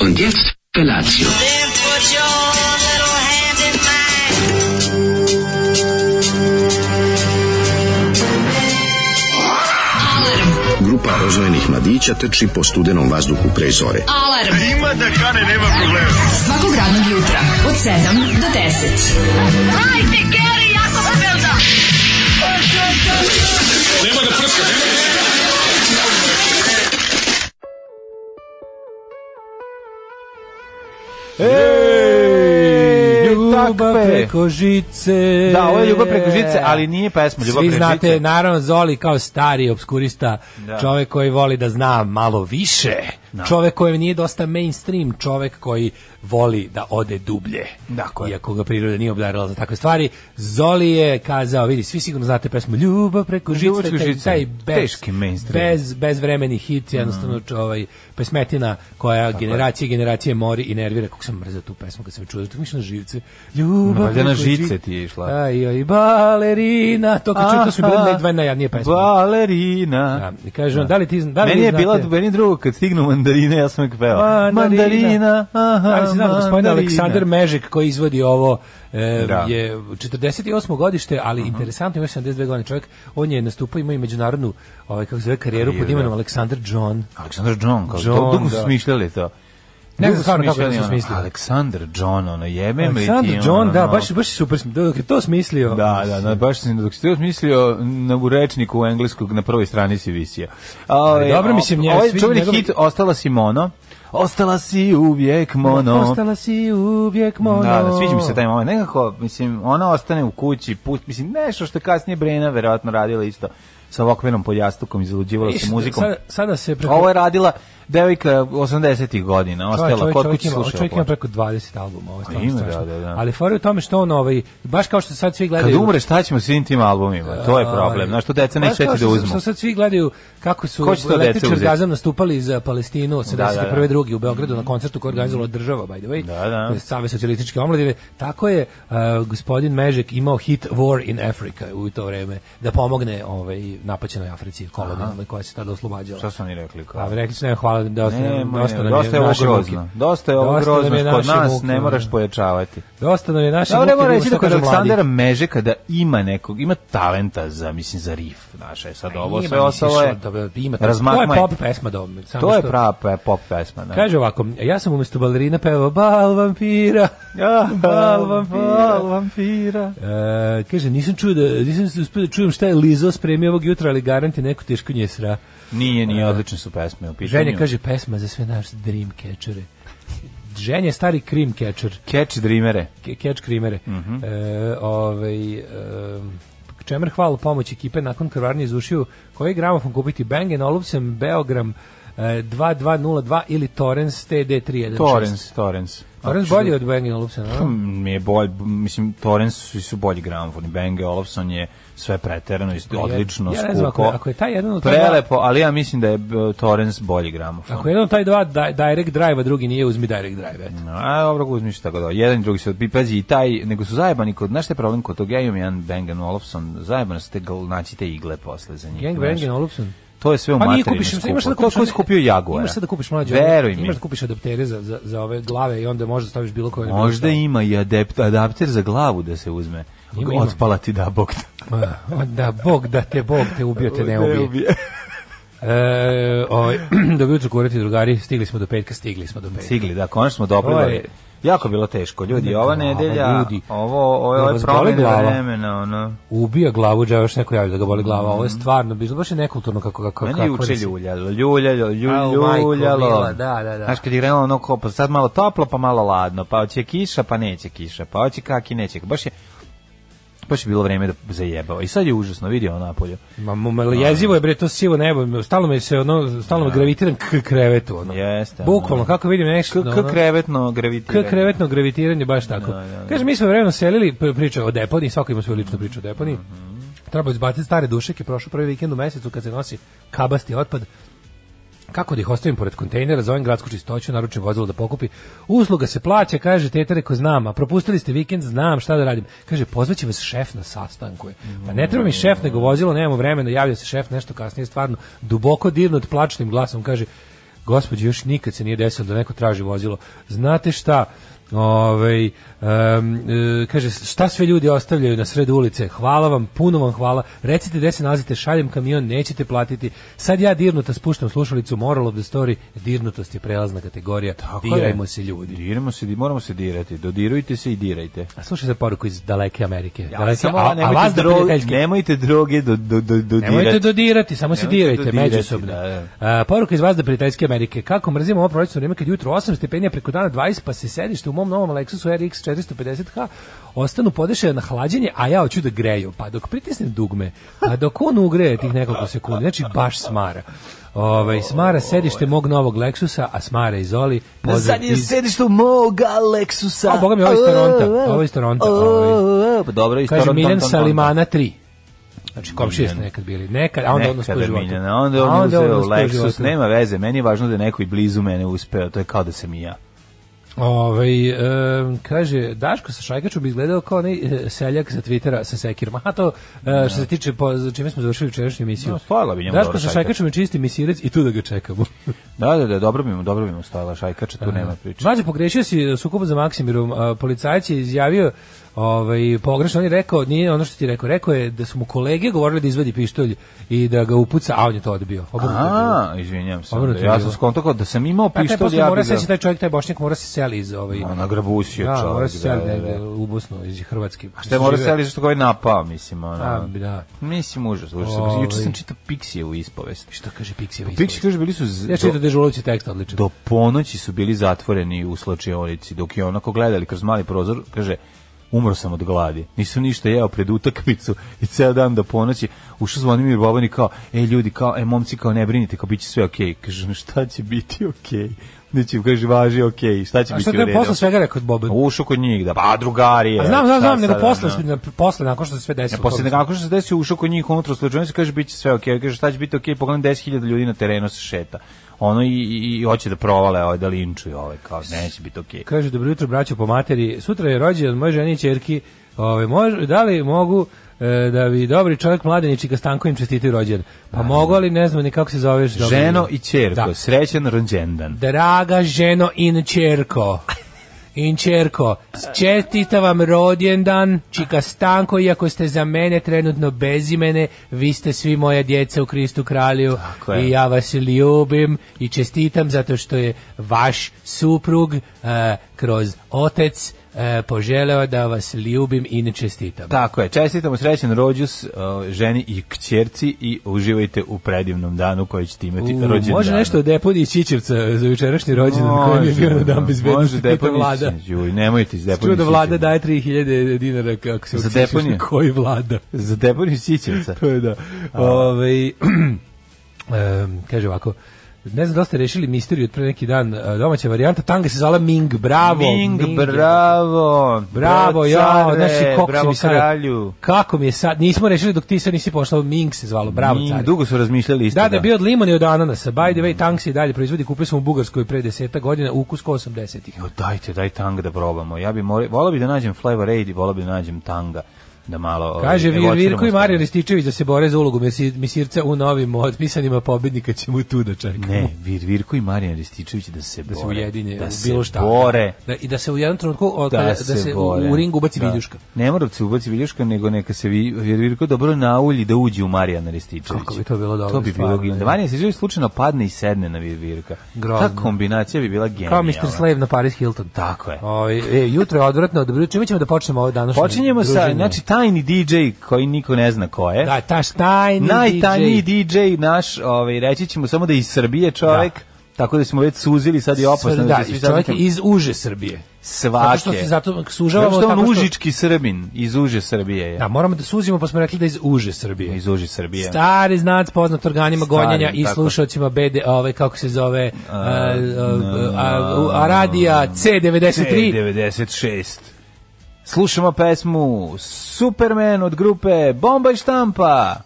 Und jetzt Felatio. Then put your little hand in mine. Grupa rozvojenih mladića teči po studenom vazduhu pre zore. Alarm. Ima da kane, nema problema. Svakog radnog jutra, od 7 do 10. Hajde, Geri, jako se velda. Ej, Ljubav takve. preko žice. Da, ovo je ljubav preko žice, ali nije pesma ljubav Svi preko znate, žice. naravno, Zoli kao stari obskurista, Da. čovek koji voli da zna malo više, čovek koji nije dosta mainstream, čovek koji voli da ode dublje. Dakle. Iako ga priroda nije obdarila za takve stvari, Zoli je kazao, vidi, svi sigurno znate pesmu Ljubav preko žice, Ljubav preko taj- žice, taj bez, teški mainstream. Mhm. Bez, bezvremeni hit, jednostavno čo- ovaj, pesmetina koja generacije i generacije mori i nervira, kako sam mrzao tu pesmu kad sam je čuo, tako mišljam živce. Ljubav Pa Valjda na preko ži- žice ti je išla. Aj, aj, balerina, to kad čujem, to su bile Aha. naj- dve najjadnije pesme. Balerina. Da, I kažem, da li ti zna- da li meni vi je bila, znate- meni je drugo, kad stignu mandarine, ja sam uvijek peo. Mandarina. Mandarina, aha, Ali se znam, gospodin mandarina. Aleksandar Mežek koji izvodi ovo e, Da. Mhm. je 48. godište, ali interesantno ima 72 godine čovjek. On je nastupao imao i međunarodnu ovaj kako se zove karijeru pod Karijeru, imenom da. Aleksandar John. Aleksandar John, kao John, to, dugo su da. smišljali to. Ne Dugo znam stvarno kako smišljali su ono, smislili. Aleksandar John, ono, jebem li ti. Aleksandar ono, John, da, ono. baš baš je super sm- dok je to smislio. Da, da, da, baš sam, dok si to smislio, na u rečniku u engleskog na prvoj strani si visio. A, ovaj, dobro, mislim, ja Ovaj sviđa čuveni njegov- hit Ostala si mono. Ostala si uvijek mono. Ostala si uvijek mono. Da, da, sviđa mi se taj moment. Nekako, mislim, ona ostane u kući, put, mislim, nešto što je kasnije Brena verovatno radila isto sa lokvenom pod jastukom, izluđivala Viš, se muzikom. Sada, sada se preko... Ovo je radila devojka 80-ih godina, Čovjek- ostala čovjek- kod čovjek kuće ima- slušala. Čovjek ima ploče. preko 20 albuma, ovo je stvarno ima, strašno. da, da, da. Ali fora je u tome što on, ovaj, baš kao što sad svi Kad gledaju... Ovaj, umre, šta ćemo s svim tim albumima? To je problem. Znaš, to deca neće Baš Da, pa kao hteti da što- uzmu. Što sad svi gledaju kako su Ko će to deca električar uzeti? orgazam nastupali za Palestinu od Da, da, da. 71. Da, drugi u Beogradu na koncertu koji je organizovala država, by the way. Da, da. Save socijalističke omladine. Tako je uh, gospodin Mežek imao hit War in Africa u to vreme da pomogne ovaj, napaćenoj Africi kolonijalnoj koja se tada oslobađala. Šta su oni rekli? kao? A Pa, rekli su ne, hvala, dosta, Ne, nam- moj, dosta, nam dosta je je ovo naše muke. grozno. Dosta je ovo Dosta nam grozno. Kod naše nas muke, ne moraš ono. pojačavati. Dosta nam je naše Dobro, muke, ne moram vidimo reći što da kod kažu mladi. Aleksandra Mežeka da ima nekog, ima talenta za, mislim, za riff. Znaš, e sad ovo sve ostalo je, Dobro, da, ima, to je razmakma je. pop pesma. Do, samo To je što- prava pe- pop pesma. da. Kaže ovako, ja sam umjesto balerina pevao Bal vampira, Ah, bal vampira. bal vampira. E, kaže, nisam čuo da, nisam se uspio da čujem šta je Lizo spremio ovog jutra, ali garanti neko teško nje sra. Nije, nije, odlične su pesme u pitanju. Ženja Da. kaže, pesma za sve naš dream catchere. Ženja je stari cream catcher, Catch Dreamere. ke- catch creamere. Mhm. E, ovaj, e, Čemer hvala pomoć ekipe nakon krvarnje iz ušiju. Koji gramofon kupiti? Bang Olufsen, Beogram, e, 2202 ili Torrens TD316. Torrens, Torrens. Torrens Da, bolji od Bang Olufsen, a? Hmm, mi je bolj, mislim, Torrens su, su bolji gramofoni. Bang Olufsen je sve preterano, isto, odlično, ja ne znam, ako skupo. je- ako je taj jedan od ta dva- Prelepo, ali ja mislim da je b, Torrens bolji gramofon. Ako jedan od taj dva di- direct drive, a drugi nije, uzmi direct drive. eto. A, dobro, ako uzmiš tako da. Jedan i drugi se odbi, pazi, i taj, nego su zajebani kod, znaš šta je problem kod toga, ja imam jedan Bang Olufsen, zajebano ste, gl- naći te igle posle za njih. Gang znaš. Bang and Olufsen. To je sve u Pa nije materinu kupiš, skupo. imaš sad da To je kupiš... ko je skupio Jaguara. Imaš sad da kupiš mlađe. Veruj mi. Imaš da kupiš adaptere za, za, za ove glave i onda možda staviš bilo koje. Možda ima i adept, adapter za glavu da se uzme. Ima, ima. Otpala ti da bog Da, Bog da te, Bog te ubio, te Da, ne ubije. E, ovaj, dobro jutro, kurati drugari, stigli smo do petka, stigli smo do petka. Sigli, da, konačno smo doprili. To je- ali Jako je bilo teško, ljudi, Ne, ova glava, nedelja, ljudi. ovo, ovo, Da ovo je vas boli promjena glava. vremena, ono. Ubija glavu, džava još neko javi da ga boli glava. Ovo je stvarno, bilo baš je nekulturno kako... kako Meni Pa kako je juče nas- ljuljalo, ljuljalo, Au, lju- majko ljuljalo. mila, da, da, da. Znaš, kad je krenulo ono ko, pa sad malo toplo, pa malo ladno, pa hoće kiša, pa neće kiša, pa hoće kaki, neće. Baš je baš je bilo vreme da zajebao. I sad je užasno, vidi ono napolju. Ma, ma, ma jezivo je bre to sivo nebo, stalno me se ono stalno me gravitiram k krevetu ono. Da. Jeste, Da. ono. Bukvalno kako vidim nešto K, ono, k krevetno gravitiranje. k krevetno gravitiranje baš tako. Kaže mi smo vremeno selili p- priča o deponiji, svako ima svoju ličnu priču o deponiji. Treba izbaciti stare dušeke, prošao prvi vikend u mesecu kad se nosi kabasti otpad. Kako da ih ostavim pored kontejnera, zovem gradsku čistoću, naručim vozilo da pokupi. Usluga se plaća, kaže teta, reko znam, a propustili ste vikend, znam šta da radim. Kaže, pozvaće vas šef na sastanku. je. Pa ne treba mi šef, nego vozilo, nemamo vremena, javlja se šef nešto kasnije, stvarno, duboko dirnut plačnim glasom, kaže, gospođo, još nikad se nije desilo da neko traži vozilo. Znate šta, Ovaj em, e, kaže, šta sve ljudi ostavljaju na sred ulice, hvala vam, puno vam hvala, recite gde se nalazite, šaljem kamion, nećete platiti, sad ja dirnuta spuštam slušalicu Moral of the Story, dirnutost je prelazna kategorija, dirajmo se ljudi. Dirajmo se, di- moramo se dirati. Dodirujte se i dirajte. A slušaj za poruku iz daleke Amerike. Ja, daleke, samo a, a nemojte vas da dro- prijateljski. Nemojte droge do, do, do, dodirati. Nemojte dodirati, samo se Nemojte dirajte dodirati, međusobno. da, A, poruka iz vas da prijateljske Amerike. Kako mrzim ovo prolećno vrijeme kad je jutro 8 stepenija preko dana 20 pa se sedište u mom novom Lexusu RX 450H ostanu podešaja na hlađenje, a ja hoću da greju. Pa dok pritisnem dugme, pa dok on ugreje tih nekoliko sekundi, znači baš smara. Ovaj smara sedište mog novog Lexusa, a smara i Zoli. Na Pozdrav zadnje iz- sedište moga Lexusa. A, boga mi, ovo je iz Toronta, ovo je iz Toronta, ovaj. Pa dobro, iz Kaže Toronta. Miljan Toronta, Toronta. Salimana 3. Znači komšije ste Miljan. nekad bili. Nekad, a onda odnos Nekada po životu. Miljana, da onda A on uzeo odnos po Lexus, životu. nema veze, meni je važno da je neko i blizu mene uspeo, to je kao da sam i ja. Ovaj em, kaže, Daško sa Šajkačom bi izgledao kao onaj e, seljak sa Twittera sa sekirom. A to, e, što se tiče, po, za čime smo završili večerašnju emisiju. No, stojala bi njemu Daško dobro sa šajkača. Šajkačom je čisti misirec i tu da ga čekamo. Da, da, da, dobro bi mu, dobro bi mu stojala šajkača, tu nema priče. Mlađe, pogrešio si u sukobu za Maksimirom. a, Policajac je izjavio ovaj, pogrešno. On je rekao, nije ono što ti je rekao, rekao je da su mu kolege govorili da izvadi pištolj i da ga upuca, a on je to odbio. Obrnuto je bilo. A, izvinjam se. Obrnuto onda. je Ja bilo. sam skonto kao da sam imao Pa taj pištolj, posle ja mora bi seći ga... taj čovjek, taj bošnjak mora se seli iz ovaj... Ona grabusio Da, čovjek. mora se da, seli da, da. negde u Bosnu, iz Hrvatske. A šta je mora seli što ga je napao, mislim, A, ona. da. Mislim, užas, užas. Ovaj. Juče sam čitao Pixije u ispovesti. Šta kaže Pixijevi? Pixije, kaže, bili su... z- Pa Ja do- čitam dežulovci tekst odličan. do ponoći su bili zatvoreni u slačionici, dok je onako gledali kroz mali prozor, kaže, umro sam od gladi, nisam ništa jeo pred utakmicu i ceo dan do ponoći, ušao Zvonimir Boban i kao, e ljudi, kao, e momci, kao ne brinite, kao bit će sve okej, kaže, "Ma šta će biti okej, neće, kaže, važi okej, šta će A biti šta u to je redu, posle svega rekao od Boban? ušao kod njih, da, pa drugari je, A znam, znam, šta da, znam, nego sada, posle, ono. na- posle, nakon što se sve desilo. E, posle Kao- nekako što se desi ušao kod njih unutra u slučajnicu, kaže bit će sve okej, kaže šta će biti okej, pogledam 10.000 ljudi na terenu se šeta. Ono i, i, i hoće da provale, ovaj, da linčuju, ovaj, kao neće biti okej. Kaže, dobro jutro, braćo po materi. Sutra je rođendan moje žene i čerki. Ove, može, da li mogu e, da bi dobri čovjek mladenički ka Stanko im čestitaju rođendan? Pa mogu, ali ne znam ni kako se zoveš. dobro Da, Ženo ime. i čerko, Da. srećan rođendan. Draga ženo in čerko. In čerko, čestita vam rođendan, čika Stanko, iako ste za mene trenutno bezimene, vi ste svi moja djeca u Kristu kralju je. i ja vas ljubim i čestitam zato što je vaš suprug eh, kroz otec eh, poželeo da vas ljubim i ne čestitam. Tako je, čestitamo srećan rođus uh, ženi i kćerci i uživajte u predivnom danu koji ćete imati U, rođendan. može nešto o deponiji Čičevca za jučerašnji rođendan koji mi je bio na dan bezbednosti, Može pita deponij vlada. siđe, Juj, nemojte iz deponij Čuo da vlada siđe. daje 3000 dinara kako se Za ucišeš na deponiju? Koji vlada? Za deponiju Sićevca. To je da. Ove, kaže ovako, ne znam da li ste rešili misteriju od pre neki dan, e, domaća varijanta, tanga se zvala Ming, bravo. Ming, je- bravo. Bravo, ja, care, znači kako si bravo mi sad, kralju. kako mi je sad, nismo rešili dok ti sad nisi pošla, Ming se zvalo, bravo Ming, care. Dugo su razmišljali isto. Da, da je bio od limona i od ananasa. By the way, tank se i dalje proizvodi. Kupili smo u Bugarskoj pre deseta godina, ukus ko 80-ih. Jo, dajte, daj tanga da probamo. Ja bi more, volao bi da nađem Flavor Aid i volao bi da nađem tanga da malo... ovaj, Kaže Vir evociramo Virko i stanje. Marijan Rističević da se bore za ulogu mesi- misirca u novim otpisanima pobednika ćemo tu da čekamo. Ne, Vir Virko i Marijan Rističević da se da bore. se ujedine da u se bilo šta. bore. Da, I da se u jednom trenutku od, Da, da, se, da se u, bore. u ringu ubaci da. viljuška. Ne mora da se ubaci viljuška, nego neka se Vi- Vir Virko dobro naulji da uđe u Marijana Rističevića. Kako bi to bilo dobro, To bi bilo stvarno, genijalno. da. Da Marijan Rističević slučajno padne i sedne na Vir Virka. Grozno. Ta kombinacija bi bila genijalna. Kao Mr. Slave na Paris Hilton. Tako je. O, e, jutro je odvratno, dobro, čime ćemo da počnemo ovo današnje Počinjemo sa, druženje? znači, tajni DJ koji niko ne zna ko je. da, taš tajni Najtanji DJ. DJ naš, ovaj, reći ćemo samo da je iz Srbije čovek. Tako da smo već suzili, sad je opasno. da, svi iz sad čovjek nekam- iz uže Srbije. Zato svake. što se zato Zato sužavamo što on tako što... užički srbin iz uže Srbije je. Da, moramo da suzimo, pa smo rekli da iz uže Srbije. Iz uže Srbije. Stari znac poznat organima Stari, gonjenja i tako. slušaocima BD, ovaj, kako se zove, a, a, a, a, radija C93. 96. Slušamo pesmu Superman od grupe Bomba i štampa.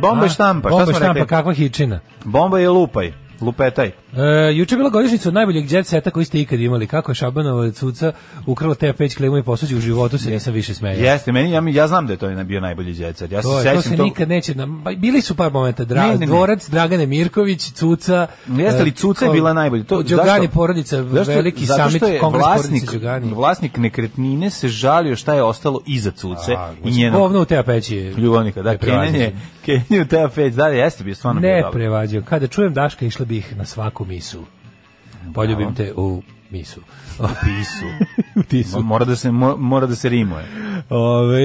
Bomba i štampa, šta Bomba i smo štampa, rekli? kakva hičina. Bomba je lupaj, lupetaj. E, juče je bila godišnjica od najboljeg jet seta koji ste ikad imali. Kako je Šabanova cuca ukrala te peć klemu i posuđi u životu se nisam više smejao. Jeste, meni, ja, ja znam da je to bio najbolji djecar. Ja se To, je, to sećam se to. nikad neće... nam- pa bili su par momenta. Dra, Ne, ne, ne. Dvorac, Dragane Mirković, Cuca... Jeste li e, Cuca je ko- bila najbolja? To Đogani zašto? porodica, Zašto? veliki Zato samit, što je kongres vlasnik, porodice Đogani. vlasnik nekretnine se žalio šta je ostalo iza Cuce A, i njenog Govno u te peći. je ljubavnika. Da, neprevaziđen. Kenjanje, Kenjanje u teo peć, da, jeste bio stvarno bio Ne dobar. prevađio. Kada da čujem Daška, išla bih na svaku misu. Poljubim te u misu. Pa pisu. u tisu. Mora da se, mo- mora da se rimuje. Ove,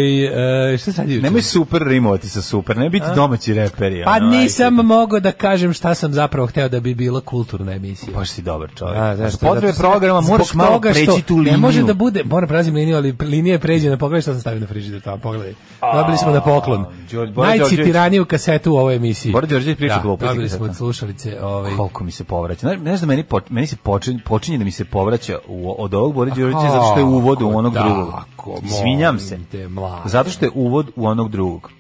e, šta sad juče? Nemoj super rimovati sa super, ne biti domaći reperi. Pa ono, ajde. nisam mogao da kažem šta sam zapravo hteo da bi bila kulturna emisija. Baš si dobar čovjek. A, A, znaš, za Pa potrebe zato Da, što- programa zbog moraš malo toga što preći tu liniju. Ne može da bude, moram prelazim liniju, ali linija je pređena, pogledaj šta sam stavio na frižider tamo, pogledaj. Dobili smo na poklon. Đor- Bora Najcitiraniju kasetu u ovoj emisiji. Bora Đorđević priča Da, gluposti. Dobili smo od slušalice, ovaj, Koliko mi se povraća. Znaš, znaš da meni, po- meni se počinje, počinje da mi se povraća u, od ovog Bora Đorđevića zato što je uvod u onog Tako, drugog. Izvinjam se. da, molim te, mlade. Zato što je uvod u onog drugog.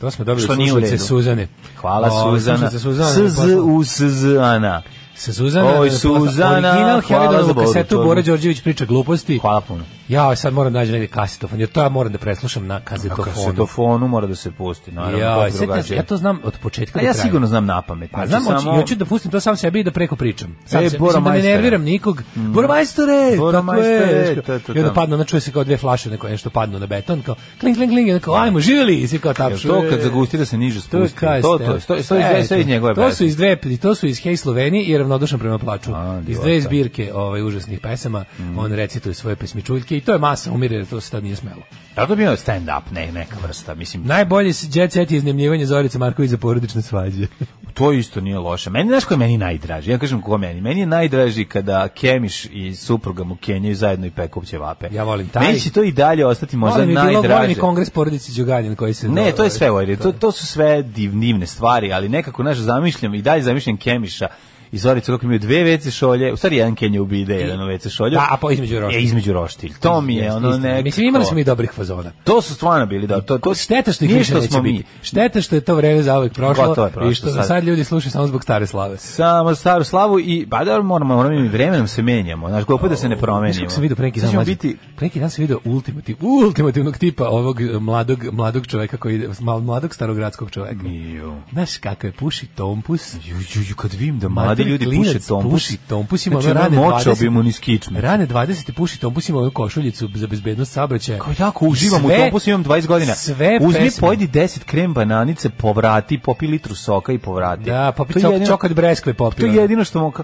To smo dobili Što što nije u slušalice redu. Suzane. Hvala O, Suzana. Slušalice Suzana. SZ u SZ Ana. Sa Suzana. Oj, posla- Suzana, Original hvala za Hevedonovu Boru kasetu Đorđević. Bora Đorđević priča gluposti. Hvala puno. Ja sad moram da nađem negdje kasetofon, jer to ja moram da preslušam na Kako kazetofonu. Pa se to fonu mora da se pusti. Naravno, to Ja, je sad ja, drugačije. ja to znam od početka A do ja kraja. sigurno znam na pamet. Pa znači znam, hoću, samo- hoću da pustim to sam sebi i da preko pričam. Sam E, se, Bora mislim da ne majstore. nerviram nikog. Mm. Bora majstore, Bora tako majstore, je. to, to, I onda to. padne, ona čuje se kao dve flaše, neko nešto padnu na beton, kao kling, kling, kling, i onda kao, ajmo, živjeli, i svi kao Jel tapšu. to kad e. zagustira se niže To je spusti. kaj, To, to, Stefan. to, to, to, je sve iz njegove To su pesme. iz dve, to su iz Hej Slovenije i ravnodušan prema plaču. A, Mhm. iz divota. dve zbirke ovaj, užasnih pesama, on recituje svoje pesmičuljke i to je masa, umire, jer to se tad nije smelo. Da to bi bio stand up, ne, neka vrsta, mislim. Najbolje s- jet set je iznemljivanje Zorice Marković za porodične svađe. To isto nije loše. Meni znaš ko je meni najdraži? Ja kažem ko meni. Meni je najdraži kada Kemiš i supruga mu kenjaju zajedno i peku ćevape. Ja volim taj. Meni će to i dalje ostati možda Volim je bilo, volim i najdraže. kongres porodice Đuganin koji se... Ne, to je sve ovaj, da. to, to su sve div, divne stvari, ali nekako, znaš, zamišljam i dalje zamišljam Kemiša i Zoricu kako imaju dve vece šolje, u stvari jedan Kenja ubide, jedan vece šolje. Da, a po između roštilja. E, između roštilj. To mi je Jeste, ono istina. nekako. Mislim, imali smo i dobrih fazona. To su stvarno bili, da. To, to, Šteta što ih nije više što neće smo mi. biti. Šteta što je to vreme zauvek prošlo, Gotovo je prošlo i što sad. sad. sad ljudi slušaju samo zbog stare slave. Samo staru slavu i, ba da, moramo, moramo i vremenom se menjamo. Znaš, glupo je da se ne promenimo. Znaš kako sam vidio pre neki Sad dan? ćemo mlađe? biti, Pre neki dan sam vidio ultimativ, ultimativnog tipa ovog eh, mladog, mladog čoveka koji ide, mal- mladog starogradskog čoveka. Ju. Znaš kako je, puši tompus. Ju, ju, ju, kad vidim da mladi Mater ljudi klinac puše tompus. puši tompus, ima znači, ono ono rane močao 20. bi mu niz kičme. Rane 20 i puši tompus ima ovu košuljicu za bezbednost saobraćaja. Kao jako uživam u Sve- tompusu, imam 20 godina. Sve Uzmi, pesme. pojedi 10 krem bananice, povrati, popi litru soka i povrati. Da, pa To je jedino- čokat breskve To popio. je jedino što mogu...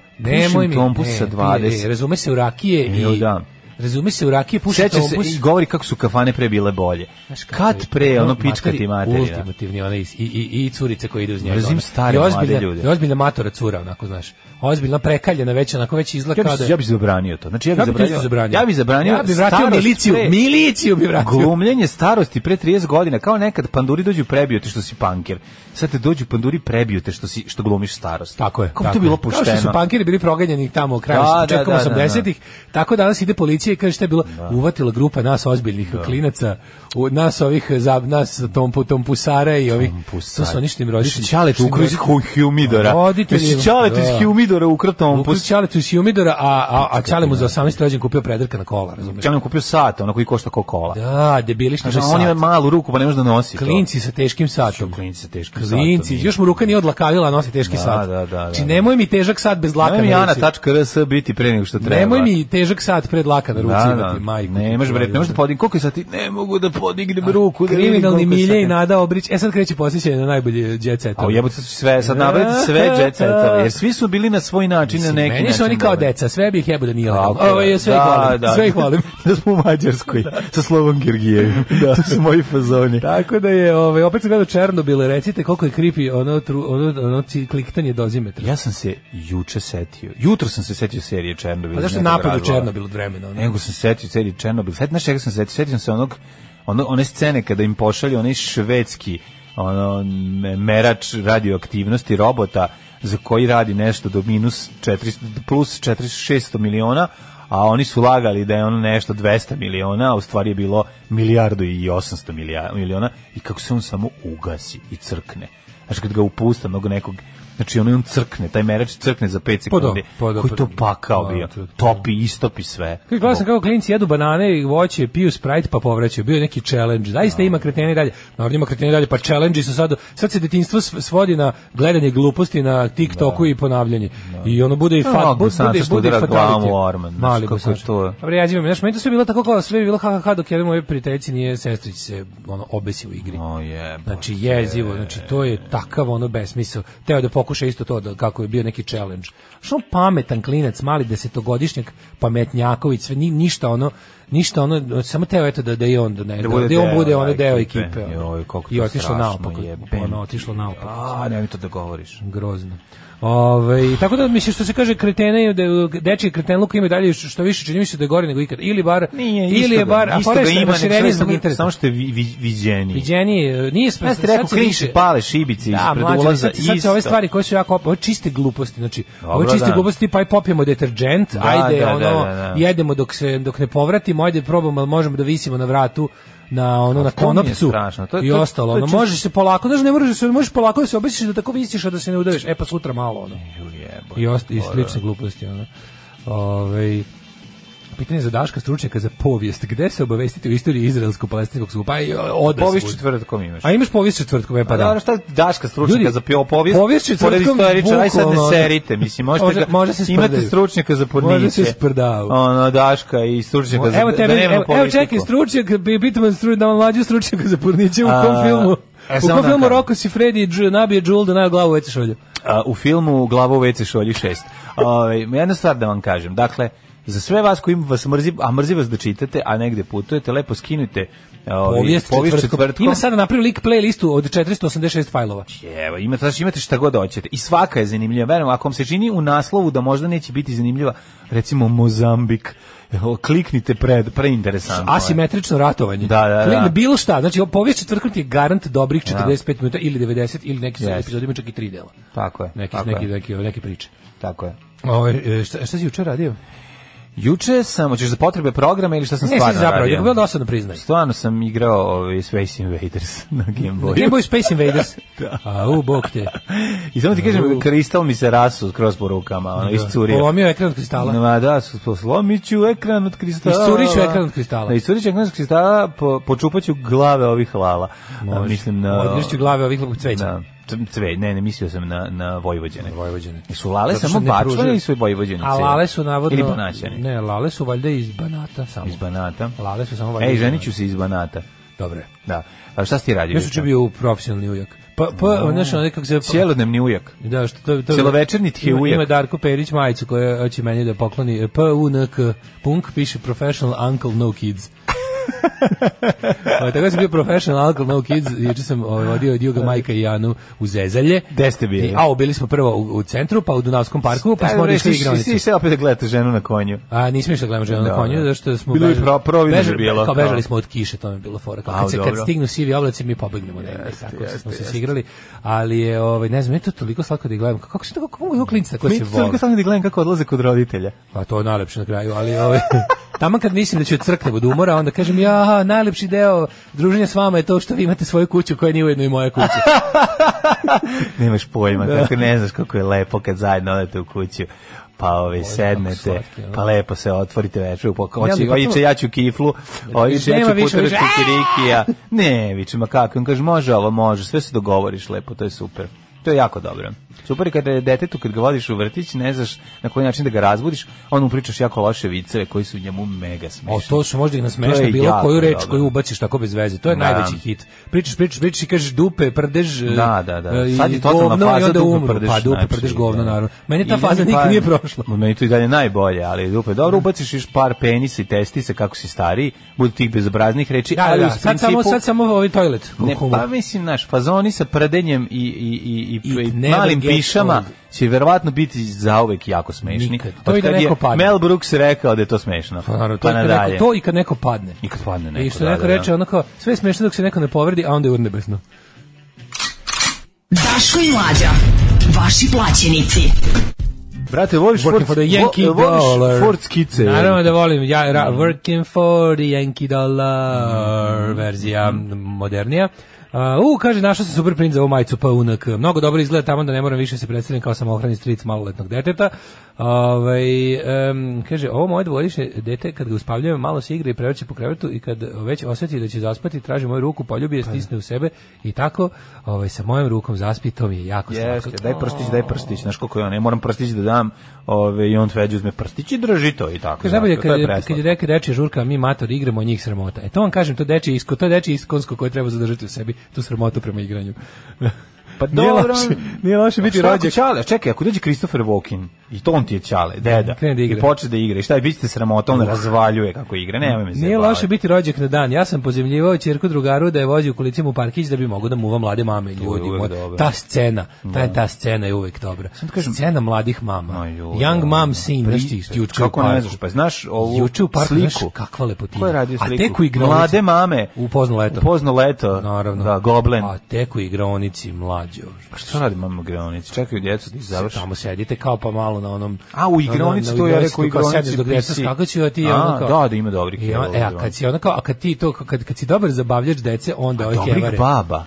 Pušim tompus sa ne, 20. e, razume se u rakije Jel i... da? Razume se u rakije, puši Seća se tompus. i govori kako su kafane pre bile bolje. Znaš kako je, Kad pre, ono pička materi- ti materija. Ultimativni, ona i, i, i curice koje ide uz njega. Mrzim ona. stare I mlade ozbiljna- ljude. I ozbiljna matora cura, onako, znaš. Ozbiljna, prekaljena, već onako, već izgleda Ja kao da... bih ja bi zabranio to. Znači ja bih Ja bi to isto zabranio, zabranio. Ja bih zabranio. Ja bih vratio starost miliciju, pre- miliciju bih vratio. Glumljenje starosti pre 30 godina, kao nekad panduri dođu prebiju te što si panker. Sad te dođu panduri prebiju te što si što glumiš starost. Tako je. Kako bi tako to bilo je. pošteno? Kao što su pankiri bili proganjani tamo u kraju Da, da, da, da, da, da. 80-ih, tako danas ide policija i kaže šta je bilo, uvatila grupa nas ozbiljnih Da. klinaca, u- nas ovih za nas tompu tompusara i ovih to su oni što im roditelji. Čale što im ukrao iz roditelji- Hu- Humidora. Roditelji- Jesi Ćaletu iz da. Humidora ukrao Ukrao tompus. da. Ćaletu iz Humidora, a, a, a Ćale mu za 18 rođen kupio predarka na kola, razumiješ? Čale mu kupio sat, onako koji košta kao kola. Da, debili što Kaže, je on ima sat. malu ruku, pa ne može da nosi to. Klinci sa teškim satom. Klinci sa teškim Klinci, satom, još mu ruka nije odlakavila, a nosi teški Da, sat. da, da, da, Či da. nemoj mi težak sat bez dlaka. Nemoj mi na ruci. Ana.rs biti pre nego što treba. Nemoj mi težak sat pred laka na ruci da, imati majku. Ne, možeš bre, ne možeš da podignem. Koliko je sati? Ne mogu da podignem ruku. da vidim Kriminalni koliko je milje i sati. Nada Obrić. E sad kreće posjećanje na najbolje jet set. A jebote sad su sve, sad nabrati sve jet setove, jer svi su bili na svoj način, na neki način. Meni su oni kao dobri. deca, sve bi ih jebo da nije A, legalno. okej, Ovo je sve ih da, volim, da. sve ih volim. da smo u Mađarskoj, sa Slovom Gergijevim. da. To su moji fazoni. Tako da je, ovaj, opet sam gledao Černobil, recite koliko je creepy ono, tru, ono, ono ci- kliktanje dozimetra. Ja sam se juče setio. Jutro sam se setio serije Černobil. A pa zašto iz nekog napad u razloga. Černobil od vremena? Ono? Nego sam se setio serije Černobil. Setio, znaš čega sam se setio? Setio sam se onog, ono, one scene kada im pošalju onaj švedski ono, me- merač radioaktivnosti robota za koji radi nešto do minus 400, plus 400 miliona, a oni su lagali da je ono nešto 200 miliona, a u stvari je bilo milijardu i 800 milija- miliona i kako se on samo ugasi i crkne. Znači kad ga upusta onog nekog Znači ono i on crkne, taj merač crkne za 5 Pa da, sekundi. pa da, koji to pa da. pakao Pa, bio. to je to. Topi, istopi sve. Kako glasan kako klinci jedu banane i voće, piju Sprite pa povraćaju. Bio je neki challenge. Da. Zaista ima kretena i dalje. Naravno ima kretena i dalje, pa challenge su sad sad se detinjstvo sv- svodi na gledanje gluposti na TikToku i ponavljanje. I ono bude i Da, fat, ono, bude, Bosanca bude, što bude udara fatality. glavom u orman, znaš, Mali kako je Bosanca. to? Dobre, ja zimam, znaš, meni to sve bilo tako kao sve je bilo hahaha dok jedan moj prijateljici nije sestrić se ono obesi u igri. O jebo. Znači jezivo, znači to je takav ono besmisao. Teo da pokuša isto to da, kako je bio neki challenge. Što on pametan klinac, mali desetogodišnjak, pametnjaković, sve ni, ništa ono, ništa ono, samo teo eto da da i on da ne, da, bude da i on deo, bude ono da, deo ekipe. ekipe. ono. Joj, kako to I otišlo strašno, naopako, jebem ono, ti. otišlo naopako. A, nemoj to da govoriš. Grozno. Ove, tako da mislim što se kaže kretene i da dečije kretenluka ima i dalje što više čini mi se da je gore nego ikad ili bar ili je bar da a isto fora je ga što je ima, raširenije nego zbog samo- interneta. Samo što je vi, vi, viđeniji. Viđenije, nije sve Ja ste rekao, Pa sad se klinci više- pale šibice Da, ispred mlađe, ulaza. sad, se- sad se isto. ove stvari koje su jako op- ovo je čiste gluposti, znači ovo je Dobro, čiste da. gluposti, pa i popijemo deterđent, ajde da, ono da, da, da. jedemo dok se dok ne povratimo, ajde probamo, ali možemo da visimo na vratu na ono na to mi je konopcu strašno, to je- i to je- ostalo. to je Ono, čisto- možeš se polako, znači ne možeš da se možeš polako da se obesiš i da tako visiš a da se ne udariš. E pa sutra malo ono. Ju jebo. I ost, i slične gluposti ono. Ovaj Pitanje za Daška stručnjaka za povijest. Gde se obavestiti u istoriji izraelsko-palestinskog skupa? Pa i odrasvud. Povijest četvrtkom imaš. A imaš povijest četvrtkom, e pa Pa da. da, šta je Daška stručnjaka Ljudi, za pio povijest? povijest pored četvrtkom istoričara, aj sad ne bukvalno, ono- serite, mislim, možete Može- ga, može se imate sprdaju. stručnjaka za porniće. Može se sprdaju. Ono, Daška i stručnjaka za, Evo da tebe, evo, nema evo politiku. čekaj, stručnjak, bi- bitman stručnjak, da vam mlađi stručnjak za Purnića u kom A, filmu? e, u samo kom da filmu kažem. Pa Roko si Freddy i Dž- nabije Džul da naju glavu veće šolje? A, u filmu Glavo WC šolji 6. Ovaj jedna stvar da vam kažem. Dakle, za sve vas koji vas mrzi, a mrzi vas da čitate, a negde putujete, lepo skinite ovaj, Povijest, povijest četvrtkom. Ima sada napravio lik playlistu od 486 fajlova. Evo, imate, znači imate šta god hoćete. I svaka je zanimljiva. Verujem, ako vam se čini u naslovu da možda neće biti zanimljiva, recimo Mozambik, evo, kliknite pred, preinteresantno. je. Asimetrično ratovanje. Da, da, da. Klin- Bilo šta, znači o- povijest četvrtkom ti je garant dobrih 45 minuta ili 90 ili neki yes. Jeste. epizodi ima čak i tri dela. Tako je. Neki, tako neki, da- je, neki, Ovaj, neke priče. tako je. Ove, e, šta, šta si jučer radio? Juče sam, hoćeš za potrebe programa ili šta sam Ne, si stvarno zapravo, radio? je bilo dosadno priznaj. Stvarno sam igrao ovaj, Space Invaders na Game Boyu. Game Boy Space Invaders. Da. A, u, bog te. I samo ti kažem, kristal mi se rasu kroz po rukama, ono, iscurio. Da. Polomio ekran od kristala. Ma da, su- po- slomit ću ekran od kristala. Iscurit ću ekran od kristala. Da, iscurit ću ekran od kristala, po, počupat ću glave ovih lava. A, da. mislim na... Odvršću glave ovih lupog cveća. Na, c- cve, ne, ne, mislio sam na, na Vojvođane. Vojvođane. Su lale Zato što samo ne pružaju. bačvane ili su Vojvođani? A lale su navodno... Ili banaćani? Ne, lale su valjda iz Banata samo. Iz Banata. Lale su samo valjda. Ej, iz ženit Banata. ću se iz Banata. Dobre. Da. A šta si ti radio? Ja sam juče? ču bio u profesionalni ujak. Pa, pa, znaš, ono nekako se... Cijelodnevni ujak. Da, što to, to, Da. Cjelovečernji ti je Ima- ujak. Ima Darko Perić majicu koja hoće meni da pokloni. PUNK, punk, piše Professional Uncle No Kids. o, tako da sam bio professional Uncle No Kids, juče sam ovaj, vodio Juga, Da. Majka i Janu u Zezalje. Gde ste bili? I, Au, bili smo prvo u, u centru, pa u Dunavskom parku, pa smo onda išli u igranicu. Svi se opet da gledate ženu na konju. A nismo išli da gledamo ženu na Da, konju, da. zato što smo Bilo je bežali- pro- providno je bežali- bilo, Kao kao. bežali smo od kiše, to mi je bilo fora. Kao, Au, kad, se, kad dobro. stignu sivi oblaci, mi pobegnemo negde. Tako smo se sigrali. Ali je, ovaj, ne znam, meni je to toliko slatko da ih gledam. Kako se to, kako mogu klinci tako Mi se vole? toliko sam da gledam kako odlaze kod roditelja. Pa to je najlepše na kraju, ali ovaj Tamo kad mislim da ću crknem od umora, onda kažem ja, najlepši deo druženja s vama je to što vi imate svoju kuću koja nije ujedno i moja kuća. Nemaš pojma, Da. kako ne znaš kako je lepo kad zajedno odete u kuću pa ove, sednete, slatki, ono. pa lepo se otvorite večer, pa Ja, ali hoće, gotovo- hoće, ja ću kiflu, hoće, ja Nema ću više, putaraš više, kikirikija. Ne, viče, ma kako, on kaže, može ovo, može, sve se dogovoriš lepo, to je super. To je jako dobro. Super je kada je detetu, kad ga vodiš u vrtić, ne znaš na koji način da ga razbudiš, on mu pričaš jako loše viceve koji su njemu mega smešni. O, Pa to su možda i To nasmešno je bilo jako koju reč dobro. koju ubaciš tako bez veze. To je Da. najveći hit. Pričaš, pričaš, pričaš i kažeš dupe, prdež, e, Da, da, da. e, i Sad je totalna govno, faza i onda dupe umru. prdeš, Pa dupe, znači, prdež, govno, da. naravno. Meni E, ta I pa faza dalje nikad par- nije prošla. Meni to i dalje najbolje, ali dupe. Dobro, ubaciš još par penisa i testisa kako si stariji, budu tih bezobraznih reči, Da, ali da, uz sad samo, principu- sad samo ovaj toilet. Ne, Kukumu. pa mislim, naš, fazoni sa prdenjem i, i, i, i, It i never malim gets pišama old. će verovatno biti zauvek jako smešni. Nikad. To i da Otkad je neko padne. Mel Brooks rekao da je to smešno. Pa naravno, to, pa je kad neko, nadalje. to i kad neko padne. I kad padne neko, I što da, neko da, da. reče, onako, sve je smešno dok se neko ne povredi, a onda je urnebesno. Daško i Mlađa. Vaši plaćenici. Brate, voliš Working for the Yankee vo- voliš dollar. Ford skice. Mm. Naravno da volim, ja, ra, working for the Yankee dollar, verzija modernija. Uh, u, kaže, našao sam super print za ovu majicu PUNK. Mnogo dobro izgleda tamo da ne moram više se predstavljam kao samohrani stric maloletnog deteta. Ovaj em, kaže, ovo moje dvogodišnje dete, kad ga uspavljujem, malo se igra i prevrće po krevetu i kad već osjeti da će zaspati, traži moju ruku, poljubi je, stisne u sebe i tako ovaj, sa mojom rukom zaspi, to mi je jako Jeste, slatko. daj prstić, daj prstić, znaš koliko je on, ja moram prstić da dam, ove, i on tveđu uzme prstić i drži to i tako. Kaže znaš, najbolje to kad je, preslatko. kad je neka dečija žurka, a mi mator igramo njih sramota. E to vam kažem, to dečije isko, to je dečije iskonsko koje treba zadržati u sebi, tu sramotu prema igranju. Pa Nije dobro. Pa loše, nije loše biti Šta ako rođak. Ćale, čekaj, ako dođe Christopher Walken, i to on ti je Ćale, deda, Krene da igra. i počne da igra, i šta je, bit ćete sramota, on razvaljuje kako igra, nemoj me Nije zajebavati. loše biti rođak na dan. Ja sam pozemljivao ćerku drugaru da je vozi u kolicima u parkić da bi mogao da muva mlade mame i ljudi. uvek moji. dobro. Da. Ta scena, ta, ta scena je uvek dobra. Sam ti kažem- scena mladih mama. Ma joj, Young mom scene, Pa viš i- ti, juče u Kako ne parku. znaš, pa znaš ovu Juče u parku, sliku. znaš kakva lepotina. Ko je radio A sliku? tek u igronici. Mlade mame. U pozno leto. U pozno leto. Naravno. Pa, Da, goblen. A tek u igronici mlađo. Pa što radi mama u igronici? Čekaju djecu da ih završe. tamo sedite kao pa malo na onom A, u igronici, na- na to ja rekao, tu kao igronici sedneš dok deca PC. skakaću, a ti A, ono kao- da, da ima dobrih I jeva on- u e, a kad igronici. si onako a kad ti to kad kad si dobar zabavljač dece onda ove Dobrih hevare baba.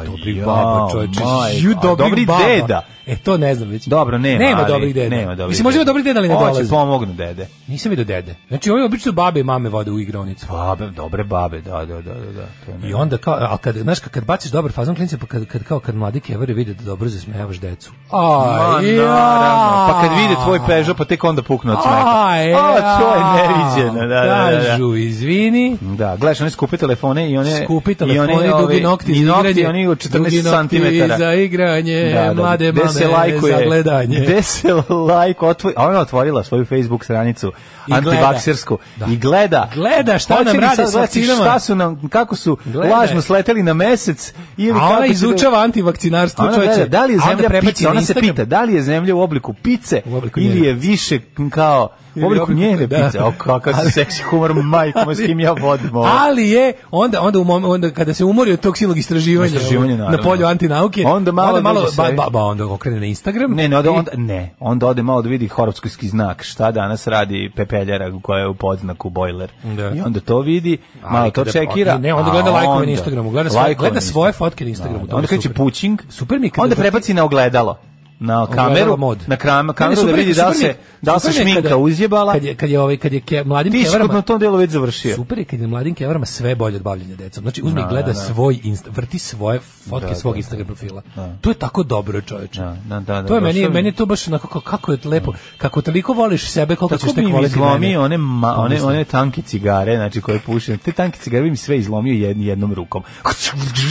Aj, Dobri ja, baba, čoveče. majko. Ju, A dobri, dobri baba. deda. E, to ne znam već. Dobro, nema. Nema ali- dobrih deda. Nema dobrih Mislim, možda ima dobri deda, ali ne Hoće dolazi. pomognu dede. Nisam vidio dede. Znači, ovi obično babe i mame vode u igronicu. Babe, dobre babe, da, da, da, da. da. To je I ne- onda kao, a kad, znaš, kad, kad baciš dobar fazon klinice, pa kad, kad, kao kad mladi kevare vide da dobro zasmejavaš decu. Ma, Aj, naravno. Pa kad vide tvoj Peugeot, pa tek onda pukne od smeka. Aj, A, to je ja. neviđeno, da, da, da. da. Kažu, izvini, Da, gledaš one skupe telefone E, i one... skupi i telefoni, one, dugi ove, nokti i za nokti, igranje, oni od dugi 14 nokti cm. za igranje, E, Da, mlade mame za gledanje. Gde se lajk otvori, a ona otvorila svoju Facebook stranicu I antivaksersku gleda. Da. i gleda. Gleda šta Hoće nam li rade sad s gledati vakcinama? Šta su nam, kako su Gleda. lažno sleteli na mesec ili A kako ona će da- izučava antivakcinarstvo, Ona čoveče. gleda, da li je A onda zemlja prebaci pice, na ona se Instagram. pita, da li je zemlja u obliku pice U obliku ili njene. je više kao Ili u obliku obliku- njene da. pice. O, kakav si seksi humor, majko, moja, s kim ja vodim ovo. Ali je onda onda u mom, onda kada se umori od tog silnog istraživanja, Istraživanja, na naravno. polju antinauke, Onda malo dođe ba, sebi. ba, ba, onda okrene na Instagram. Ne, ne, onda, i- da onda, ne, onda ode malo da vidi horopskojski znak, šta danas radi pepeljara koja je u podznaku bojler. Da. I onda to vidi, Ali malo to kada- čekira. pa, Ne, onda a gleda lajkove onda- na Instagramu, gleda svoje, lajkove gleda na svoje fotke na Instagramu. Instagramu. Da, to mi je onda kreće super. pućing, Super mi je kada onda vrti- prebaci na ogledalo na Ogledalo kameru, mod. na kram, Ne, ne, kameru da super mi je- vidi da li super mi se, je- da li se super mi je šminka kada- uzjebala. Kad je kad je ovaj kad je ke, mladim Ti si kevarama. na tom delu već završio. Super je kad je mladim kevarama sve bolje od bavljenja decom. Znači uzme i gleda svoj insta, vrti svoje fotke svog Instagram profila. To je tako dobro, čoveče. Da, da, da, to da, je došao meni mi- meni je to baš onako kao- kako je lepo. Kako toliko voliš sebe, koliko Tako ćeš bi tek mi voleti izlomio mene. one, ma, one, Odlično. one tanke cigare, znači koje pušim. Te tanke cigare bi mi sve izlomio jed, jednom rukom.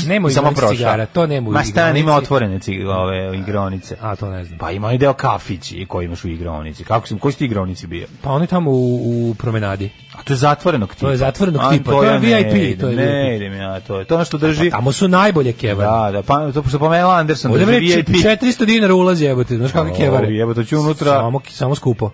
Nema u Samo igronici prošao. cigara, to nema u Ma stan igronici. ima otvorene cig, ove, igronice. A to ne znam. Pa ima i deo kafići koji imaš u igronici. Kako si, koji si ti igronici bio? Pa oni tamo u, u promenadi. A to je zatvorenog tipa. To je zatvorenog A, tipa, to je ja ne VIP, idem, to je Ne VIP. idem ja, to je to je ono što drži. Pa Tamo su najbolje kevare. Da, da, pa to što pomenuo Anderson, Ovdje drži mi je VIP. 400 dinara ulaz jebote, znaš kakve O, kevare. jebote, ću unutra- Samo, samo skupo.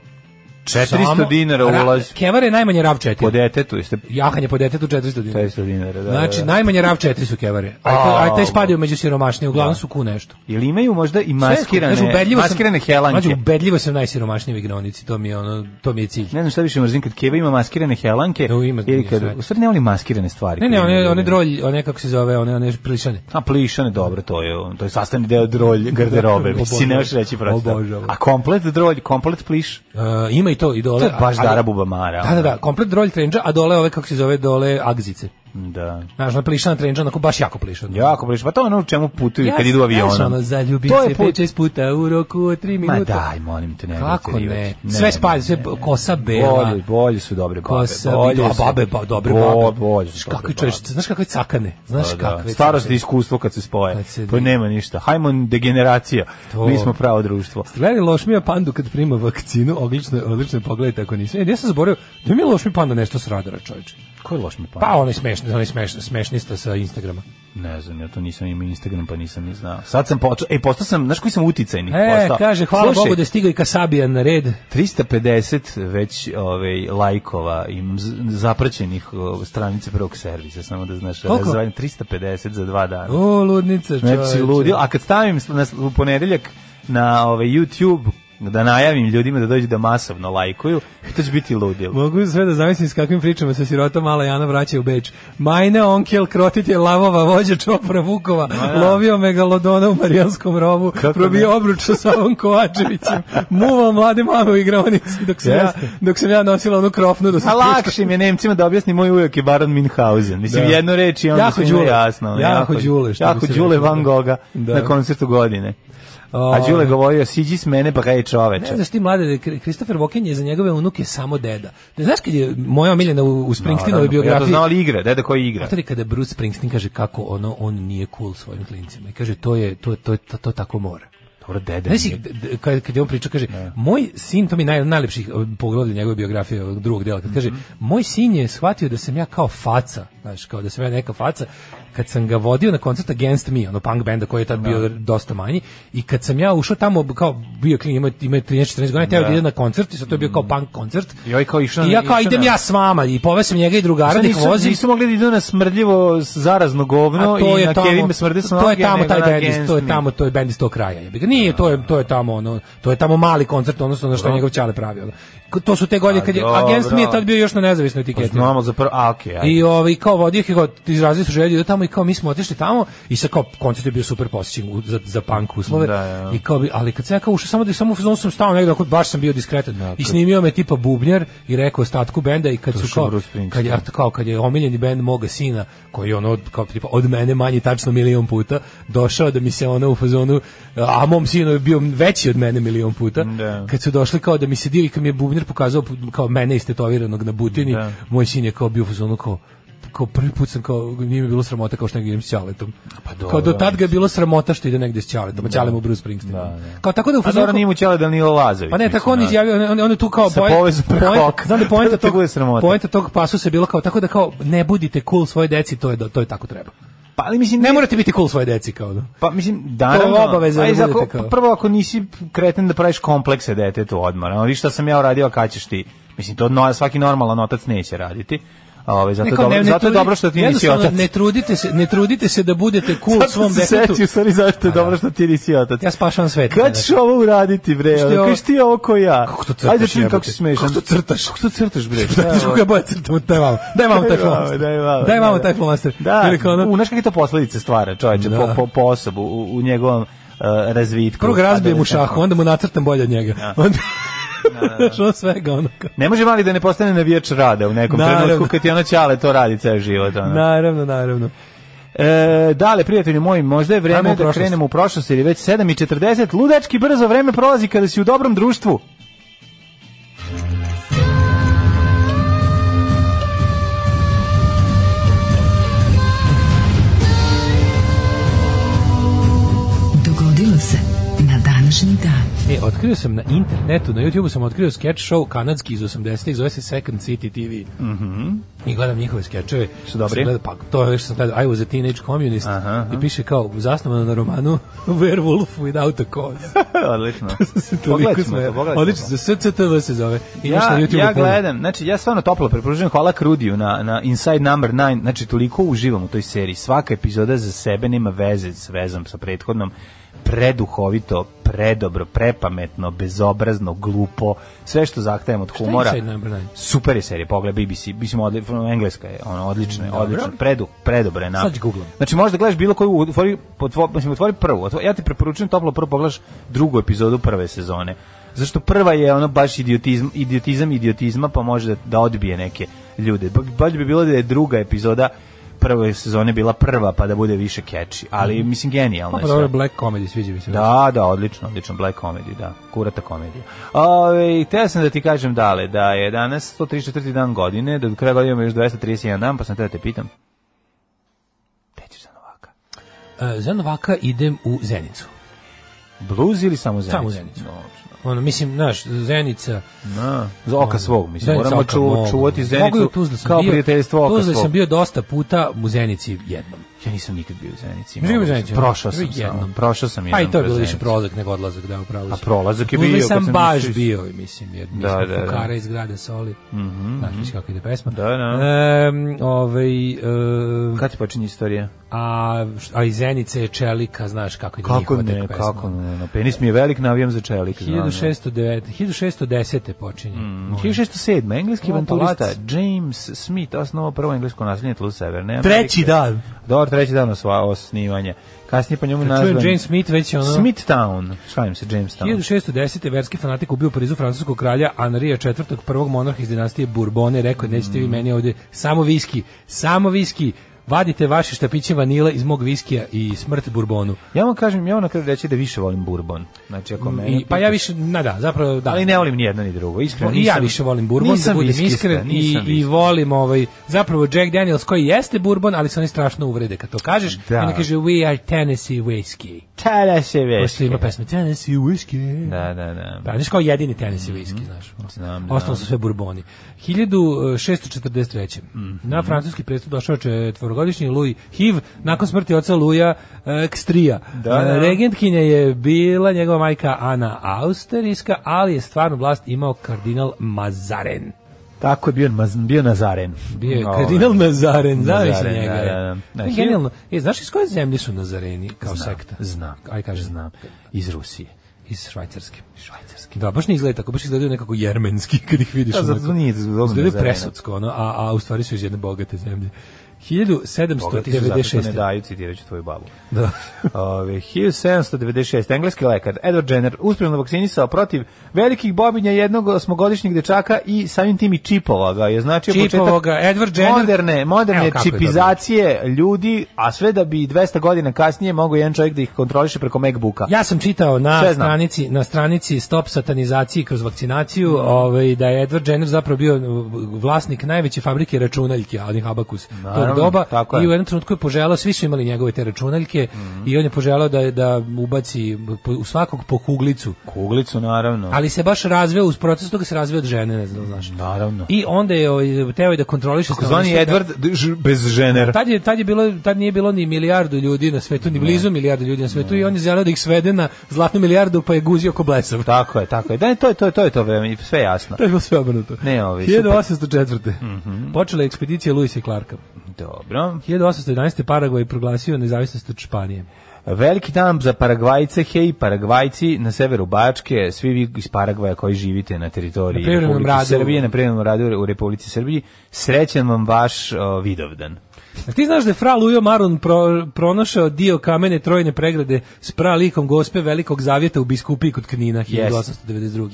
400 Samo- dinara ra- ulaz. Kevare je najmanje rav 4. Po detetu jeste Jahanje po detetu 400 dinara. 400 dinara, da. Znači, da, da. najmanje rav 4 su kevare. Aj, te- aj te spadaju među siromašnije, Da. uglavnom su ku nešto. Ili imaju možda i Sve je skupo. maskirane, Znači, ubedljivo sam- maskirane Znači, helanke. ubedljivo sam najsiromašniji u igronici, to mi je, ono, to mi je cilj. Ne znam šta više mrzim kad Keva ima maskirane helanke Da, ima, ili ima kad sve. u stvari ne volim maskirane stvari. Ne, ne, koje one, imaju. one drolj, one kako se zove, one, one prilišane. A plišane, dobro, to je, to je sastavni deo drolj garderobe, mislim, si ne možeš reći prosto. Obožavam. A komplet drolj, komplet pliš, E, ima i to, i dole. to je baš Da, ali- Dara Bubamara. Da, da, da, komplet drolj trenđa, a dole ove, kako se zove, dole agzice. Da. Znaš, na plišan trenđa, onako baš jako plišan. Jako priš, pa to je ono u čemu putuju kad sam- idu avionom. znaš, ono, zaljubim To je se put- 5-6 puta u roku od 3 Ma minuta. daj, molim te, ne. Kako pretjerivati. ne? Sve spalje, sve b- kosa bela. Bolje, bolje su dobre babe. Kosa, bolje da, su- babe, ba, dobre Bo- babe. Bolje su Znaš dobre kakve čovječe, znaš kakve cakane, znaš Da, da. kakve. Starost i cakane. iskustvo kad se spoje. Kad se- To nema ništa. Hajmo degeneracija. To. Mi smo pravo društvo. Gledaj Lošmija pandu kad prima vakcinu, odlično, odlično pogledajte ako nisam. E, ja sam zaboravio, da mi je Lošmi panda nešto s radara, čovječe. Ko je loš mi pa? Pa onaj smešni, onaj smešni, smešnista sa Instagrama. Ne znam, ja to nisam imao Instagram, pa nisam ni znao. Sad sam počeo, ej, postao sam, znaš koji sam uticajni? E, postao. kaže, hvala Slušaj, Bogu da je stigao i Kasabijan na red. 350 već ovaj lajkova i mz- zapraćenih o, stranice prvog servisa, samo da znaš, Koliko? razvajam 350 za dva dana. O, ludnica, čovječe. Znači, ludilo. A kad stavim sl- na, sl- u ponedeljak na ovaj, YouTube, da najavim ljudima da dođu da masovno lajkuju, to će biti ludilo. Mogu sve da zamislim s kakvim pričama se sirota mala Jana vraća u Beč. Majne onkel, krotitelj lavova, vođa čopra Vukova, lovio megalodona u Marijanskom rovu, Kako probio ne? obruč sa Savom Kovačevićem, muvao mlade mame u igronici dok sam, ja, Jeste. dok sam ja nosila onu krofnu da sam A puštala. Pa lakše im je Nemcima da objasni moj ujak je Baron Minhausen. Mislim, Da. jednu reč i onda Jako jako svima Đule. je jasno. ono, Jako Đule, što bi Jako se Đule reklo, Van da. Goga Da. na koncertu godine. O, A Đule govorio, siđi s mene pa kaj je čoveče. Ne znaš ti mlade, da je Kri- Christopher Walken je za njegove unuke samo deda. Ne znaš kad je moja omiljena u, u Springsteenovoj Naravno, Pa Ja to biografiji, znao ali igra, deda koji igra. Znate li kada Bruce Springsteen kaže kako ono on nije cool svojim klincima i kaže to je to to to, to tako mora. Dobro, deda. Znaš, nije. d- d- kad, kad je on pričao, kaže, Da. moj sin, to mi je naj, najlepših poglavlja njegove biografije ovog drugog dela, kad kaže, Mhm. moj sin je shvatio da sam ja kao faca, znaš, kao da sam ja neka faca, kad sam ga vodio na koncert Against Me, ono punk benda koji je Da. tad bio dosta manji, i kad sam ja ušao tamo, kao bio klin, ima, ima 13-14 godina, teo da ide na koncert, i sad to je bio kao punk koncert, Mhm. I ovaj kao išao i na- ja kao išao idem na- ja s vama, i povesem njega i drugara, Sad da ih nisu, vozim, nisu mogli da idu na smrdljivo zarazno govno a to i je na tamo, Kevin me smrde sa to je noge, tamo nego taj na bend, iz- Against to je Me. tamo to je bend iz tog kraja. jebi ga. Nije, to je to je tamo ono, to je tamo mali koncert, odnosno ono što je njegov ćale pravio. ono. Ko- To su te godine A, kad je dobro. Pa Against Me je tad bio još na nezavisnoj etiketi. Znamo za prvo, a okej, ajde. I ovaj kao vodio ih je kao izrazili su želju da tamo i kao mi smo otišli tamo i sa kao koncert je bio super posećen u- za za punk uslove. Da, da. I kao bi, ali kad sam ja kao ušao samo da samo u fazonu sam stao negde ako baš sam bio diskretan. I snimio me tipa bubnjar i rekao ostatku benda i kad su što kao Bruce Springsteen. kad je a to kao kad je omiljeni bend moga sina koji je ono kao tipa od mene manji tačno milion puta došao da mi se ono u fazonu a mom sinu je bio veći od mene milion puta. Da. Kad su došli kao da mi se divi kad mi je bubnjar pokazao kao mene istetoviranog na butini, Da. moj sin je kao bio u fazonu kao kao prvi put sam kao nije mi bilo sramota kao što negdje idem s Ćaletom. Pa dobro, Da. kao do tad ga je bilo sramota što ide negdje s Ćaletom, a Ćale mu Bruce Springsteen. Kao tako da u A fazonu dobro, nije mu ćela Danilo Lazović. pa ne, tako on mislim, da. izjavio, on, on je tu kao Sa poen- povezom preko poenta- oka. Znam da poenta Da te tog, bude sramota. poenta tog pasusa je bilo kao tako da kao ne budite cool svoje deci, to je, do- to je tako treba. Pa ali mislim, Ne nije- morate biti cool svoje deci kao da. Pa mislim, naravno, To je obaveza da ajde, budete ako- kao- prvo ako nisi kreten da praviš komplekse detetu odmah, ono, vidiš šta sam ja uradio, a kad ćeš ti. Mislim, to no, svaki normalan otac neće raditi. Ove, zato, je Neko, dobro, ne- ne zato je trudi- dobro što ti nisi jednostavno, otac. Ne trudite se, ne trudite se da budete cool Sad sam svom se detetu. da. setio, sorry, zašto je dobro što ti nisi otac. Ja spašavam svet. Kad ćeš ovo uraditi, bre? Što je Što ovo- Kaš ti ovo ko ja? Kako to crtaš, Ajde, čujem jebote? kako si smešan. Kako to crtaš? Kako to crtaš, bre? Šta ti kako je boja crta? Daj vamo, daj vamo taj Da, Daj vamo, flomaster. daj vamo, Daj vamo da. taj flomaster. Da, Ili kao ono- u, znaš kakve to posledice stvara, čoveče, Da. po, po, po osobu, u, u njegovom uh, razvitku. Prvo ga razbijem u Adolescentnom. šahu, onda mu nacrtam bolje od njega. Da. Onda... Znaš, ono svega ono kao. Ne može mali da ne postane navijač rada u nekom Naravno. trenutku kad ti ono ćale to radi ceo život. Ono. Naravno, naravno. E, dale, prijatelji moji, možda je Ajmo u vreme da prošlost. krenemo u prošlost jer je već 7.40. Ludački brzo vreme prolazi kada si u dobrom društvu. Dogodilo se na današnji dan. E, otkrio sam na internetu, na YouTubeu sam otkrio sketch show kanadski iz 80-ih, zove se Second City TV. Mhm. I gledam njihove skečeve. Su dobri? Sam Gledao, pa to je što sam gledao. I was a teenage communist. Aha, aha. I piše kao, zasnovano na romanu Werewolf without a cause. Odlično. Se toliko Pogledat ćemo smejao. to, pogledat ćemo Odlično, za SCTV se zove. Imaš na Ja, YouTubeu ja puno. gledam, znači ja stvarno toplo preporučujem hvala Krudiju na, na Inside Number 9, znači toliko uživam u toj seriji, svaka epizoda za sebe nema veze s vezom sa prethodnom, preduhovito, predobro, prepametno, bezobrazno, glupo, sve što zahtajem od je humora. Inside Number 9? Super je serija, pogledaj BBC, mislim odli- engleska je, ono odlično, je, odlično, predu, predobro je na. Sad ću googlam. Znači možda gledaš bilo koju otvori potvo, mislim otvori prvu. Otvori, ja ti preporučujem toplo prvo pogledaš drugu epizodu prve sezone. Zašto prva je ono baš idiotizam, idiotizam idiotizma pa može da, da odbije neke ljude. Ba- Bolje bi bilo da je druga epizoda prve sezone bila prva, pa da bude više catchy. Ali, mislim, genijalno Pa je dobro, sve. Black Comedy, sviđa mi se. Da, da, odlično, odlično, Black Comedy, da, kurata komedija. Ove, teo sam da ti kažem, dale, da je danas 134. dan godine, da do kraja godine ima još 231 dan, pa sam te da te pitam. Gde ćeš za Novaka? E, za Novaka idem u Zenicu. Bluz ili samo Zenicu? Samo Zenicu. Odlično. Ono, mislim, znaš, Zenica... Na, za oka svog, mislim, Da. Zenica moramo oka ču- mog. čuvati Mogu i u Zenicu Tuzli sam kao bio. prijateljstvo oka Tuzli svog. sam bio dosta puta u Zenici jednom. Ja nisam nikad bio u Zenici. Bio mogu u da- Zenici. Prošao sam Bio samo, jednom. prošao sam Pa jednom. i to je kroz bilo više Zenicu. prolazak nego odlazak, da, upravo si. A prolazak je Uzeli bio, kad sam sam baš išao iz- bio, mislim, jer Da, da, mi da, smo da. fukara iz grada Soli. Mm -hmm, Znaš viš kako ide pesma. Da, da. Ehm, ovaj, e, Kad ti počinje istorija? a, š- a iz Zenice je Čelika, znaš kako ide Kako njihova tek ne, pesma. kako ne, no, penis mi je velik, navijam za čelik. znam, da. 1609, 1610. počinje. Mm. 1607. Engleski Ovo je avanturista palac. James Smith osnovao prvo englesko naselje tlu severne Amerike. Treći dan. Dobro, treći dan osva osnivanje. Kasnije po njemu nazvan... Čujem Jane Smith da. već je ono... Smithtown. Šalim se, Jamestown. 1610. verski fanatik ubio u Parizu francuskog kralja Anrija IV. prvog monarha iz dinastije Bourbone, rekao je, nećete Mm. vi meni ovdje samo viski, samo viski, vadite vaše štapiće vanile iz mog viskija i smrt Bourbonu. Ja vam kažem, ja vam na kraju reći da više volim bourbon. Znači, ako mene... I, pa ja pitaš- više, na da, zapravo da. Ali ne volim ni jedno ni drugo. Iskreno, I ja nisam- više volim Bourbon, da nisam budem viskista, iskren, i, nisam i viskista. volim ovaj, zapravo Jack Daniels koji jeste Bourbon, ali se oni strašno uvrede kad to kažeš, Da. i onda kaže we are Tennessee whiskey. Tada se Pošto veške. ima pesme Tennessee whiskey. Da, da, da. E, Da, znaš kao jedini Tennessee whisky, znaš. Mhm, Znam, da. Ostalo su sve burboni. 1643. Mhm. Na francuski prestup došao četvorogodišnji Louis Hiv, nakon smrti oca Luja e, Kstrija. Da, da. E, Regentkinja je bila njegova majka Ana Austerijska, ali je stvarnu vlast imao kardinal Mazaren. Tako je bio, maz- bio Nazaren. Bio je Ovaj. kardinal Nazaren, znaš Nazaren, njega. da, da, da. To je Genijalno. E, znaš iz koje zemlje su Nazareni kao sekta? Znam, Aj, kaže. znam. Iz Rusije. Iz Švajcarske. Švajcarske. Da, baš ne izgleda tako, baš izgledaju nekako jermenski kad ih vidiš. Da, zato onako. nije zgodno Izgledaju za mene. presudsko, ono, a, a u stvari su iz jedne bogate zemlje. Bogati su zato što ne 1796. daju, citirat ću tvoju babu. Da. Ove, 1796. Engleski lekar Edward Jenner uspjevno vakcinisao protiv velikih bobinja jednog osmogodišnjeg dečaka i samim tim i čipova ga je značio Čipovoga, početak Edward Jenner- moderne, moderne Evo kako je čipizacije ljudi, a sve da bi 200 godina kasnije mogao jedan čovjek da ih kontroliše preko Macbooka. Ja sam čitao na Sve znam. stranici na stranici Stop satanizaciji kroz vakcinaciju, Mm. ovaj da je Edward Jenner zapravo bio uh, vlasnik najveće fabrike računaljki, onih Abacus Naravno, tog doba tako je. Mhm. i u jednom trenutku je poželao, svi su imali njegove te računaljke i on je poželao da da ubaci po- u svakog po kuglicu. Kuglicu, naravno. Ali se baš razveo uz proces toga se razveo od žene, ne znam, znaš. naravno. I I onda je ovaj, teo je da kontroliše zvani stanovništvo. Edward d- ž- bez Jenner. Tad je, tad je bilo, tad nije bilo ni milijardu ljudi na svetu, ni blizu milijardu ljudi na svetu i on je želeo da ih svede na zlatnu milijardu pa je guzio ko blesav. Tako je, tako je. Da, to je to, je, to je to vreme, sve je jasno. To je bilo sve obrnuto. Ne, ovi, super. Mhm. 1804. Počela je ekspedicija Luisa i Clarka. Dobro. 1811. Paragvaj je proglasio nezavisnost od Španije. Veliki dan za Paragvajce, hej Paragvajci na severu Bačke, svi vi iz Paragvaja koji živite na teritoriji Na privremenom Republike radu. Srbije, na privremenom radu u Republici Srbiji, srećan vam vaš o, vidovdan. A ti znaš da je fra Lujo Marun pro, pronašao dio kamene trojne pregrade s pralikom gospe velikog zavjeta u biskupiji kod Knina 1892.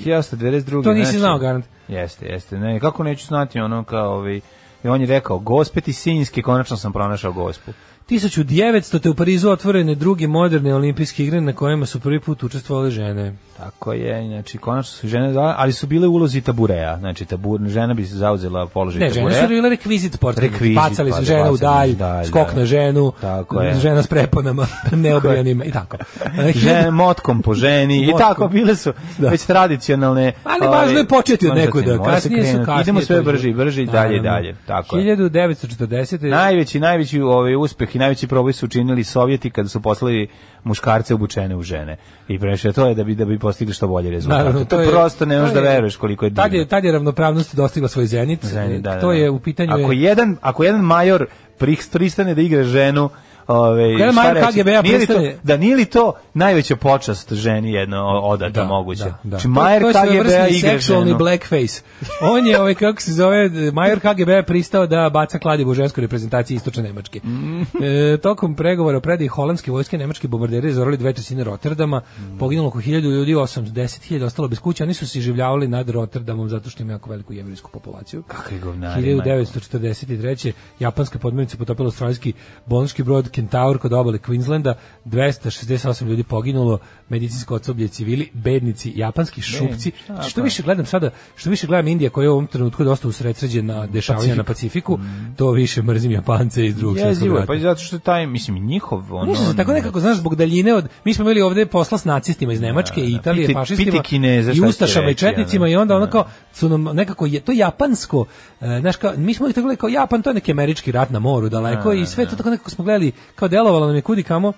1892. To nisi znao, garant. znači, Jeste, jeste. Ne, kako neću znati ono kao ovi... I on je rekao, gospeti sinjski, konačno sam pronašao gospu. 1900. te u Parizu otvorene druge moderne olimpijske igre na kojima su prvi put učestvovali žene. Tako je, znači, konačno su žene, za- ali su bile u ulozi tabureja, znači, tabur, žena bi se zauzela položaj Ne, tabureja. žene su bile rekvizit sportske. Rekvizit, Bacali pa su da, žene u bacali dalj, u dalj, skok da. na ženu, Tako je. žena s preponama, neobrijanima i tako. E, žene motkom po ženi i Motkom. Da. tako bile su već tradicionalne. Ali ovaj, važno je početi od mora se nekuda. krenuti, mora se Kasnije su krenuti. kasnije. Idemo sve to je- brže i brže i dalje i dalje. Tako je. 1940. Najveći, najveći ovaj uspeh i najveći proboj su učinili Sovjeti kada su poslali muškarce obučene u žene. I previše to je da bi da bi postigli što bolje rezultate. Naravno, to, prosto ne možeš da veruješ koliko je divno. Tad je, tad je ravnopravnost dostigla svoj zenit. Ženi, da, da, to da. je u pitanju... Ako je, jedan, ako jedan major prih- pristane da igra ženu, Ove, Kada šta Majer reći? KGB-a Nije li to- prestane- Da nije li to najveća počast ženi jedno odata Da, moguće? da, da. Znači, Majer To je KGB-a svojevrsni igra seksualni ženu. blackface. On je, ovaj, kako se zove, Major KGB je pristao da baca kladivo u ženskoj reprezentaciji istočne Nemačke. Mm. E, tokom pregovora o predaji holandske vojske, nemački bombarderi zorali dve trećine Rotterdama, Mm. poginulo oko 1000 ljudi, 8-10.000 ostalo bez kuće, oni su se življavali nad Rotterdamom zato što ima jako veliku jevrijsku populaciju. Kakvi govnari, majko. 1943. japanska podmornica potopila australijski bolnički brod Kentaur kod obale Queenslanda, 268 ljudi poginulo, medicinsko osoblje civili, bednici, japanski šupci. što više gledam sada, što više gledam Indija koja je u ovom trenutku dosta usredsređena na dešavanja na Pacifiku, to više mrzim Japance iz drugog svjetskog Jezivo je, rata. pa zato što taj, mislim, njihov... Ono, Znaš, da se tako nekako, znaš, zbog daljine od... Mi smo imali ovde posla s nacistima iz Nemačke i Italije, Da, Piti- fašistima, piti Kineze, i šta će Ustašama i reći, Četnicima ono, i onda ono da. kao, su nam nekako, je, to japansko, e, znaš, kao, mi smo ih tako gledali kao Japan, to je neki američki rat na moru Da, daleko i sve to tako nekako smo gledali, kao delovalo nam je kudi kamo,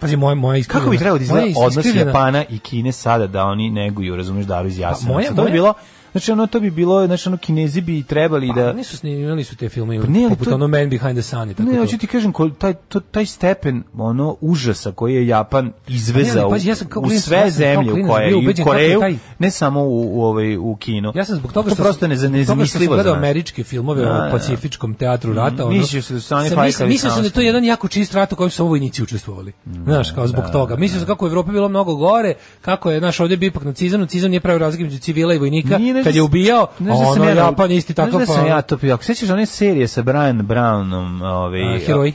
Pazi, moje, moje iskrivljena- Kako bi trebalo da moja izgleda odnos iskrivljena- Japana i Kine sada da oni neguju, razumeš, Daru iz Pa, moja- Jasenovca? To bi moja- bilo, znači ono, to bi bilo, znači ono, Kinezi bi trebali da... Pa Pa, nisu snimili su te filme, ne, ali poput to- ono Man Behind the Sun i tako Ne, to. hoću ti kažem, ko, taj, to, taj stepen ono, užasa koji je Japan Ne, izvezao ali pazi, ja sam kao u klinac- sve ja sam kao zemlje u klinac koje, bio i u ubeđen kako je Koreju, taj- ne samo u, u, ovaj, u kino. Ja sam zbog toga to što prosto ne, sam, zbog toga što sam nezamislivo za gledao nas. američke filmove Da, da. o pacifičkom teatru rata, ono. Mislio sam da su oni sam- fajtali mislim- Mislio sam da je to samo. jedan jako čist rat u kojem su samo vojnici učestvovali. Mm, Znaš, kao da, zbog toga. Mislio sam kako je u Evropi bilo mnogo gore, kako je naš ovdje bio ipak nacizam, nacizam nije pravio razlike između civila i vojnika, Nije, znaš kad da je s- ubijao, znaš da ono sam ja- Japan isti znaš tako da sam pa. ja to pio. Ako sećaš one serije sa Brian Brownom, ovaj A, heroji?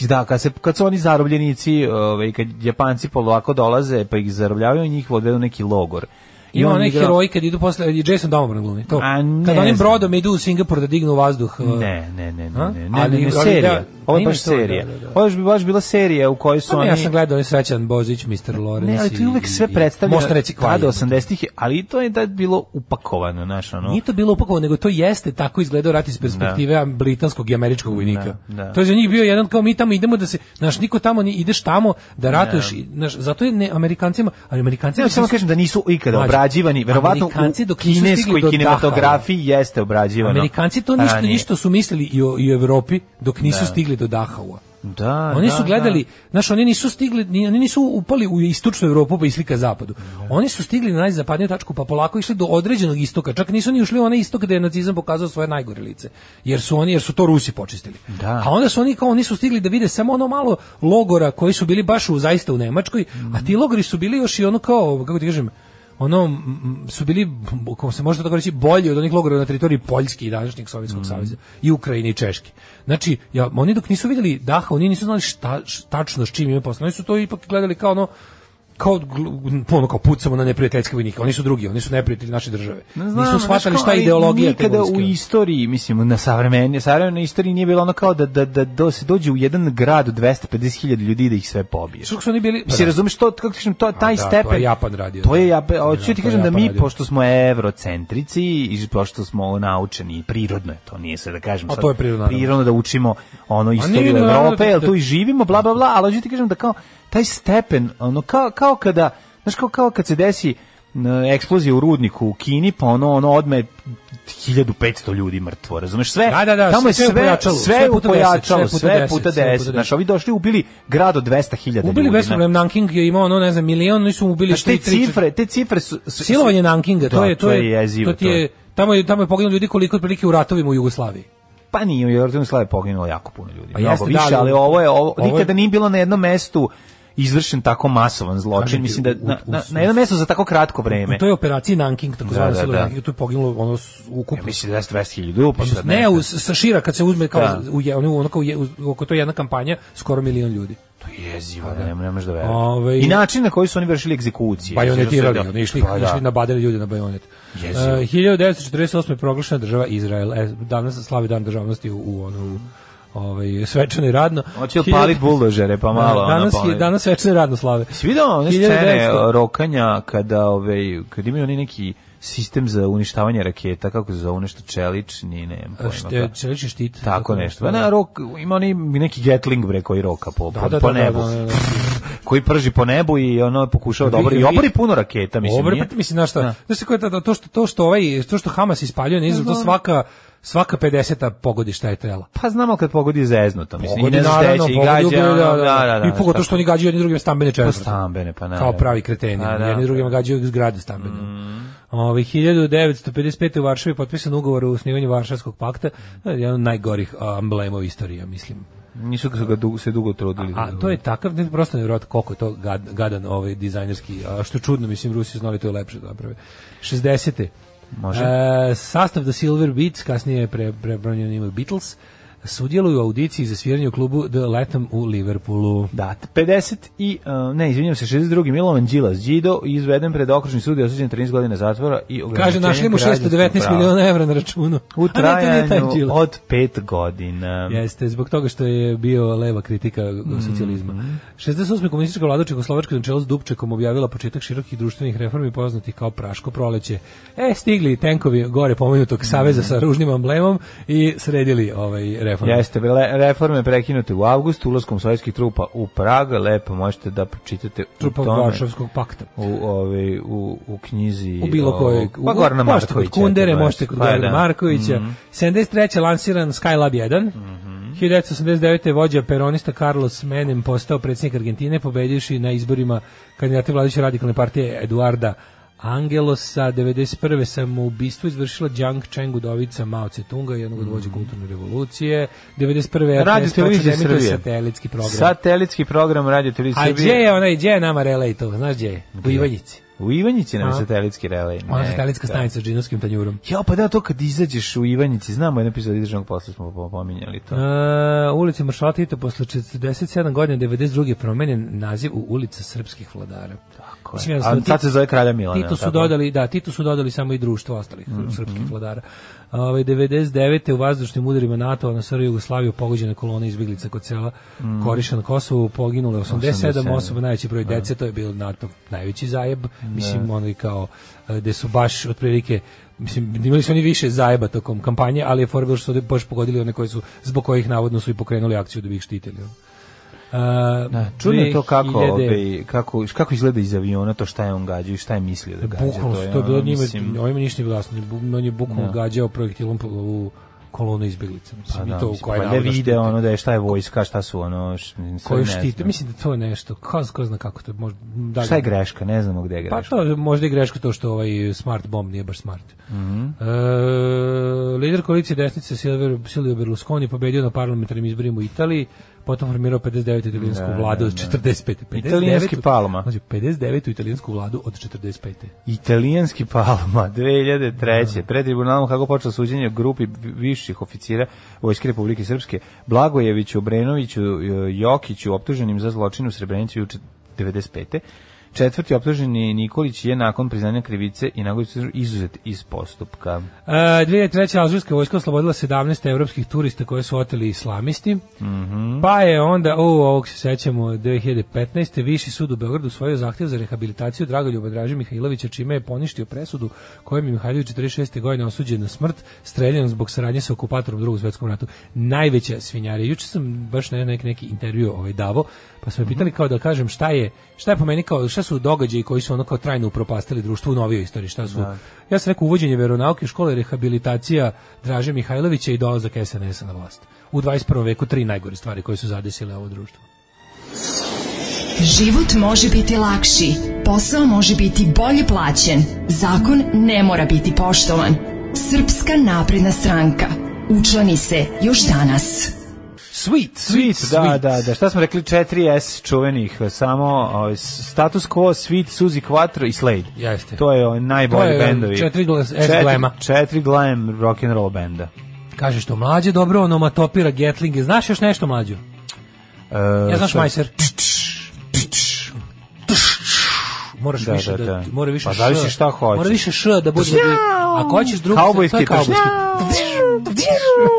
Da, kad, se, kad su oni zarobljenici, ovaj, kad Japanci polako dolaze pa ih zarobljavaju, njih odvedu u neki logor. Ima on onaj igra- heroji kad idu posle, i Jason Domovan glumi, to. A, ne Kad onim znam. brodom idu u Singapur da dignu vazduh. uh, Ne, ne, ne, ne, A? ne, ne, ne, Ali- ne, ali serija. da, Ovo je ima baš to, da, serija. da, da. Ovo je baš bila serija u kojoj su Pa ne, oni... ja sam gledao onaj srećan Bozić, Mr. Lawrence. Ne, ali to je uvek i- sve i- predstavljeno. Možete reći tada kvalije. 80-ih, je, ali to je tad bilo upakovano, znaš, ono. Nije to bilo upakovano, nego to jeste tako izgledao rat iz perspektive britanskog i američkog vojnika. Da, da. To je za njih bio jedan kao mi tamo idemo da se, znaš, niko tamo ni ideš tamo da ratuješ, i, znaš, zato je ne Amerikancima, ali Amerikanci Ne, samo kažem da nisu ikada Mlađe, obrađivani, verovatno Amerikanci u dok nisu stigli kineskoj do Dahaa. kinematografiji jeste obrađivano. Amerikanci to ništa, ranije. ništa su mislili i o, i o Evropi dok nisu stigli do Dahaua. Da, oni da, su gledali, da. znaš, oni nisu stigli, ni- oni nisu upali u istočnu Evropu pa išli ka zapadu. Da. Oni su stigli na najzapadniju tačku pa polako išli do određenog istoka. Čak nisu ni ušli u onaj istok gde je nacizam pokazao svoje najgore lice. Jer su oni, jer su to Rusi počistili. Da. A onda su oni kao oni su stigli da vide samo ono malo logora koji su bili baš u zaista u Nemačkoj, a ti logori su bili još i ono kao kako ti kažem ono m, m, su bili m, kako se može tako reći bolji od onih logora na teritoriji Poljske i današnjeg Sovjetskog Mm. saveza i Ukrajine i Češke. Znači, ja, oni dok nisu vidjeli Daha, oni nisu znali šta, š- tačno s čim imaju posla. Oni su to ipak gledali kao ono kao gl- ono kao pucamo na neprijateljske vojnike. Oni su drugi, oni su neprijatelji naše države. Ne znam, nisu shvatali znaš šta kao, je ali ideologija te nikada vojske. u istoriji, mislim, na savremeni, savremenoj istoriji nije bilo ono kao da, da, da, da se dođe u jedan grad od 250.000 ljudi i da ih sve pobije. Što su oni bili? pa Mislim, razumeš to, kako ti kažem, to, taj da, to je stepen... Japan radio. To je Japan, hoću Da, ti to je kažem da Japan mi, radio. pošto smo evrocentrici i pošto smo naučeni, prirodno je to, nije se da kažem A Pa to je prirodno, naravno. prirodno da učimo ono nije, istoriju naravno, Evrope, da- jel tu da- i živimo, bla, bla, bla, ali hoću ti kažem da kao taj stepen, ono, kao, kao kada, znaš, kao, kao kad se desi n, eksplozija u rudniku u Kini, pa ono, ono odme 1500 ljudi mrtvo, razumeš? Sve, Da, da, da, tamo je sve je sve, pojačalo, sve, sve je puta deset, sve pojačalo, puta sve deset, puta sve puta 10, znaš, deset. ovi došli ubili grad od 200.000 ljudi. Ubili bez znaš. problema Nanking je imao ono ne znam milion, oni su mu ubili Znaš, te tri- tri- cifre, te cifre su... su- su- Silovanje Nankinga, to Da, je to je jezivo, to ti je tamo je tamo je poginulo ljudi koliko je otprilike u ratovima u Jugoslaviji. Pa nije, u Jordanu Slavi poginulo jako puno ljudi. Pa Mnogo jeste, da, ali- više, ali ovo je, ovo, ovo je- nikada nije bilo na jednom mestu izvršen tako masovan Kažem zločin. ti, Mislim da u- na, u- na, na jednom mestu za tako kratko vreme. U toj operaciji Nanking, takozvana Da, da, silovanje da. Nankinga, tu je poginulo ono s- Ja ukupno. mislim da je 200.000 ljudi, pa Odnosno, sad ne, nešto. u, sa šira kad se uzme kao Da. u, je- ono, ono kao je, uz, oko to je jedna kampanja skoro milion ljudi. To je jezivo, Pa da ne, ne možeš da Ove- veruješ. I način na koji su oni vršili egzekucije. Bajonetirali, Znaš, da- Ovaj- Pa oni išli, Pa da. išli nabadali ljudi na bajonet. Jezivo. E, 1948. je proglašena država Izrael. E, danas se slavi dan državnosti u, u, ono, u ovaj, svečano i radno. Hoće li Hiljadu- Da, palit buldožere, pa malo. ono, danas, pa- je, danas svečano i radno slave. Si video one scene 1900? rokanja kada ove, kad imaju oni neki sistem za uništavanje raketa, kako se zove, nešto čelični, ne znam pojma. da. Šte, čelični štit. Tako nešto. Pa na rok ima oni neki Gatling bre koji roka po Da, po, da, po da, da, nebu. da, da, da. Koji koji prži po nebu i ono pokušao da obori, i obori puno raketa, mislim. Obori, nije. Da. pa ti mislim, znaš šta, znaš ti ko je tada- to što, to što, ovaj, to što Hamas ispaljuje na Da, Izrael, to svaka, svaka 50-a pogodi šta je trela. Pa znam, ali kad pogodi zeznuto, mislim, Pogodi, i ne znaš gde naravno, će, i pogodi gađa, ubio, ono, da, da, da, da, I pogotovo šta- što oni gađaju jedni drugim stambene četvrti. stambene, pa naravno. Kao pravi kreteni. Pa, da. Mm. jedni drugima gađaju zgrade stambene. Ovaj 1955. u Varšavi potpisan ugovor o osnivanju Varšavskog pakta, To je jedan od najgorih a, emblema u istoriji, ja mislim. Nisu ga- ga dugo, se dugo trudili. A to je takav, ne prosto nevjerojatno koliko je to gad, gadan ovaj dizajnerski, a što je čudno, mislim, Rusi znali to je lepše da naprave. 60. Može. E, sastav The Silver Beats, kasnije je pre, prebranjen ime Beatles, sudjeluju u audiciji za sviranje u klubu The Latham u Liverpoolu. Da, 50 i, uh, ne, izvinjam se, 62. Milovan Đilas, Đido, izveden pred okružni sud i osuđen 13 godina zatvora i ograničenje Kaže, našli mu građanskog 619 prava. miliona evra na računu. U A ne, to nije taj trajanju Đilas. od 5 godina. Jeste, zbog toga što je bio leva kritika socijalizma. Mhm. 68. komunistička vlada u Čekoslovačkoj na čelu s Dubčekom objavila početak širokih društvenih reformi poznatih kao Praško proleće. E, stigli i tenkovi gore pomenutog saveza sa ružnim amblemom i sredili ovaj reformu. Mhm. Jeste, bile- reforme prekinute u avgustu ulaskom sovjetskih trupa u Prag, lepo možete da pročitate Trupa u tome. Varšavskog pakta. u ovaj u u knjizi U bilo o- kojeg. pa u- Gorana možete kod Markovića Kundere, eto, možete kod pa Gorana da. Markovića. 73. lansiran Skylab 1. Mhm. Mm 1989. vođa peronista Carlos Menem postao predsjednik Argentine, pobedivši na izborima kandidata vladajuće radikalne partije Eduarda Angelosa. 91. samoubistvo izvršila Jiang Cheng udovica Mao Tse-tunga, jednog od vođa kulturne revolucije. 91. Mhm. Radio RTS počeo da Televizija emituje Srbije. satelitski program. Satelitski program Radio Televizije A gdje Srbije. je onaj, gdje je nama relej to? Znaš gdje je? U Ivanjici. U Ivanjici nam je A? satelitski relej. Ona Neka. satelitska stanica s džinovskim tanjurom. Ja, pa da, to kad izađeš u Ivanjici, znamo jedan epizod državnog posla smo po- pominjali to. Uh, ulica Maršala Tita posle 47 godina 92. je promenjen naziv u ulica srpskih vladara. Tako A sad se zove Kralja Milana, da Titu su tako? Mhm. dodali, da, Titu su dodali samo i društvo ostalih srpskih vladara. Ovaj 99. u vazdušnim udarima NATO na SR Jugoslaviju pogođena kolona izbjeglica kod sela Mhm. Koriša na Kosovu poginule 87, 87. osoba, najveći broj Da. dece, to je bilo NATO najveći zajeb. Mislim ono i kao e, gde su baš otprilike mislim imali su oni više zajeba tokom kampanje, ali je fora bilo što su baš pogodili one koji su zbog kojih navodno su i pokrenuli akciju da bi ih štitili. E, Da, čudno je to kako, ovaj, kako, kako izgleda iz aviona, to šta je on gađao i šta je mislio da gađa. Bukvalno je su to ono, bilo njima, mislim, Da. on ima ništa nije bilo jasno, bu- on je bukvalno gađao projektilom po- u kolonu izbjeglica, mislim, pa i da, to u mislim, koje valjda navoda vide štite. ono da je šta je vojska, šta su ono, š, mislim, sad koju ne štite, znam. mislim da to je nešto, ko, ko zna kako to je, možda, dalje. Šta je greška, ne znamo gde je Pa greška. to je možda i greška to što ovaj smart bomb nije baš smart. Mhm. e, lider koalicije desnice Silver, Silvio Berlusconi pobedio na parlamentarnim izborima u Italiji, potom formirao 59. italijansku vladu od 45. 59. Da, Italijanski Palma. Znači, 59. italijansku vladu od 45. Italijanski Palma 2003. Pred tribunalom Hago počelo suđenje grupi viših oficira Vojske Republike Srpske Blagojeviću, Obrenoviću, e, Jokiću, optuženim za zločin u Srebrenici juče 95. Četvrti optuženi Nikolić je nakon priznanja krivice i nagodnice izuzet iz postupka. E, 2003. alžirska vojska oslobodila 17 evropskih turista koje su oteli islamisti. Pa je onda, o, ovog se sećamo, 2015. Viši sud u Beogradu usvojio zahtjev za rehabilitaciju Dragoljuba Draže Mihajlovića, čime je poništio presudu kojom je Mihajlović 46. godine osuđen na smrt, streljan zbog saradnje sa okupatorom u drugom svetskom ratu. Najveća svinjarija. Juče sam baš na neki, neki intervju ovaj davo, pa su me pitali kao da kažem šta je, šta je po meni kao, šta su događaji koji su ono kao trajno upropastili društvo u novijoj istoriji, šta su Da. ja sam rekao uvođenje veronauke u škole, rehabilitacija Draže Mihajlovića i dolazak SNS-a na vlast. U 21. veku tri najgore stvari koje su zadesile ovo društvo. Život može biti lakši, posao može biti bolje plaćen, zakon ne mora biti poštovan. Srpska napredna stranka. Učlani se još danas. Sweet, Sweet, da, da, da. Šta smo rekli? 4S čuvenih, samo ovaj, status quo, Sweet, Suzy Quattro i Slade. Jeste. To je ovaj, najbolji To je, bendovi. četiri glas- S Četiri- glema. Četiri glam rock'n'roll benda. Kaže što mlađe dobro onomatopira Getlinge. Znaš još nešto mlađu? E, Ja znaš šta- majser. Moraš Da, više da, da, da. mora više Pa zavisi š. šta hoćeš. Mora više š da bude. Ako hoćeš drugo, to Kaubojski je kaubojski.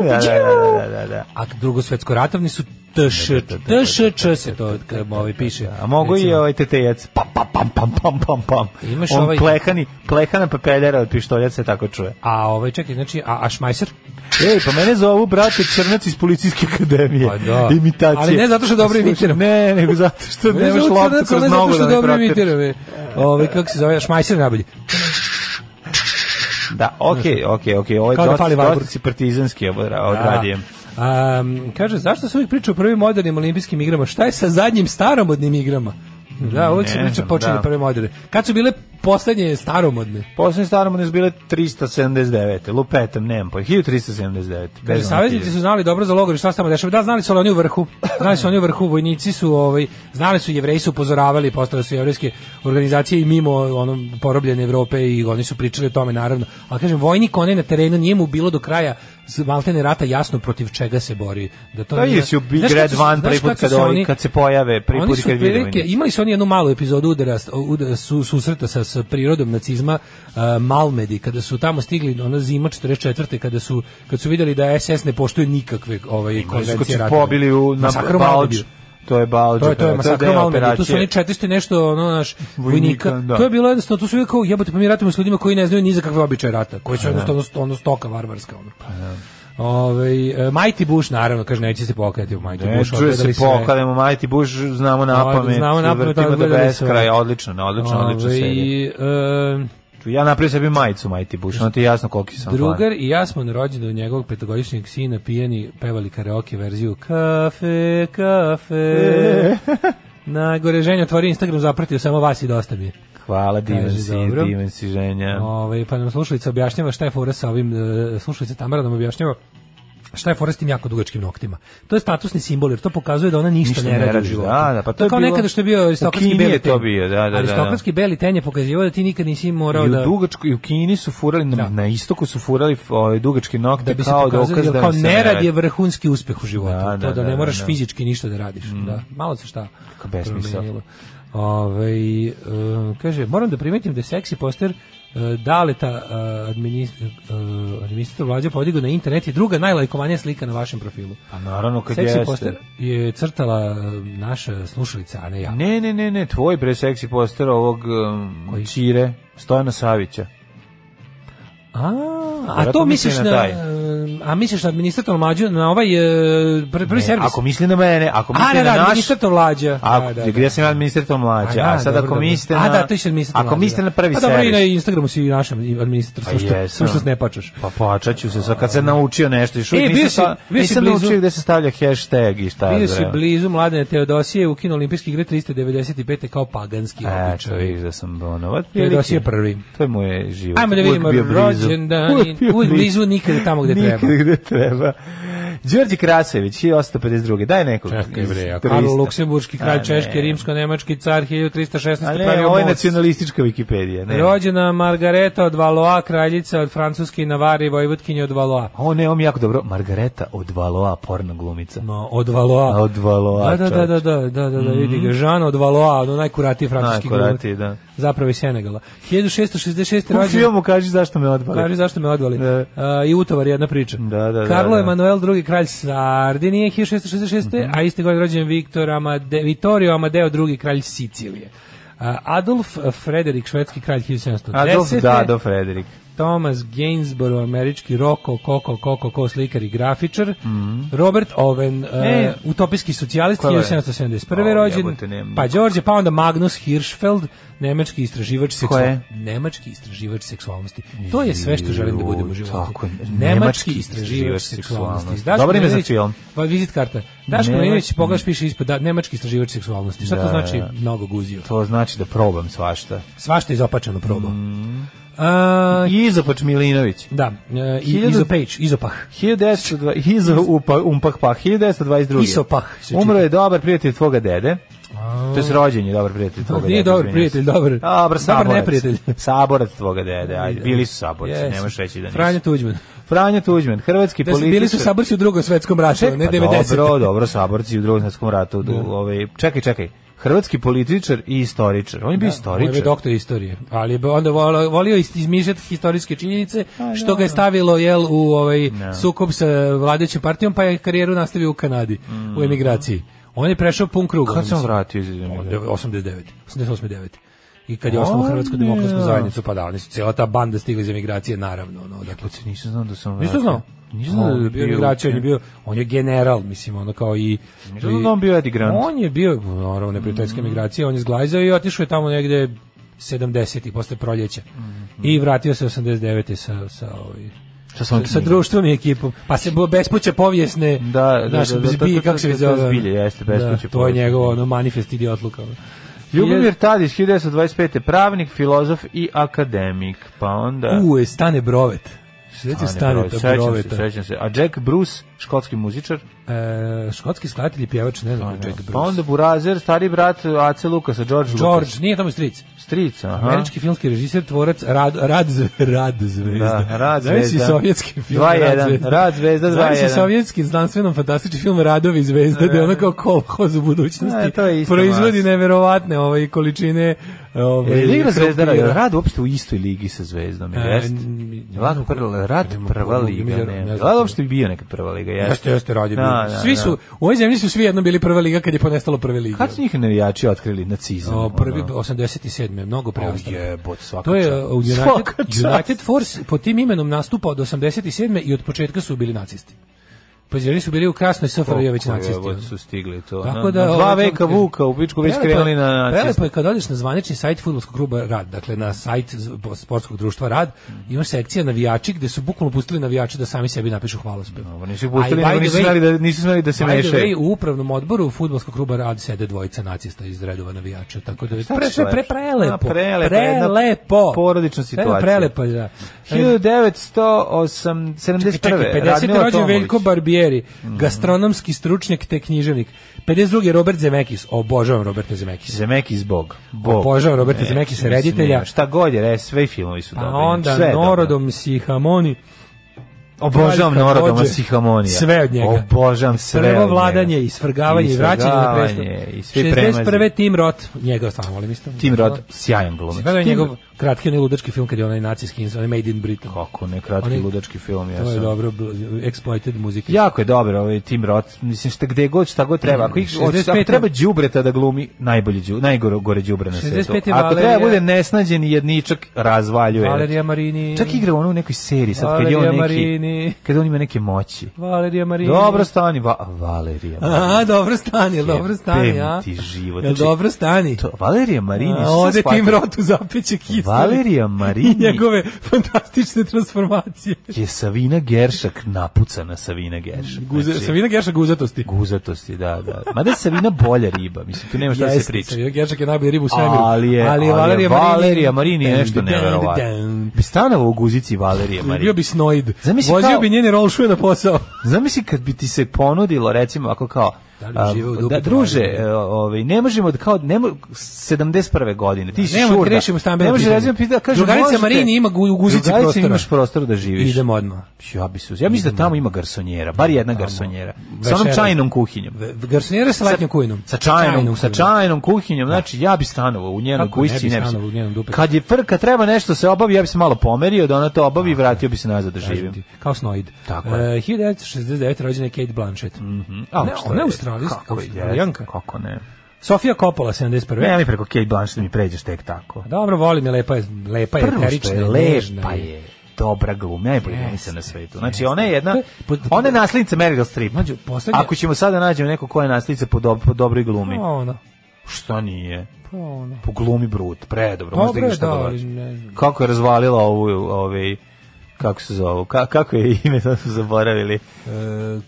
Da, da, da, da, da, da. A drugosvetskoratovni su TŠ, da, TŠ se to kad ovaj piše. A mogu i Recimo. ovaj tetejac. Pam, pam, pam, pam, pam, pam, pam. Imaš On ovaj- plehani, plehana pepeljara od pištolja se tako čuje. A ovaj čekaj, znači a, a Šmajser? Ej, pa mene zovu, brate, crnac iz policijske akademije. Pa da. Imitacije. Ali ne zato što dobro Slušaj, imitiram. Ne, nego zato što Ne nemaš zovu loptu crnac, kroz ali nogu Zato da što ne dobro pratiš. imitiram. je. Ovaj kako se zove, šmajser najbolji. Da, okej, okej, okej. Ovo je Kao da dosta, fali Valburg. dosta si partizanski obra- odradijem. A, um, kaže, zašto se uvijek priča o prvim modernim olimpijskim igrama? Šta je sa zadnjim staromodnim igrama? Da, uvijek se Ne priča znam, počinje da. prve moderne. Kad su bile poslednje staromodne? Poslednji starom je bile 379. Lupetam, nemam pa. 1379. Kaže, Bez saveznici su znali dobro za logor i šta se tamo dešava. Da, znali su ali oni u vrhu. Znali su oni u vrhu, vojnici su, ovaj, znali su, jevreji su upozoravali, postale su jevrejske organizacije i mimo ono, porobljene Evrope i oni su pričali o tome, naravno. Ali kažem, vojnik onaj na terenu nije mu bilo do kraja z- maltene rata jasno protiv čega se bori. Da to Da nije- vidio si u Big Znaš Red kako su- Van znaš prvi put kako kad, su oni, kad se pojave, prvi oni put su kad vide otprilike- imali su oni jednu malu epizodu udara, udara su, susreta sa, sa prirodom nacizma uh, Malmedi, kada su tamo stigli ona zima 44. kada su, kad su vidjeli da SS ne poštuje nikakve ovaj, konvencije Kad su rata. pobili u, na Masakrom Balđu. Malmediju. To je Balđu. To je, to je masakra deo Malmedi, tu su oni operacije. 400 i nešto, ono, naš, vojnika. Vojnika, da. To je bilo jednostavno, tu su uvijek kao, jebote, pa mi ratimo s ljudima koji ne znaju ni za kakve običaje rata, Pa koji da. su jednostavno sto- ono stoka varvarska, ono. Ove, Mighty Bush, naravno, kaže, neće se pokajati u Mighty Ne, Bush. E, čuje se odgledali sve. pokademo, Mighty Bush znamo na Od- pamet. znamo na pamet, vrtimo do odgledali Ovaj- sve. beskraja, odlično, odlično, odlično Ove, serija. i, e, Ču, Ja napravim sebi majicu Mighty Bush, ono ti je jasno koliki sam fan. Drugar i ja smo na rođendan njegovog petogodišnjeg sina pijeni pevali karaoke verziju Kafe, kafe. na gore ženja otvori Instagram, zapratio samo vas i dosta mi je. Hvala, divan Kaže, si, dobro. divan si ženja. Ovaj, pa nam slušalica objašnjava šta je fora sa ovim, e, slušalica Tamara nam objašnjava šta je fora s tim jako dugačkim noktima. To je statusni simbol, jer to pokazuje da ona ništa, ne, Ništa ne radi u radiš, životu. da, da, pa to je kao bilo- nekada što je u bio aristokratski Kini beli ten. je to bio, da, da, da, da. Aristokratski beli ten je pokazivao da ti nikad nisi morao I u da... Dugačku i u Kini su furali, na, Da. na istoku su furali ovaj, dugački nokte da bi se kao pokazali, dokaz jer da kao im se nerad radi. je vrhunski uspeh u životu. Da, Da, da, to da ne da, moraš da. fizički ništa da radiš. Da, malo se šta Kako besmisao. promenilo. Ovaj, e, kaže, moram da primetim da je seksi poster e, Daleta e, administ- e, administrator vlađa podigao na internet je druga najlajkovanija slika na vašem profilu. Pa naravno kad Seksi jeste. poster je crtala e, naša slušalica, a ne ja. Ne, ne, ne, ne, tvoj bre seksi poster ovog um, Koji? Čire, Stojana Savića. A, a Vjerojatno to misliš misli na, na taj. e, a misliš na administrator mlađu na ovaj e, pr- prvi E, servis? ako misli na mene, ako A, misli da, na da, naš... administrator mlađa. Ako, Da, da, da. gdje sam ja administrator mlađa, Znači, a, da, sad dobro, ako dobro. mislite na... A da, to ćeš misliti. Ako mislite na prvi A dobro, i na servis. Instagramu si i našem administrator, Pa slušta, jesam. slušta se ne pačaš. Pa plačat ću se, sad kad sam naučio nešto, još E, uvijek bio nisam, si- sta- bio si nisam blizu- naučio gde se stavlja hashtag i šta Vidio je si blizu mladene Teodosije, ukinuo olimpijske igre 395. kao paganski Eto, običaj. vidiš da sam ono, od Teodosije prvi. To je moje život. Ajmo da uvek vidimo bio blizu. rođendan, Uvek bio uvek blizu, nikada tamo gde nikada treba. gde treba. Đorđe Krasević, 1852. Daj nekog. Čekaj iz bre, a turista. Karlo Luksemburški, A kralj ne. Češke, rimsko-nemački car 1316. A ne, pravio ovo je most. nacionalistička Wikipedija. Ne. Rođena Margareta od Valoa, kraljica od Francuske i Navarre i vojvotkinje od Valoa. O, ne, ovo mi je jako dobro. Margareta od Valoa, porno glumica. No, od Valoa. Od Valoa, Da, da, da, da, da, da, da, da vidi ga. Jean od Valoa, ono najkuratiji francuski glumac. Mhm. Najkuratiji, da. Zapravo i Senegala. 1666. U rođen. filmu kaži zašto me odbali. Kaži zašto me odvali. Da. A, I utovar je jedna priča. Da, da, Karlo da, Mhm. da. Emanuel, drugi kralj Sardinije, 1666. A iste godine rođen Viktor Amade, Vittorio Amadeo, drugi kralj Sicilije. A, Adolf Frederik, švedski kralj 1710. Adolf da, Dado Frederik. Thomas Gainsborough, američki roko, koko, koko, ko slikar i grafičar. Robert Owen, e, E. utopijski socijalist, Ko Mhm. je? 1771. O, rođen. jebote, nemam Pa nikog. Đorđe, pa onda Magnus Hirschfeld, nemački istraživač seksualnosti. je? Nemački istraživač seksualnosti. To je sve što želim da budem u životu. Tako je. Nemački Nemački istraživač istraživač seksualnosti. seksualnosti. Dobar ime za Milinović- film. Pa vizit karta. Daško Nemački- Milinović, pogledaš, piše ispod, da, nemački istraživač seksualnosti. Šta Da, to znači? da. Mnogo guzio. To znači da probam svašta. Svašta izopačeno probao. Mhm. A, I Izopač Milinović. da, e, i- Hiljadu- izopeć, izopah. 1902 Izo upa, umpah pah, 1922. Isopah se čita. Umro je dobar prijatelj tvoga dede. To je rođen je dobar prijatelj tvoga dede. Nije dobar izvinjam prijatelj, se. dobar- Dobar dobar saborac. neprijatelj. Saborac tvoga dede. Ajde, bili su saborci, Jesu. ne možeš reći da nisu. Franjo Tuđman. Franjo Tuđman, hrvatski Da su- političar. bili su saborci u drugom svetskom ratu, Ček, ne Da. pa 90. Dobro, dobro, saborci u drugom svjetskom ratu. du- ovaj, čekaj, čekaj. Hrvatski političar i istoričar. On je bio Da, On je istoričar. doktor istorije, ali je onda volio, volio ist- izmišljati historijske činjenice, što ga je stavilo jel, u ovaj Da. sukob sa vladajućom partijom, pa je karijeru nastavio u Kanadi, u emigraciji. On je prešao pun krug. Mm. Kad sam mislim. vratio iz Onda je 89. 88. 9. i kad je osnovu A, Hrvatsku ne. demokratsku zajednicu, pa da, oni su cijela ta banda stigla iz emigracije, naravno. Ono, dakle, Jebote, nisam znao da sam... Nisam znao. Nisam znao da bio je bio... emigracija, on je bio, on je general, mislim, ono kao i... Nisam znao da Mm. on bio Eddie Grant. On je bio, naravno, neprijateljska emigracija, on je zglajzao i otišao je tamo negde 70. posle proljeća. Mm-hmm. I vratio se 89. sa, sa, ovaj, Sa svojom sa knjigom. društvom i ekipom. Pa se bo- bespuće povijesne, Da, da, znaš, da, da, zbilje, to- to- kako se to- to- zove, ono? zbilje, jeste, bespuće Da, to je povijesne. njegov ono, manifest idiotluka. ono. Ljubomir Tadić, 1925. Pravnik, filozof i akademik. Pa onda... U, je Stane Brovet. Sveće Stane Broj, sećam se, Broveta. sećam se. A Jack Bruce, škotski muzičar. E, škotski skladatelj i pjevač, ne znam, Jack Bruce. Pa onda Burazer, stari brat Ace Lukasa, George, George, Lucas. nije tamo stric. Stric, aha. Američki filmski režiser, tvorac Rad Rad Zve- Rad Zvezda. Da, Rad Zamisli Zvezda. sovjetski film 2:1, Rad Zvezda, Zamisli 2:1. sovjetski znanstvenom fantastični film Radovi Zvezda, da je ono kao kolhoz u budućnosti. E, to je isto proizvodi vas. neverovatne ove količine E, ove Liga Zvezdara je krompira. rad uopšte u istoj ligi sa Zvezdom, E, jest? n- Lako prvo, rad nemam prva pojma, liga, ne znam, ne. ne znam. Lada uopšte bi bio nekad prva liga, jeste? Jeste, jeste, radio. Da, bio. da, svi da. su, u ovoj zemlji su svi jedno bili prva liga kad je ponestalo prve lige. Kad su njih navijači otkrili nacizam? O, prvi ono? 87. mnogo pre da. O, Austrije. jebot, svaka To je čast. uh, u United, Svaka čast. United Force pod tim imenom nastupa od 87. i od početka su bili nacisti. Pa oni su bili u krasnoj SFRJ već Koliko nacisti. jebot ono. su stigli to. Tako Na- da, na dva ovaj, veka kako ti- Vuka u Pičku već Prelepo je- krenuli na nacizam. Prelepo je kad odeš na zvanični sajt fudbalskog kluba Rad, dakle na sajt z- po- sportskog društva Rad, Mhm. imaš sekcija navijači gde su bukvalno pustili navijače da sami sebi napišu hvalospev. Ovo Nisu A i pustili, by nego the nisu way- znali da, nisu znali da se By the way, mešaju. u upravnom odboru fudbalskog kluba Rad sede dvojica nacista iz redova navijača, tako da je Šta pre, će pre, pre, lepše? A, prelepo. prelepo, jedna prelepo. porodična situacija. Prelepo, da. 1971. Čekaj, 50. Radmila rođen Tomović. Veljko Barbieri, gastronomski stručnjak te književnik. 52. Robert Zemekis, obožavam Roberta Zemekisa. Zemekis Bog. Bog. Obožavam Roberta Ne, Zemeckisa, mislim, reditelja. nema. Šta god je, re, sve filmovi su Pa dobri. onda sve je dobro. Norodom Sihamoni, Obožavam Kralj Norodom Kambodže. Sihamonija. Sve od njega. Obožavam sve od prvo njega. vladanje i svrgavanje i vraćanje na presto. svrgavanje i svi premazi. 61. Tim Roth, njega stvarno volim isto. Tim Rod, sjajan glumac. Gledao je Tim- njegov kratki onaj ludački film kad je onaj nacijski, ins- onaj Made in Britain. Kako ne, kratki Oni- ludački film, ja To je sam. dobro, bl- exploited muzika. Jako je dobar ovaj Tim Roth, mislim šta gde god šta god treba. Ako, ih, 65 ako treba đubreta da glumi, najbolje đu, najgore gore đubre na svetu. 65 je Ako treba Valerija- bude nesnađen i jedničak, razvaljuje. Valerija Marini. Čak igra ono u nekoj seriji sad kad je on Valerija neki Marini. kad on ima neke moći. Valerija Marini. Dobro stani, Va Valerija. A, dobro stani, jel dobro stani, Jebem a? ti život. Jel Znači, dobro stani? To, Valerija Marini. A, šta Ode shvatio? tim rotu zapeće kistu. Valerija I Marini njegove fantastične transformacije. je Savina Geršak napucana Savina Geršak. Guze, Znači, Savina Gerša guzatosti. guzatosti, da, da. Mada je Savina bolja riba, mislim, tu nema šta da se Jeste, priča. Savina Geršak je najbolja riba u svemiru. Ali je, ali je Valerija, Marini, je nešto Dan, dan, neverovatno. dan. Bi stanovao u guzici Valerija Bio Marini. bi snoid. Zamisli Vozio kao- bi njene rolšuje na posao. Zamisli kad bi ti se ponudilo, recimo, ako kao, Da li bi a, živeo u dupetu da, druže, Valerije? e, ovaj, ne možemo, da kao, ne mo, 71. godine, ti si Nemoj, šurda. rešimo stambeno Ne može, pitanje. recimo, pita, kaže, Drugarica možete- Marini ima gu- u guzici Drugarica prostora. imaš prostor da živiš. Idemo odmah. Ja bi se, uz- ja mislim da tamo ima garsonjera, bar jedna garsonjera. Sa onom Večeras. čajnom kuhinjom. V- Garsonjera sa letnjom kujnom. Sa čajnom, sa kujnom. čajnom kuhinjom, znači ja bi stanovao u njenoj Da. Kako ne kućici, bi ne bi. stanovao u njenom dupetu? Kad je frka treba nešto se obavi, ja bi se malo pomerio da ona to obavi i vratio bi se nazad da Kažem živim. ti, Kao snoid. Tako Mhm. E, 1969. rođena je Kate Blanchett. A, ne, šta ona je je? australijska, Kako je, australijanka. Kako ne? Sofia Coppola, 71. Ne, mi preko Kate Blanchett mi pređeš tek tako. Dobro, volim je, lepa je, lepa je, Prvo što eterična je nežna lepa je, dobra glumja, najbolje glumica na svetu. Znači, ona je jedna, ona je naslednica Meryl Streep. Mlađo, poslednja- Ako ćemo sada da nađemo neko ko je naslednica po, dob- po dobroj glumi. Pa ona, Šta nije? pa ona. Po glumi brut, predobro. Pa možda Dobro igra je, šta da, god ali hoće. ne znam. kako je razvalila ovu, ovaj, kako se zove, ka, kako je ime, to su zaboravili. E,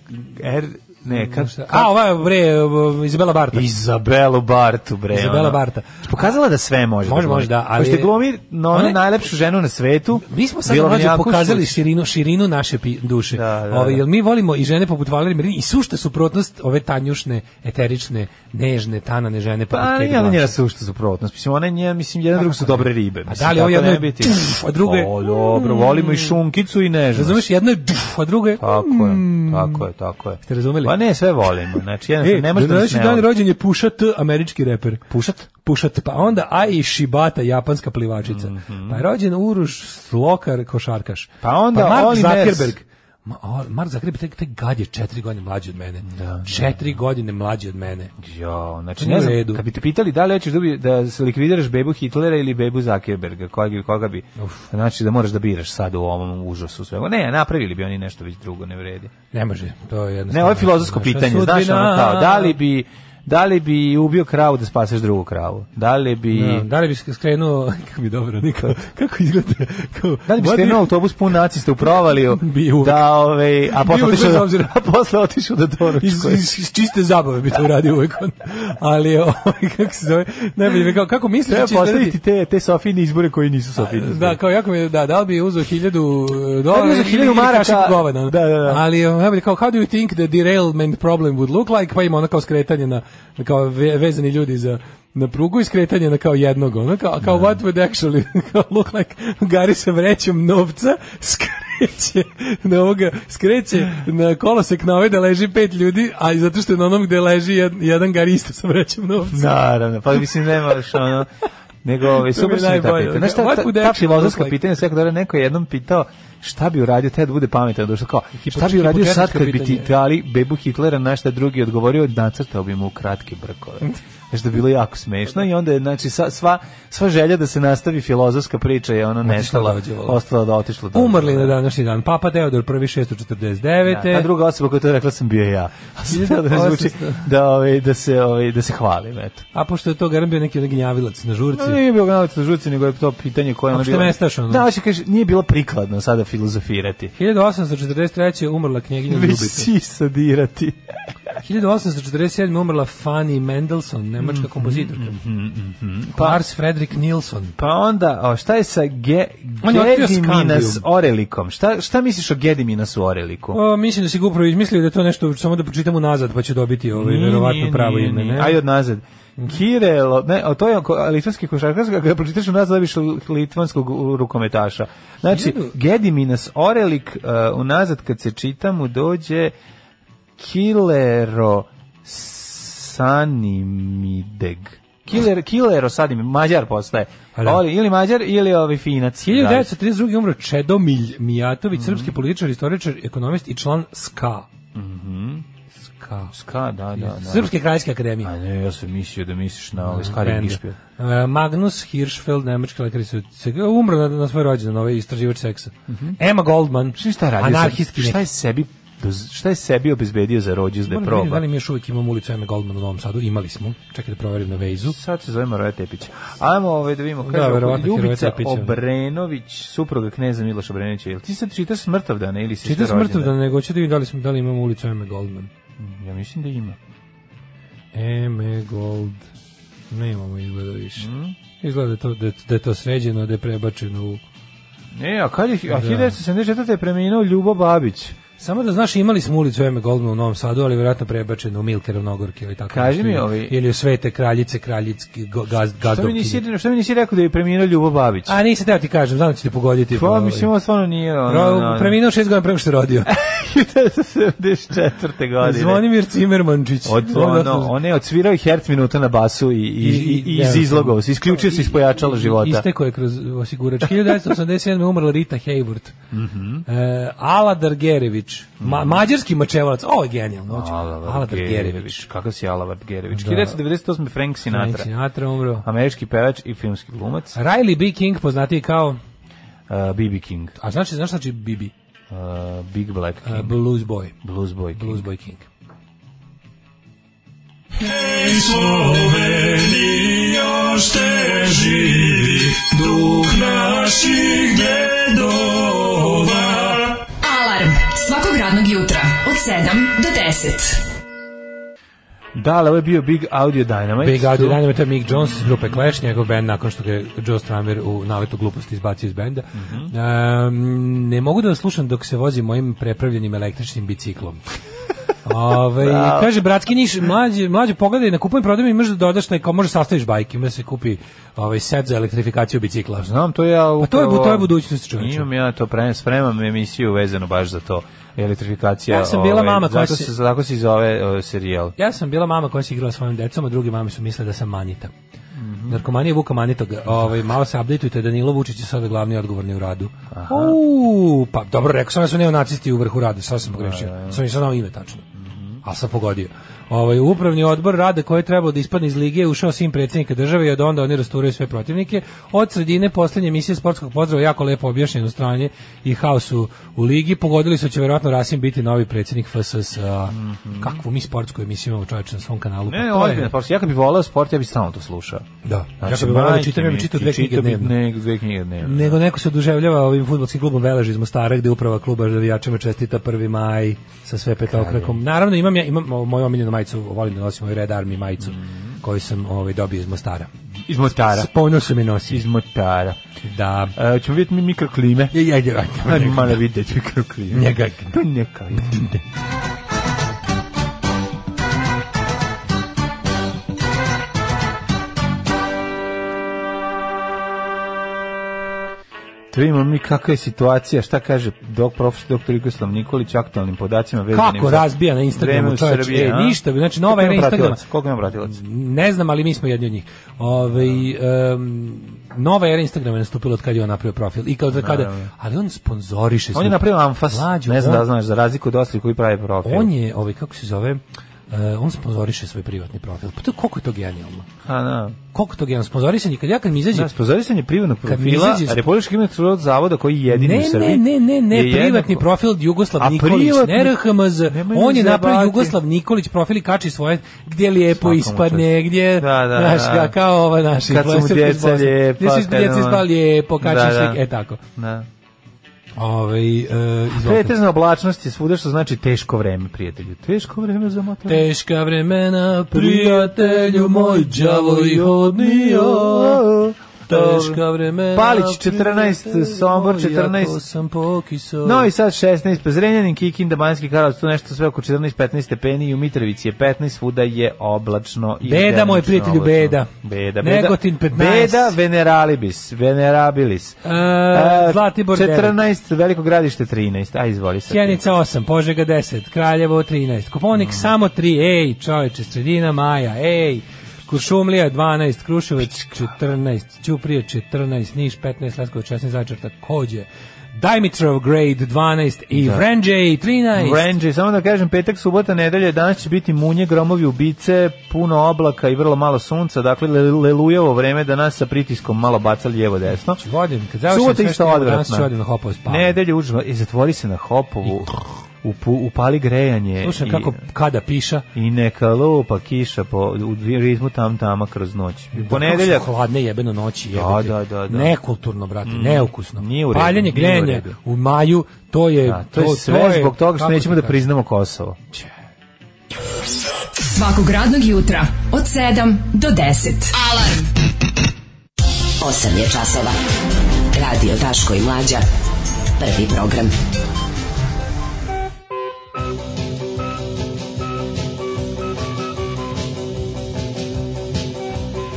Er, ne, kako se... A, ova je, bre, e, Izabela Barta. Izabelu Bartu, bre. Izabela ono. Barta. Pokazala da sve može. Može, glumi. može, da, ali- Pošto glumi no, Ona ona je- najlepšu ženu na svetu. Mi smo sad Bila mi mlađe jako pokazali šut. širinu, širinu naše pi- duše. Da, da, Ovaj, da. jel mi volimo i žene poput Valerije Marini i sušta suprotnost ove tanjušne, eterične, nežne, tanane žene poput Pa, Kate nije ona Blanchett. njena sušta suprotnost. Mislim, ona nje, mislim, jedan drug su dobre ribe. Mislim, da li ovo tako jedno ne je biti- tuf, a drugo je- O, dobro, volimo i šunkicu i nežnost. Razumeš, jedno je duf, a drugo je... Tako je, tako je, tako je. Ste razumeli? Pa ne, sve volimo. Znači, jednostavno, E, ne možete da se današnji ne dan volimo. rođen je Pusha T, američki reper. Pušat? Pušat, pa onda Ai Shibata, japanska plivačica. Pa je rođen Uruš Slokar, košarkaš. Mhm. Pa onda Mark Oli Ness. Zuckerberg. Ma, o, Mark Zagreb je taj, taj gad je četiri godine mlađi od mene. Da, četiri godine mlađi od mene. Jo, znači Nije ne u znam, redu. kad bi te pitali da li hoćeš da, ubi- da se likvidiraš bebu Hitlera ili bebu Zuckerberga, koga, bi- koga bi, znači da moraš da biraš sad u ovom užasu svega. Ne, napravili bi oni nešto već drugo, ne vredi. Ne može, to je Ne, jednostavno. ovo je filozofsko Naša pitanje, znaš sudbina. ono kao, da li bi, da li bi ubio kravu da spaseš drugu kravu? Da li bi... Da, da li bi sk- skrenuo, kako bi dobro rekao, kako izgleda, kao, Da li bi What do you- skrenuo autobus pun nacista u provaliju? Bi uvek. Da, ovaj, a Bi posle uvek, otišao, bez da- obzira. a posle otišao da doručkuje. iz, iz, iz čiste zabave bi to uradio uvek on. Ali, ovaj, kako se zove, najbolje mi je kao, kako misliš Treba da će postaviti izgledati- te, te Sofijine izbore koji nisu Sofijine izbore. Da, kao jako mi je, da, da li bi uzeo hiljadu e, dolara uzeo ili- Da, hiljadu ili maraka? kašiku govana, ono. Da, da, da. Ali, um, najbolje kao, how do you think the derailment problem would look like? Pa ima ono kao skretanje na, na kao ve, vezani ljudi za na prugu i skretanje na kao jednog, ono kao, Da. kao what would actually kao look like Gari sa vrećom novca skreće na ovoga, skreće na kolosek na ovaj da leži pet ljudi, a i zato što je na onom gde leži jed, jedan Gari isto sa vrećom novca. Naravno, pa mislim nema još ono nego ovaj To mi je super su mi ta najbolje. pitanja. Znaš šta, What ta, would ta actually look filozofska like? pitanja, sve kada neko je jednom pitao šta bi uradio te da bude pametan duša kao šta bi Hipotetsko uradio sad kad bi ti pitanje. dali bebu Hitlera na šta drugi je odgovorio nacrtao bi mu kratke brkove. Znaš da je bilo jako smešno i onda je znači sa- sva, sva želja da se nastavi filozofska priča je ono nestala, dođe, volim. ostala da otišla do. Umrli na današnji dan. Papa Deodor prvi 649. Da, ta druga osoba koja je to rekla sam bio ja. A sad da zvuči 1800. da, ovaj, da, se, ovaj, da se hvalim, eto. A pošto je to garant bio neki onaj gnjavilac na žurci. No, nije bio gnalac na žuci, nego je to pitanje koje ono Opšte bilo... mestaš, ono. Da, hoće kaže, nije bilo prikladno sada filozofirati. 1843. umrla knjeginja Već Ljubica. si sadirati. 1847. umrla Fanny Mendelssohn, nemačka Mhm, kompozitorka. Lars Fredrik Nilsson. Pa onda, o, šta je sa ge, On je otkrio Gediminas Skandijum. Orelikom? Šta, šta misliš o Gediminasu Oreliku? O, mislim da si ga upravo izmislio da je to nešto samo da pročitam unazad pa će dobiti ovaj, verovatno Nije, pravo nije, ime. nije. Ne? Aj odnazad. Kirelo, ne, o, to je ko- litvanski košarkaš, kada pročitaš u nazad dobiš litvanskog rukometaša. Znači, Hiljadu- Gediminas Orelik, uh, unazad kad se čita mu dođe Kilero Sanimideg. Kiler, Kilero Sanimideg, Mađar postaje. A da. Oli- ili Mađar, ili ovi Finac. 1932. umro Čedomilj Mhm. Mijatović, srpski političar, istoričar, ekonomist i član SKA. Mhm. SKA. Ska, da, da, da. Srpske kraljske akademije. A ne, ja sam mislio da misliš na ovaj Skari Bend. Gišpil. E, Magnus Hirschfeld, nemački lekar i se umro na, na svoj rođendan, ovaj istraživač seksa. Emma Goldman, Mhm. Šta, šta je radio? anarhistki Šta neki. je sebi doz- šta je sebi obezbedio za rođus da je Moram da vidim Da proba? li mi još uvijek imamo ulicu Eme Goldman u Novom Sadu? Imali smo. Čekaj da proverim na vejzu. Sad se zove Maroja Tepić. Ajmo ovaj da vidimo. Da, Kaže, verovatno Heroja Ljubica Tepić, ono. Obrenović, supruga kneza Miloša Obrenovića. Jel ti sad čitaš smrtav dana ili si Čita rođendan? smrtav da nego ću da vidim da li, smo, da li imamo ulicu Eme Goldman. Ja mislim da ima. Eme Gold. Nemamo izgleda više. Mhm. Izgleda da je to, da, je- da je to sređeno, da je prebačeno u... Ne, E, a kad je, Da. a 1974. je preminuo Ljubo Babić. Samo da znaš, imali smo ulicu Eme Goldman u Novom Sadu, ali vjerojatno prebačeno u Milkerov Nogorke ili tako. Kaži nešto, mi ili- ovi- Ili u Svete Kraljice, Kraljicki, go- gaz, Što mi gazdovkinje. nisi, što mi nisi rekao da je preminuo Ljubo Babić? A nisam teo ti kažem, znam da ćete pogoditi. Pa, mislim, ovo stvarno nije... Ono, Ro, ono, preminuo šest godina prema što je rodio. 1974. godine. Zvonimir Cimermančić. da Od, ono, on je odsvirao i herc minuta na basu i, i, i, i iz ne, izlogova se, isključio se iz pojačala života. Isteko je kroz osigurač. 1987. umrla Rita Hayward. Mhm. e, Ala Dargerević. Ma, mađarski mačevalac. Ovo je genijalno. Ovo ću- Ala Dargerević. Kakav si Alavar Gerević? Da. Da. 1998. Frank Sinatra. Frank Sinatra umro. Američki pevač i filmski glumac. Uh, Riley B. King poznatiji kao... B.B. King. A znači, znaš znači Bibi? Uh, Big Black E, King. Blues Boy. Blues Boy King. Blues Boy King. Alarm svakog radnog jutra od 7 do 10. Da, ali ovo je bio Big Audio Dynamite. Big Audio Dynamo, to je Mick Jones iz grupe Clash, njegov band nakon što ga je Joe Strummer u naletu gluposti izbacio iz benda. Em, ne mogu da vas slušam dok se vozim mojim prepravljenim električnim biciklom. Ove, kaže, bratski niš, mlađe, mlađe pogledaj, na kupujem prodaju i možeš da dodaš, taj, kao može sastaviš bajke, ima da se kupi ovaj, set za elektrifikaciju bicikla. Znam, to ja upravo... Pa to je, bu- to je budućnost čovječe. Imam ja to pre, spremam emisiju vezano baš za to. Elektrifikacija. Ja sam bila mama koja zato se- se... Zato se i zove ovaj, serijal. Ja sam bila mama koja se igrala svojim decom, a drugi mame su mislile da sam manita. Narkomanija Vuka Manitoga. Ovaj, malo se updateujte, Danilo Vučić je sada glavni odgovorni u radu. Uuu, pa dobro, rekao sam da su neonacisti u vrhu rada, sad Da, sam pogrešio. Sam nisam znao ime tačno. Mhm. A sam pogodio. Ovaj, u upravni odbor rada koji je trebao da ispadne iz lige je ušao sin predsjednika države i od onda oni rasturaju sve protivnike. Od sredine posljednje emisije sportskog pozdrava jako lepo objašnjeno stranje i haos u, u ligi. Pogodili su da će vjerojatno Rasim biti novi predsjednik FSS. Kakvu mi sportsku emisiju imamo čovječe na svom kanalu. Pa Mhm. Ne, to je- ozbiljno, pa ja kad bih volao sport, ja bih stalno to slušao. Znači, Da. ja bih volao da čitam, ja bih čitao dve knjige dnevno. Ne, dve knjige dnevno. Nego neko se oduševljava ovim fudbalskim klubom Velež iz Mostara gde uprava kluba navijačima čestita 1. maj sa sve petokrakom. Naravno imam ja imam o, moju omiljenu majicu, volim da nosim ovaj Red Army majicu koju sam ovaj dobio iz Mostara. Iz Motara. S ponosom je nosim. Iz Motara. Da. E, ćemo vidjeti mi mikroklime. Ja, ja, ja, ja, ja. Malo vidjeti mikroklime. Njega. To neka. Tu imamo mi kakva je situacija, šta kaže dok profesor doktor Jugoslav Nikolić aktualnim podacima vezanim Kako za razbija na Instagramu, vreme u čoveče, Srbiji, e, a? ništa, znači, nova Koliko era ima Instagrama. pratilaca? Koliko ima pratilaca? Ne znam, ali mi smo jedni od njih. Ove, um, nova era Instagrama je nastupila od kada je on napravio profil. I kao da kada, ali on sponzoriše. On sve. je napravio Amfas, Mlađo, ne znam on- da znaš, za razliku od ostalih koji pravi profil. On je, ovaj, kako se zove, e, on sponzoriše svoj privatni profil. Pa to, koliko je to genijalno? A, da. Koliko je to genijalno? Sponzorisanje, kad ja kad mi izađe... Da, sponzorisanje privatnog Kad mi profila izađe- Republički imunitetnog zavoda koji je jedini ne, u ne, Srbiji. ne, ne, ne, je privatni jednako- profil Jugoslav A Nikolić, privatni- ne RHMZ. Nemoj On je me napravio zajebati. Jugoslav Nikolić profil i kači svoje gdje lijepo Svaka mu ispadne, čast. gdje, Da, da, znaš, da. ga, kao ova naša Kad su mu influencerka iz djeca Bosne. lijepa, Gdje su iz- kad djeca on- ispala lijepo, kačim Da, da. slike, e tako. Da. Ove, e, izvolite. Pretezna oblačnost je svuda što znači teško vreme, prijatelju. Teško vreme za motor. Teška vremena, prijatelju moj, đavo i hodnio. Teška vremena. Palić 14, prijatelju Sombor moj, 14. Jako sam pokiso. No i sad 16, pa Zrenjanin, Kikinda, Banjski Karlovac, tu nešto sve oko 14-15 stepeni, i u Mitrovici je 15, svuda je oblačno. i Beda, delimično moj prijatelju, oblačno. beda. Beda, beda. Negotin 15. Beda, veneralibis, venerabilis. E, Zlatibor 14. 14, veliko gradište 13, aj izvoli sad. ti. Sjenica 8, Požega 10, Kraljevo 13, Koponik samo 3, ej, čoveče, sredina maja, ej, Kuršumlija 12, Kruševac 14, Ćuprije 14, Niš 15, Leskovac 16, Zajčar takođe, Dimitrov grade 12 i Vrenđej 13. Range, samo da kažem, petak, subota, nedelja, danas će biti munje, gromovi, ubice, puno oblaka i vrlo malo sunca, dakle, le- lelujavo vreme da nas sa pritiskom malo baca lijevo desno. Vodim, kad završim Subota sve što isto imamo danas ću odim na odvratna. hopao spavam. Nedelja užba, i zatvori se na hopovu, upu, upali grejanje. Slušam i- kako kada piša. I neka lupa kiša po, u dvi- ritmu tam tama kroz noć. Ponedeljak, Kako su hladne jebeno noći jebete. da, da, da. Nekulturno, brate, neukusno. Nije u redu, Paljenje nije u redu. grenje u maju, to je... da, to je sve zbog toga što kako nećemo ti da priznamo Kosovo. Svakog radnog jutra od 7 do 10. Alarm. 8 je časova. Radio Daško i Mlađa. Prvi program.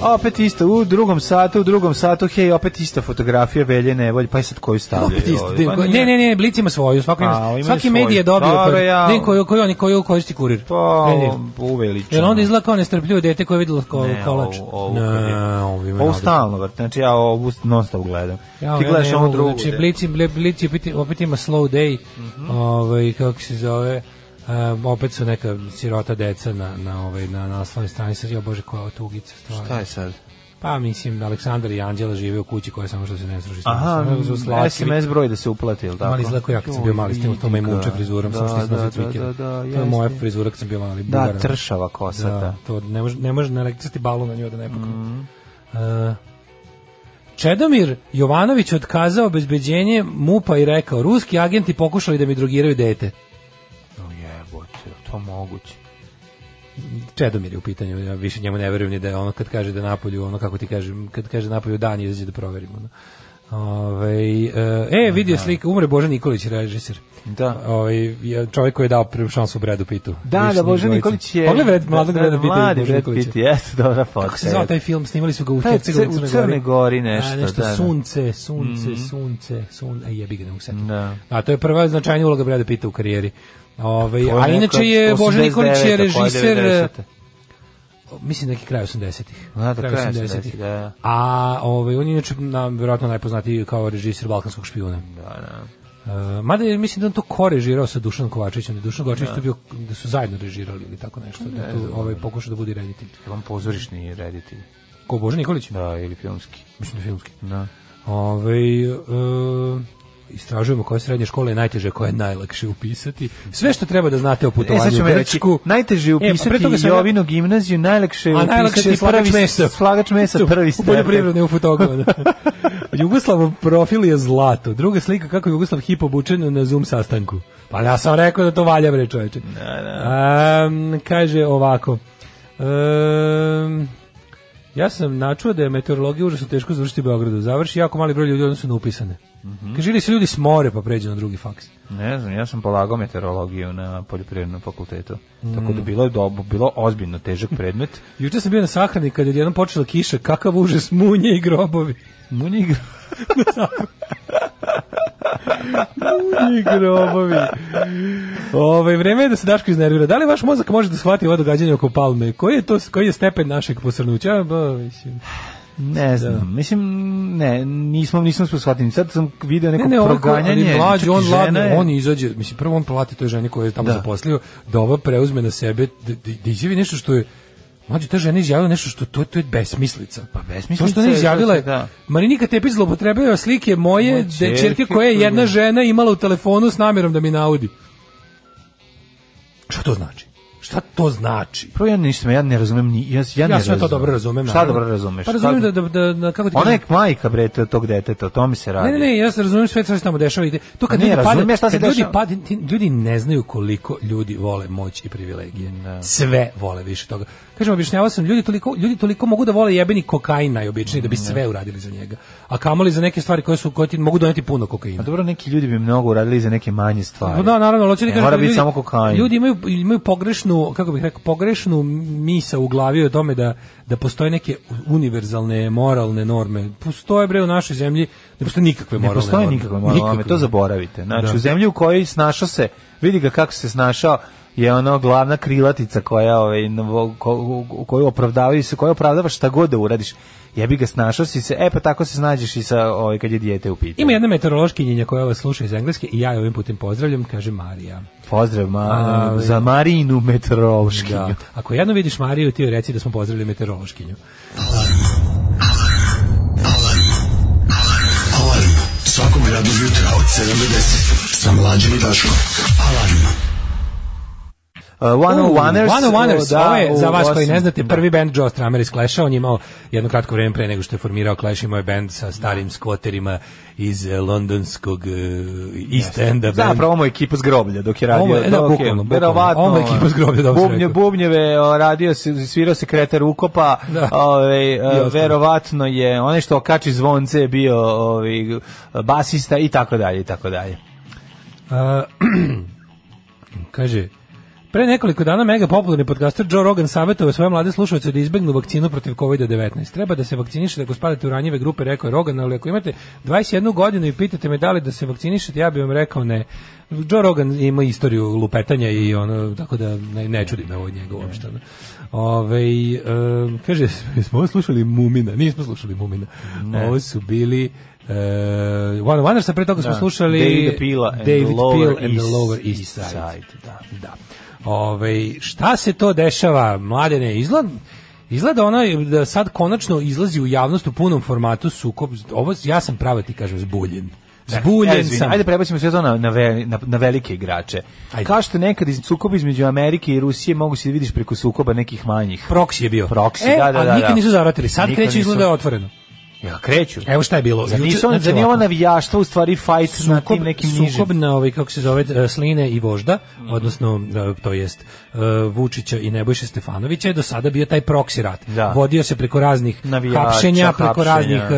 A opet isto, u drugom satu, u drugom satu, hej, opet ista fotografija Velje Nevolje, pa i sad koju stavljaju? Opet isto, ovaj? Dinko. Pa ne, nije. ne, ne, Blic ima svoju, svaki, A, ima, imaju svaki svoju. medij je dobio, Dobro, koji, ja. ne, koju, koju, oni, koju koristi kurir. Pa, Ne, ne. uveličano. Jer onda izgleda kao nestrpljivo dete koje je videlo kao Ne, kolač. ovo- ovo Ne, kad je- ovo ima Ovo nadu. stalno, vrti, znači ja ovu non stop gledam. Ja, Ti ja gledaš ne ovu mogu, drugu. Znači, gde- Mhm. Blic, Bli- Blic je opet, opet ima slow day, ovaj, kako se zove, um, opet su neka sirota deca na, na, ovaj, na naslovnoj strani, sad, jo bože, koja je tugica stvarno. Šta je sad? Pa mislim, Aleksandar i Anđela žive u kući koja samo što se ne služi s Aha, mm, e, naslovom, nego su slatki. SMS broj da se uplati, ili tako? Mali izlako ja kad sam bio mali, s tim to majmunče frizurom, samo što sam nosio cvikere. Da, da, da, to je moja jeste. frizura kad sam bio mali. Da, bugarana. tršava kosa, Da, da. to ne može, ne može na elektriciti balu na nju da ne pukne. Mhm. E, Čedomir Jovanović otkazao obezbeđenje MUPA i rekao, ruski agenti pokušali da mi drogiraju dete. No jebote, to moguće. Čedomir je u pitanju, ja više njemu ne verujem ni da je ono kad kaže da napolju, ono kako ti kažem, kad kaže da napolju dan izađe da proverimo. Ono. Ovaj, e, e, vidio slika, umre Boža Nikolić, režiser. Da. Ovaj, je čovjek koji je dao prvu šansu Bredu Pitu. Da, da, Bože Nikolić je... da, Pogledaj Brad, mladog Breda Pitta i Mladi Bože Brad Nikolića. Pitt, jeste, pa dobra fotka. Kako se zvao taj film? Snimali su ga u Da, Hercegovini, u Crnoj Crnoj Gori nešto, A, nešto da, Mhm. da. sunce, sunce, sunce, sunce. Ej, jebi ga, ne mogu setiti. Da. A to je prva značajnija uloga Brada Pitta u karijeri. Ove, To a neka inače je Bože Nikolić je 89-a, koja je režiser 90-a. mislim neki kraj 80-ih. Da, da, Kraj kraj 80-ih. 80-ih, da. A ovaj, on je inače na, verovatno najpoznatiji kao režisir Balkanskog špijuna. Da, da. E, mada je, mislim da on to ko režirao sa Dušan Kovačićem. Da Dušan Kovačić to bio, da su zajedno režirali ili tako nešto. da tu ovaj, pokušao da bude reditelj. Jel on pozorišni reditelj? Ko Bože Nikolić? Da, ili filmski. Mislim da filmski. Da. Ove, e, istražujemo koje srednje škole je najteže, koje je najlakše upisati. Sve što treba da znate o E, sad putovanju ću u me reći, Grčku. najteže je E, pa upisati pre toga sam ja- Jovinu gimnaziju, najlakše je A upisati najlakše je slagač prvi- mesa. Slagač mesa prvi U stepen. poljoprivredne u fotograma. Jugoslavov profil je zlato. Druga slika kako je Jugoslav hip obučen na Zoom sastanku. Pa ja sam rekao da to valja, bre čoveče. da. Am, kaže ovako. Um, ja sam načuo da je meteorologija užasno teško završiti u Beogradu. Završi jako mali broj ljudi, odnosno na upisane. Mhm. Kaže, ili se ljudi smore pa pređu na drugi faks. Ne znam, ja sam polagao meteorologiju na poljoprivrednom fakultetu. Tako Mm. da bilo je dobro, bilo ozbiljno težak predmet. Juče sam bio na sahrani kad je odjednom počela kiša, kakav užas, munje i grobovi. Mun igra. I grobovi. Ove, vreme je da se Daško iznervira. Da li vaš mozak može da shvati ovo događanje oko Palme? Koji je, to, koji je stepen našeg posrnuća? Ba, mislim. Da. Ne znam, mislim, ne, nismo, nismo se shvatili. Sad sam video neko on ko- proganjanje. ali mlađi, čak i on žena ladno, je- on izađe, mislim, prvo on plati toj ženi koju je tamo zaposlio, da ova preuzme na sebe, da, da, da izjavi nešto što je, mlađi, ta žena je izjavila nešto što, to, to je besmislica. Pa To besmislica što ne je, izjavila je, da. Marinika Tepić zlopotrebila slike moje, Moje moje čerke ćerke koje je koju- jedna žena imala u telefonu s namjerom da mi naudi. Šta to znači? Šta to znači? Prvo ja ništa, ja ne razumem, ni, ja, ja, ne Ja sve to razumem. dobro razumem. Šta naravno. dobro razumeš? Pa razumem Šta- da, da, da, da- kako ti Ona je kažem? majka bre to- tog deteta, o tome se radi. Ne, ne, ne, ja se razumem sve što se tamo dešava. Ide. To kad Ne, ljudi razumem pade, ja šta se kad ljudi, dešava. pade, ti- ljudi ne znaju koliko ljudi vole moć i privilegije. Da. Sve vole više toga. Kažem, objašnjavao sam, ljudi toliko, ljudi toliko mogu da vole jebeni kokain najobičniji da bi sve uradili za njega. A kamoli za neke stvari koje su koje ti mogu doneti puno kokaina. A Pa dobro, neki ljudi bi mnogo uradili za neke manje Pa stvari. da, naravno, hoću da Ne kažem mora da biti ljudi- samo kokain. Ljudi imaju imaju pogrešnu, kako bih rekao, pogrešnu misa u glavi o tome da da postoje neke univerzalne moralne norme. Postoje bre u našoj zemlji, ne postoje nikakve ne moralne. postoji norme. nikakve moralne, to zaboravite. Znači, Da. u zemlji u kojoj snašao se, vidi ga kako se snašao, je ono glavna krilatica koja ovaj na vo- ko- u- u koju opravdavaju se, koja opravdava šta god da uradiš. Jebi ga snašao si se, e pa tako se snađeš i sa ovaj kad je dijete u pitanju. Ima jedna meteorološkinja koja vas sluša iz engleske i ja je ovim putem pozdravljam, kaže Marija. Pozdrav ma, A, za Marinu meteorološki. Da. Ako jedno vidiš Mariju, ti joj reci da smo pozdravili meteorološkinju. Svakog radnog jutra od 7 do 10 sa mlađom i Daškom. Alarm. Uh, 101ers, Ers, da, ovo je, za u Da. vas koji ne osam- znate, prvi band Joe Stramer iz Clash-a, on je imao jedno kratko vreme pre nego što je formirao Clash, imao je band sa starim skvoterima iz eh, londonskog uh, East Enda band. Zapravo Da, mu je ekipa z groblja dok je radio. Ovo je- da, dok je- bukvalno, bukvalno. verovatno, Ovo je ekipa s groblja, dobro si bubnje, rekao. Bubnjeve, o, radio se, svirao se kretar ukopa, Da. ovaj, e, ostalo. verovatno je, onaj što kači zvonce je bio ovaj, basista i tako dalje, i tako dalje. A, kaže, pre nekoliko dana mega popularni podcaster Joe Rogan savjetovao svoje mlade slušalce da izbegnu vakcinu protiv COVID-19. Treba da se vakcinišete ako spadate u ranjive grupe, rekao je Rogan, ali ako imate 21 godinu i pitate me da li da se vakcinišete, ja bih vam rekao ne. Joe Rogan ima istoriju lupetanja i ono, tako da ne, ne čudi me ovo od njega uopšte. ono. Ovaj, em, kaže, smo ovo slušali Mumina, nismo slušali Mumina. Ovo su bili Uh, One Wonders, a pre toga smo slušali Davida Pila Da, and David the Lower Peel and the East- Lower East East Side. Side, da. da. Ove, šta se to dešava, mladene? Izgleda, izgleda ono da sad konačno izlazi u javnost u punom formatu sukob. Ovo, ja sam pravo ti kažem zbuljen. Zbuljen Da, E, Izvini, sam. Ajde prebacimo sve to na, na, ve- na, na velike igrače. Ajde. Kao što nekad iz sukoba između Amerike i Rusije mogu se da vidiš preko sukoba nekih manjih. Proksi je bio. Proksi, e, da, da, ali da, nikad da. nisu zaratili. Sad Nikad kreće izgleda nisu. otvoreno. Ja kreću. Evo šta je bilo. Zar Juče- nisu oni- znači zar nije ovako. ovo navijaštvo u stvari fight na tim nekim nižim? Mhm. sukob na ovaj kako se zove e, Sline i Vožda, odnosno e, to jest e, Vučića i Nebojše Stefanovića je do sada bio taj proksi rat. Da. Vodio se preko raznih Navijača, hapšenja, preko hapšenja. raznih e,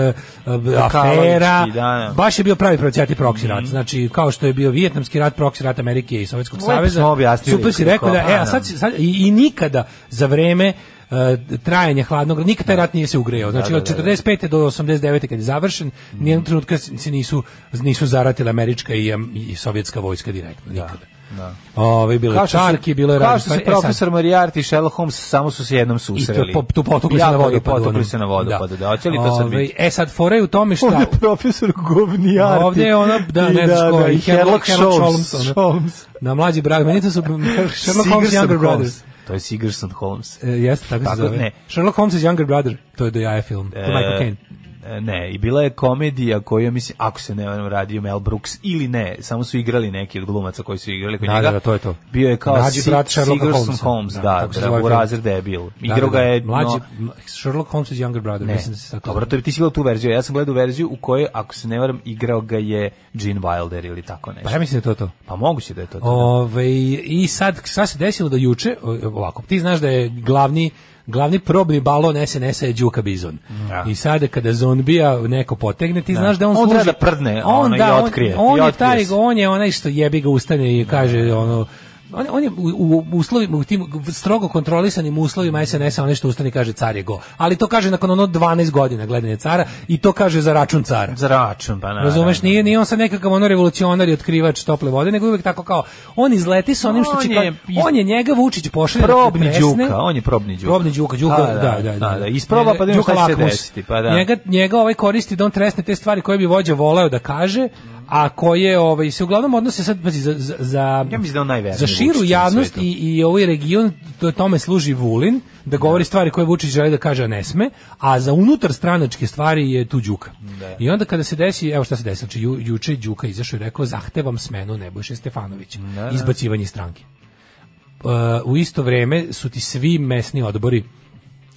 e, afera. Kalavički, da, Mhm. da. Baš je bio pravi procijati proksi rat. Znači kao što je bio vijetnamski rat, proksi rat Amerike i Sovjetskog Lepo saveza. smo objasnili Super si kako, rekao da e a da. sad, si- sad i, i nikada za vreme e, trajanja hladnog rata, nikad taj rat nije se ugreo. Znači Da, Mm. da, od da, da. 45. do 89. kad je završen, nijednog trenutka se nisu, nisu zaratile američka i, um, i sovjetska vojska direktno, nikada. Da. Ovaj bilo je Kao što se- čarki, bilo je Kao raznih što se stvari. E, sad, profesor Moriarty i Sherlock Holmes samo su se jednom susreli. I to, po- tu potukli se na Jako je vodopadu. Potukli ono. se na vodopadu, da. Hoće li to sad Ovaj, biti? E sad, fora je u tome šta... Ovdje profesor Govnijarti. Ovdje je ono, da, ne znaš ko, i i Sherlock Sherlock Holmes. Holmes. ono. Holmes. Na mlađi brak, meni to su Sherlock Holmes Sigerson Younger Brother. Holmes. To je Sigerson Holmes. E, jeste, tako, Tako, se zove. ne. Sherlock Holmes is Younger Brother, to je do jaja film. To je Michael Caine. E, Ne, i bila je komedija koju, je, mislim, ako se ne varam, radio Mel Brooks ili ne, samo su igrali neki od glumaca koji su igrali kod Da, njega. da, da, to je to. Bio je kao Mlađi Si- brat Sherlocka Sigerson Holmesa. Holmes, Da, da, tako se da, zove u film. Razred debil. Da, Igrao da, ga da. je... Mlađi, no, m- Sherlock Holmes is Younger Brother, Ne. mislim da se tako Dobro, to bi ti si gledao tu verziju. Ja sam gledao verziju u kojoj, ako se ne varam, igrao ga je Gene Wilder ili tako Pa nešto. ja mislim da je to to. Pa moguće da je to. to. Ove, Ovaj, I sad, šta se desilo da juče, o, ovako, ti znaš da je glavni glavni probni balon SNS-a je Đuka Bizon. Da. I sada kada zombija neko potegne, ti znaš da on, On služi... treba da prdne, ono, i otkrije, On, i Da, on je otkrije taj, se. on je onaj što jebi ga ustane i kaže ono, on, on je u, u uslovima, u tim strogo kontrolisanim uslovima SNS-a onaj što ustane i kaže car je go. Ali to kaže nakon ono 12 godina gledanja cara i to kaže za račun cara. Za račun, pa naravno. Razumeš, nije, nije on sad nekakav ono revolucionar i otkrivač tople vode, nego je uvek tako kao, on izleti sa onim što On će, je kao- iz- on je njega Vučić pošalje da Probni pretresne. Đuka, on je probni Đuka. Probni Đuka, Đuka, da, da, da. da, da. Isproba pa da vidimo Đuka šta će se lakmus. desiti. Pa da. Njega, njega ovaj koristi da on tresne te stvari koje bi vođa voleo da kaže, a koje ovaj, se uglavnom odnose sad, pazi, za, za, za, Ja mislim da je on najverniji za širu Vučić na javnost svetu. i, i ovaj region, to tome služi Vulin, da govori stvari koje Vučić želi da kaže, a ne sme, a za unutar stranačke stvari je tu Đuka. Da. I onda kada se desi, evo šta se desi, znači ju, juče je Đuka izašao i rekao, zahtevam smenu Nebojše Stefanovića, Da, izbacivanje iz stranke. Uh, u isto vreme su ti svi mesni odbori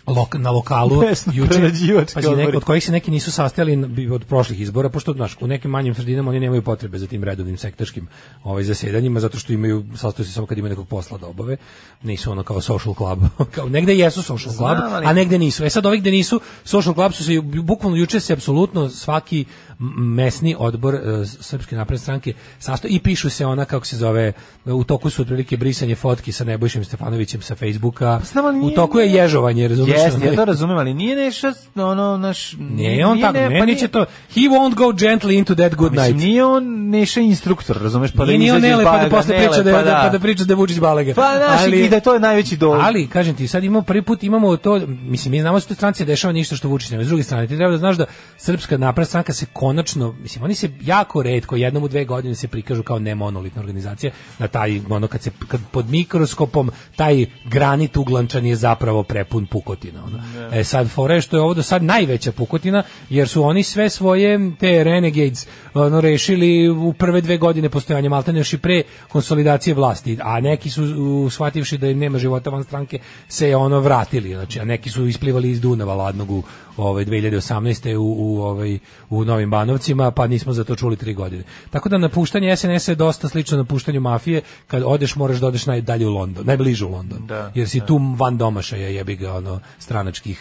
lok, na lokalu Mesno prerađivački pazi, neko- odbori. od kojih se neki nisu sastajali na- bi- od prošlih izbora pošto znaš u nekim manjim sredinama oni nemaju potrebe za tim redovnim sektaškim ovaj zasedanjima zato što imaju sastaju se samo kad imaju nekog posla da obave nisu ono kao social club kao negde jesu social club Znam, ali- a negde nisu e sad ovih gde nisu social club su se ju- bukvalno juče se apsolutno svaki m- mesni odbor e, srpske napredne stranke sastao i pišu se ona kako se zove u toku su otprilike brisanje fotki sa Nebojšem Stefanovićem sa Facebooka Pa znam, ali u nije- toku je ježovanje razumiješ Jeste, ja to razumem, ali nije nešto, ono, naš... Nije on tako, pa meni će to, he won't go gently into that good Mislim, night. nije on neša instruktor, razumeš, pa da Nije ni on izađeš nele, pa da Balaga, posle Nele, priča da, pa da, pa da priča da je Vučić Balega. Pa znaš, Ali- i da to je najveći dol. Ali, kažem ti, sad imamo prvi put, imamo to, mislim, mi znamo da se tu stranci dešava ništa što Vučić nema. S druge strane, ti treba da znaš da Srpska napredna stranka se konačno, mislim, oni se jako redko, jednom u dve godine se prikažu kao nemonolitna organizacija, na taj, ono, kad se, kad pod mikroskopom taj granit uglančan je zapravo prepun pukotina. Ono. E sad, fora je što je ovo do sad najveća pukotina, jer su oni sve svoje te renegades ono, rešili u prve dve godine postojanja Maltene još i pre konsolidacije vlasti, a neki su u, shvativši da im nema života van stranke se ono vratili, znači, a neki su isplivali iz Dunava ladnog u ovaj, 2018. U, u, ovaj, u Novim Banovcima, pa nismo za to čuli tri godine. Tako da napuštanje SNS je dosta slično napuštanju mafije, kad odeš moraš da odeš najdalje u London, najbliže u London, Da, jer si tu van domašaja jebi ga ono, stranačkih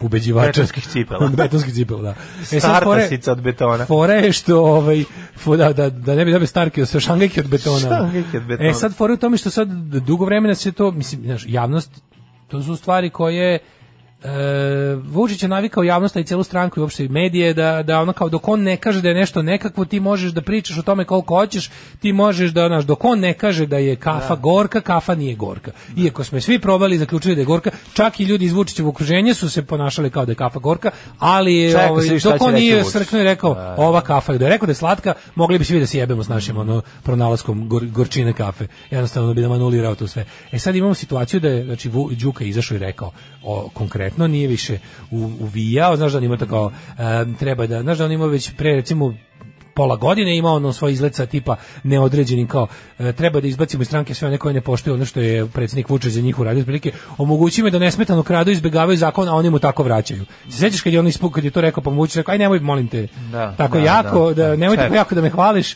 ubeđivača. Betonskih cipela. Betonskih cipela, da. E, sad Starta fora je- sica od betona. Fora je što ovaj fo- da, da, da ne bi dobio starke sa šangajke od betona. Šangajke od betona. E sad fora je u tome što sad dugo vremena se to mislim znaš, javnost to su stvari koje e, Vučić je navikao javnost a i celu stranku i uopšte i medije da, da ono kao dok on ne kaže da je nešto nekakvo ti možeš da pričaš o tome koliko hoćeš ti možeš da znaš dok on ne kaže da je kafa gorka kafa nije gorka iako smo je svi probali i zaključili da je gorka čak i ljudi iz Vučićevog okruženja su se ponašali kao da je kafa gorka ali je, Čekao ovaj, se i šta dok će on reći nije Vučić. srknuo i rekao ova kafa da je rekao da je slatka mogli bi svi da se jebemo s našim ono pronalaskom gor, gorčine kafe jednostavno da bi nam anulirao to sve e sad imamo situaciju da je znači Vu- Đuka izašao i rekao o, konkretno nije više u, uvijao znaš da on ima to kao em, treba da znaš da on ima već pre recimo pola godine ima ono svoj izlet sa tipa neodređenim kao e, treba da izbacimo iz stranke sve one koje ne poštuju ono što je predsjednik Vučić za njih uradio otprilike omogućimo da nesmetano kradu izbegavaju zakon a oni mu tako vraćaju. Se sećaš kad je on ispuk kad je to rekao pa mu Vučić rekao aj nemoj molim te Da, tako da, jako da, da, da. nemoj Čekaj. tako Mhm. jako da me hvališ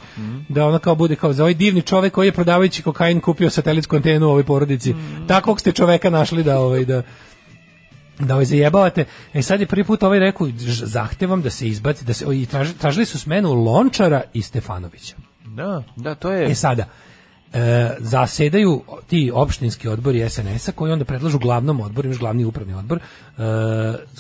da ono kao bude kao za ovaj divni čovek koji je prodavajući kokain kupio satelitsku antenu u ovoj porodici. Mhm. Takvog ste čoveka našli da ovaj da da ovaj zajebavate. E sad je prvi put ovaj rekao, ž- zahtevam da se izbaci, da se, i traži- tražili su smenu Lončara i Stefanovića. Da, da, to je... E sada, e, zasedaju ti opštinski odbori SNS-a koji onda predlažu glavnom odboru, imaš glavni upravni odbor, e,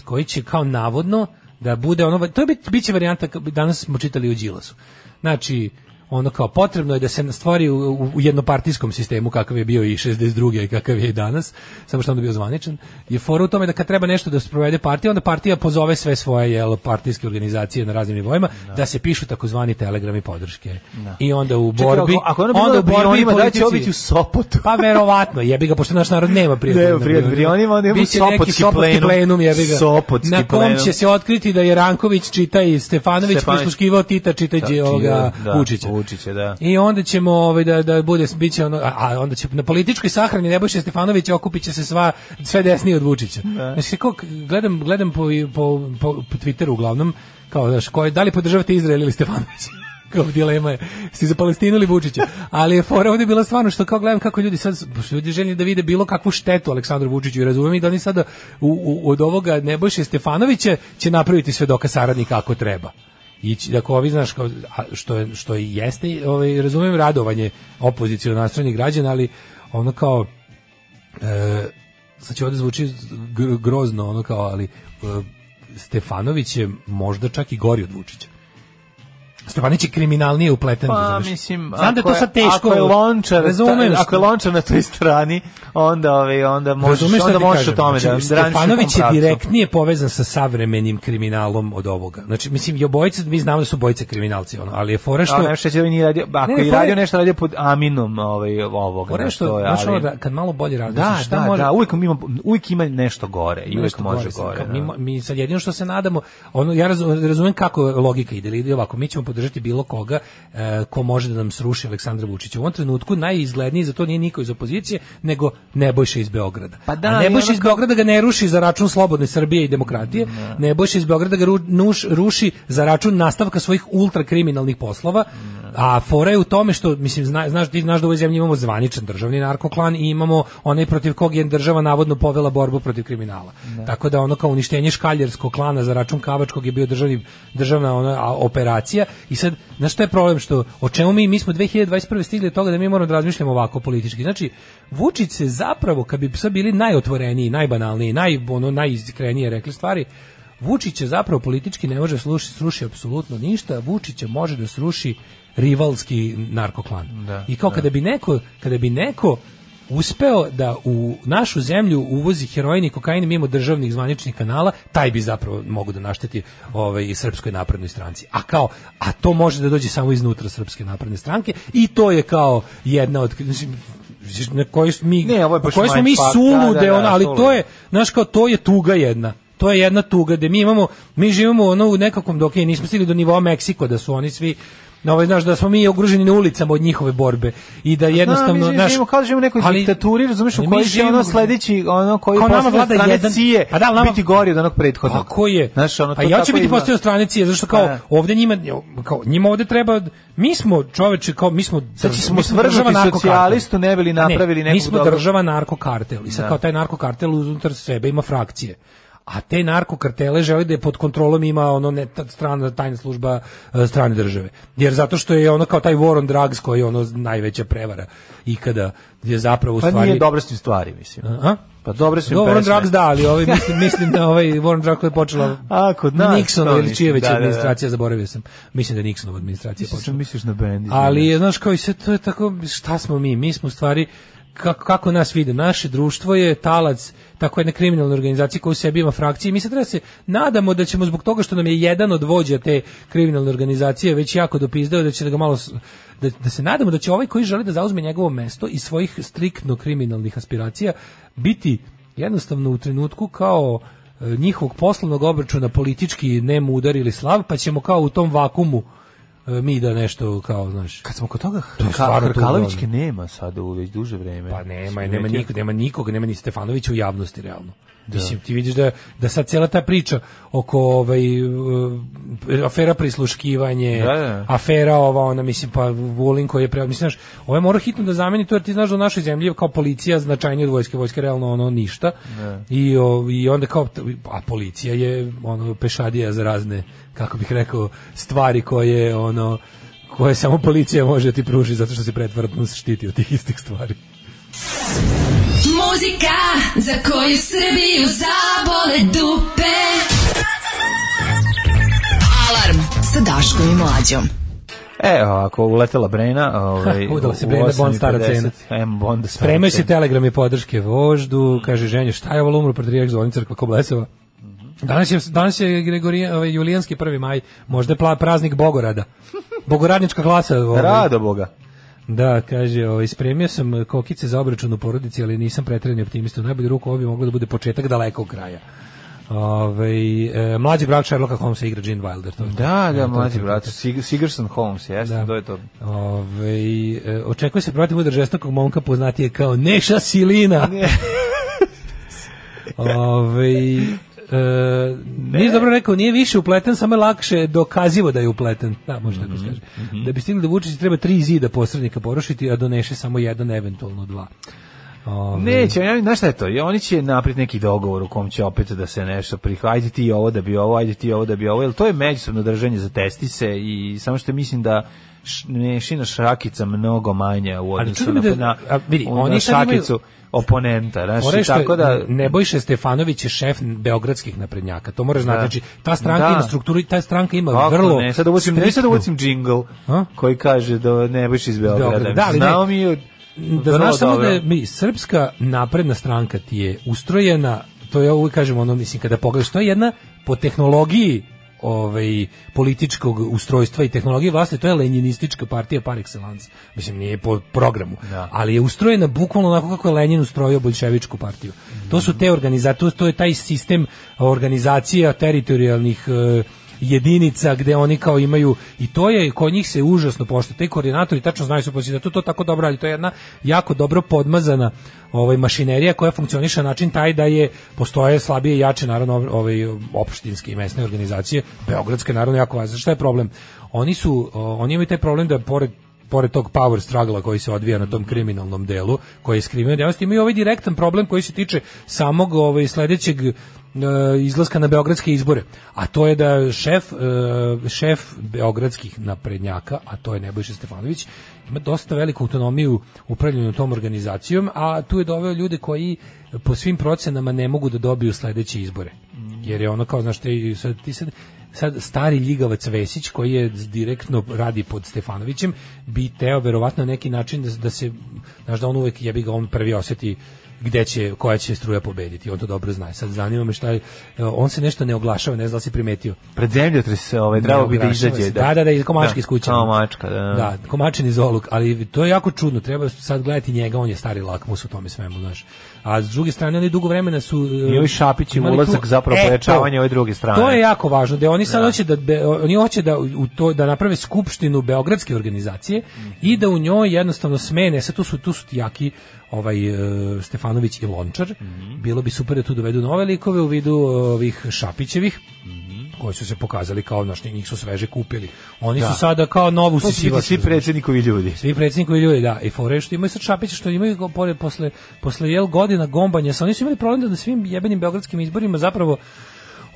koji će kao navodno da bude ono, to je bit, bit će varijanta, ka- danas smo čitali u Đilasu. Znači, ono kao potrebno je da se stvori u, u, u jednopartijskom sistemu kakav je bio i 62. i kakav je i danas, samo što je onda bio zvaničan, je fora u tome da kad treba nešto da sprovede partija, onda partija pozove sve svoje jel, partijske organizacije na raznim nivoima da se pišu takozvani telegrami podrške. I onda u Čekaj, borbi... Znači, ako- ako ono bi bilo na Brionima, da li će ovo biti u Sopotu? Pa verovatno, jebi ga, pošto naš narod nema prijatelja. Nema na prijatelja Brionima. Brionima, onda imamo Biće neki Sopotski Sopotski plenum. plenum, jebi ga. Sopotski na kom plenum. će se otkriti da je Ranković čita i Stefanović, Stefanović. prisluškivao Tita čitajući Da, ovoga čije- da, Vučića. Vučića, da. I onda ćemo ovaj da da bude biće ono a, a onda će na političkoj sahrani Nebojše Stefanovića okupiće se sva sve desnije od Vučića. Znači kako gledam gledam po po po, po Twitteru uglavnom kao znaš, ko je, da li podržavate Izrael ili Stefanovića? kao dilema je, si za Palestinu ili Vučića, ali je fora ovdje bila stvarno što kao gledam kako ljudi sad, što ljudi željni da vide bilo kakvu štetu Aleksandru Vučiću i razumijem i da oni sada u, u, od ovoga Nebojše Stefanovića će napraviti svedoka saradnika ako treba ići da ovi znaš kao a što je što i jeste ovaj razumem radovanje opoziciono nastrojenih građana ali ono kao e, sad će ovdje zvuči gr- grozno ono kao ali e, Stefanović je možda čak i gori od Vučića Stefanić je kriminalnije upleten Pa razumeš? mislim, znam da je to ako sad teško Ako je lončar, razumem ta- ako što- je lončar na toj strani, onda ovaj onda možeš, Razumeš šta onda ti možeš kažem? o tome da Znači, da radiš u tom Stefanović je pravcu. Da, direktnije povezan sa savremenim kriminalom od ovoga. Znači, mislim, i obojice, mi znamo da su obojice kriminalci, ono, ali je fora što... A nešto će da nije radio, ako Ne, ne, je fora radio je- nešto radio pod aminom ovaj ovog Fora je što, nešto, znaš, ono ali- da kad malo bolje radiš, Da, šta da, može... da, uvijek ima, uvijek ima nešto gore i uvijek nešto može sad, gore. kao da. Mi, mo- mi sad jedino što se nadamo, ono, ja razu- razumem kako logika ide, ali ide ovako, mi ćemo podržati bilo koga e, ko može da nam sruši Aleksandra Vučića. U ovom trenutku najizgledniji za to nije niko iz opozicije, nego Nebojša iz Beograda. Pa da, A ali Nebojša ono iz Beograda ga ne ruši za račun slobodne Srbije i demokratije, Nebojša iz Beograda ga ru- nuš- ruši za račun nastavka svojih ultrakriminalnih poslova, a fora je u tome što, mislim, zna, znaš, ti znaš da u ovoj zemlji imamo zvaničan državni narkoklan i imamo onaj protiv kog je država navodno povela borbu protiv kriminala. Tako da ono kao uništenje škaljerskog klana za račun Kavačkog je bio državni, državna ona, a, operacija i sad, znaš što je problem što, o čemu mi, mi smo 2021. stigli do toga da mi moramo da razmišljamo ovako politički. Znači, Vučić se zapravo, kad bi sad bili najotvoreniji, najbanalniji, naj, ono, najiskrenije rekli stvari, Vučić je zapravo politički ne može sluši, sruši apsolutno ništa, Vučića može da sruši rivalski narkoklan. I kao kada bi neko, kada bi neko uspeo da u našu zemlju uvozi heroin i kokain mimo državnih zvaničnih kanala, taj bi zapravo mogu da našteti ovaj, i srpskoj naprednoj stranci. A kao, a to može da dođe samo iznutra srpske napredne stranke i to je kao jedna od... mislim, na kojoj smo mi, Ne, ovo je baš na kojoj smo mi mindfuck, sulude, da, da, da, ono, ali to sulude. je, znaš kao to je tuga jedna to je jedna tuga gde mi imamo mi živimo ono u nekakvom dok je nismo stigli do nivoa Meksiko da su oni svi na ovaj, znaš, da smo mi ogruženi na ulicama od njihove borbe i da jednostavno mi znaš, živimo kao da živimo u nekoj ali- diktaturi, razumeš, u ali mi kojoj će živimo ono gde- sledeći, ono koji Kao nama postavlja vlada strane jedan- cije, Pa da, ali nama- biti gori od onog prethodnog. Tako je. Znaš, ono, pa to ja ću tako biti izgleda. postao stranici, zato što kao Pa da. ovdje njima kao njima ovdje treba mi smo čoveče kao mi smo Sad drž- ćemo mi smo svrgnuti država narkokartel. socijalistu, ne bi li A napravili Da. Mi nekog smo dobrog- država narkokartel i sad kao taj narkokartel unutar sebe ima frakcije. A te narkokartele želi da je pod kontrolom ima ono ne, ta- strana tajna služba e, strane države. Jer zato što je ono kao taj war on drugs koji je ono najveća prevara ikada je zapravo u Pa stvari nije dobro s tim stvari, mislim. A? Pa dobre su im Dobro, pesme. Drugs da, ali ovaj, mislim, mislim da ovaj Warren Drugs koji je počela A, kod nas, Nixonova to ili čije mislim, već da, da, da. administracija, zaboravio sam. Mislim da je Nixonova administracija Mislim, da počela. misliš na bendi. Ali, je, znaš, kao i sve to je tako, šta smo mi? Mi smo u stvari, kako, kako nas vide? Naše društvo je talac tako jedne kriminalne organizacije koja u sebi ima frakcije. Mi se treba se nadamo da ćemo zbog toga što nam je jedan od vođa te kriminalne organizacije već jako dopizdao da će da ga malo s- da, da se nadamo da će ovaj koji želi da zauzme njegovo mesto i svojih striktno kriminalnih aspiracija biti jednostavno u trenutku kao e, njihovog poslovnog obračuna politički nemu udar ili slav, pa ćemo kao u tom vakumu e, mi da nešto kao, znaš, Kad smo kod toga, je Ka- stvarno Hrkalovićke tužno. nema sada u već duže vreme. Pa nema, Mislim, nema neki- nikog, nema nikog, nema ni Stefanovića u javnosti realno. Mislim, ti vidiš da, da sad cijela ta priča oko ovaj, uh, afera prisluškivanje, Da, da. afera ova, ona, mislim, pa Vulin koji je preo, mislim, znaš, ovo je morao hitno da zameni to, jer ti znaš da u našoj zemlji je kao policija značajnije od vojske, vojske realno ono ništa, Da. I, o, i onda kao, a policija je ono pešadija za razne, kako bih rekao, stvari koje, ono, koje samo policija može da ti pruži zato što se pretvrtno štiti od tih istih stvari. Muzika za koju Srbiju zabole dupe. Alarm sa Daškom i Mlađom. E, ako uletela Brena, ovaj, Udala se u Brena, Bond 8,50, stara cena. em, Bonda stara Spremaju se cena. telegrami podrške voždu, kaže ženja, šta je ovo umro patrijarh zvoni crkva Koblesova? Danas je, danas je Gregorijan, ovaj, Julijanski 1. maj, možda je pla- praznik Bogorada. Bogoradnička klasa. Ovaj. Rado Boga. Da, kaže, ovaj, spremio sam kokice za obračun u porodici, ali nisam pretredni optimista. U najbolju ruku ovo bi moglo da bude početak dalekog kraja. Ove, e, mlađi brak Sherlocka Holmesa igra Gene Wilder. To je to. Da, to da, je mlađi to. brat, Sig- Sigerson Holmes, jeste, Da. to je to. Ove, e, očekuje se protiv udar žestokog momka poznatije kao Neša Silina. Ove, e, Ovaj, nije dobro rekao, nije više upleten, samo je lakše dokazivo da je upleten. Da, može Mhm, tako se kaže. Da bi stigli do Vučića treba tri zida posrednika porušiti, a do Neše samo jedan, eventualno dva. Ovaj, Ove, Neće, ja, znaš šta je to? I Oni će napraviti neki dogovor u kom će opet da se nešto prihvati. Ajde ti ovo da bi ovo, ajde ti ovo da bi ovo. Jer to je međusobno držanje za testise i samo što mislim da š- nešina šakica mnogo manja u odnosu čudi na, me da- na, a vidi, na oni sad imaju- šakicu oponenta. Znaš, Fora je i što je tako da... Nebojša Stefanović je šef beogradskih naprednjaka. To moraš znati. Da. Znači, ta stranka Da. ima strukturu, i ta stranka ima Kako vrlo ne, sad ubacim, ne sad striktnu- ubacim džingl A? koji kaže da ne biš iz Beograda, Beograda. da, ali ne. Znao mi je da vrlo znaš samo da dobro. je mi, srpska napredna stranka ti je ustrojena, to ja uvijek kažem ono, mislim, kada pogledaš, to je jedna po tehnologiji ovaj, političkog ustrojstva i tehnologije vlasti, to je lenjinistička partija par excellence. Mislim, nije po programu. Da. Ali je ustrojena bukvalno onako kako je Lenin ustrojio bolševičku partiju. To su te organizacije, to, to je taj sistem organizacija teritorijalnih eh, jedinica gde oni kao imaju i to je kod njih se užasno pošto te koordinatori tačno znaju su pozicije da to to tako dobro ali to je jedna jako dobro podmazana ovaj mašinerija koja funkcioniše na način taj da je postoje slabije i jače naravno ovaj opštinske i mesne organizacije beogradske naravno jako važne šta je problem oni su o, oni imaju taj problem da pored pored tog power struggle koji se odvija na tom kriminalnom delu, koji je iz kriminalne djelatnosti, imaju ovaj direktan problem koji se tiče samog ovaj, sledećeg e, izlaska na beogradske izbore. A to je da šef, e, šef beogradskih naprednjaka, a to je Nebojša Stefanović, ima dosta veliku autonomiju upravljanju tom organizacijom, a tu je doveo ljude koji po svim procenama ne mogu da dobiju sledeće izbore. Jer je ono kao, znaš, te, sad, ti sad, sad stari ljigavac Vesić koji je direktno radi pod Stefanovićem bi teo verovatno na neki način da, da se znaš da on uvek jebi ga on prvi oseti gde će koja će struja pobediti on to dobro zna sad zanima me šta je e, on se nešto ne oglašava ne znam da li si primetio Pred zemljotres ovaj, trebao bi da Oglašava se. izađe. da da da iz komački iz kuće Kao mačka, da. da. da, komačin iz oluk, ali to je jako čudno, treba sad gledati njega, on je stari lakmus u tome svemu, znaš. A s druge strane, oni dugo vremena su... e, I ovi Šapići imali ulazak tu- zapravo E, pojačavanje to. ove druge strane. To je jako važno, da oni sad hoće da be- oni hoće da u to da naprave skupštinu beogradske organizacije i da u njoj jednostavno smene, sad tu su tu su ti jaki ovaj e, Stefanović i Lončar. Bilo bi super da tu dovedu nove likove u vidu e, ovih Šapićevih. koji su se pokazali kao naš njih su sveže kupili. Oni su sada kao novu To su biti svi predsjednikovi ljudi. svi predsjednikovi ljudi, da, i fore što imaju sad Šapića, što imaju go- pored, posle, posle jel godina gombanja, sa oni su imali problem da na svim jebenim beogradskim izborima zapravo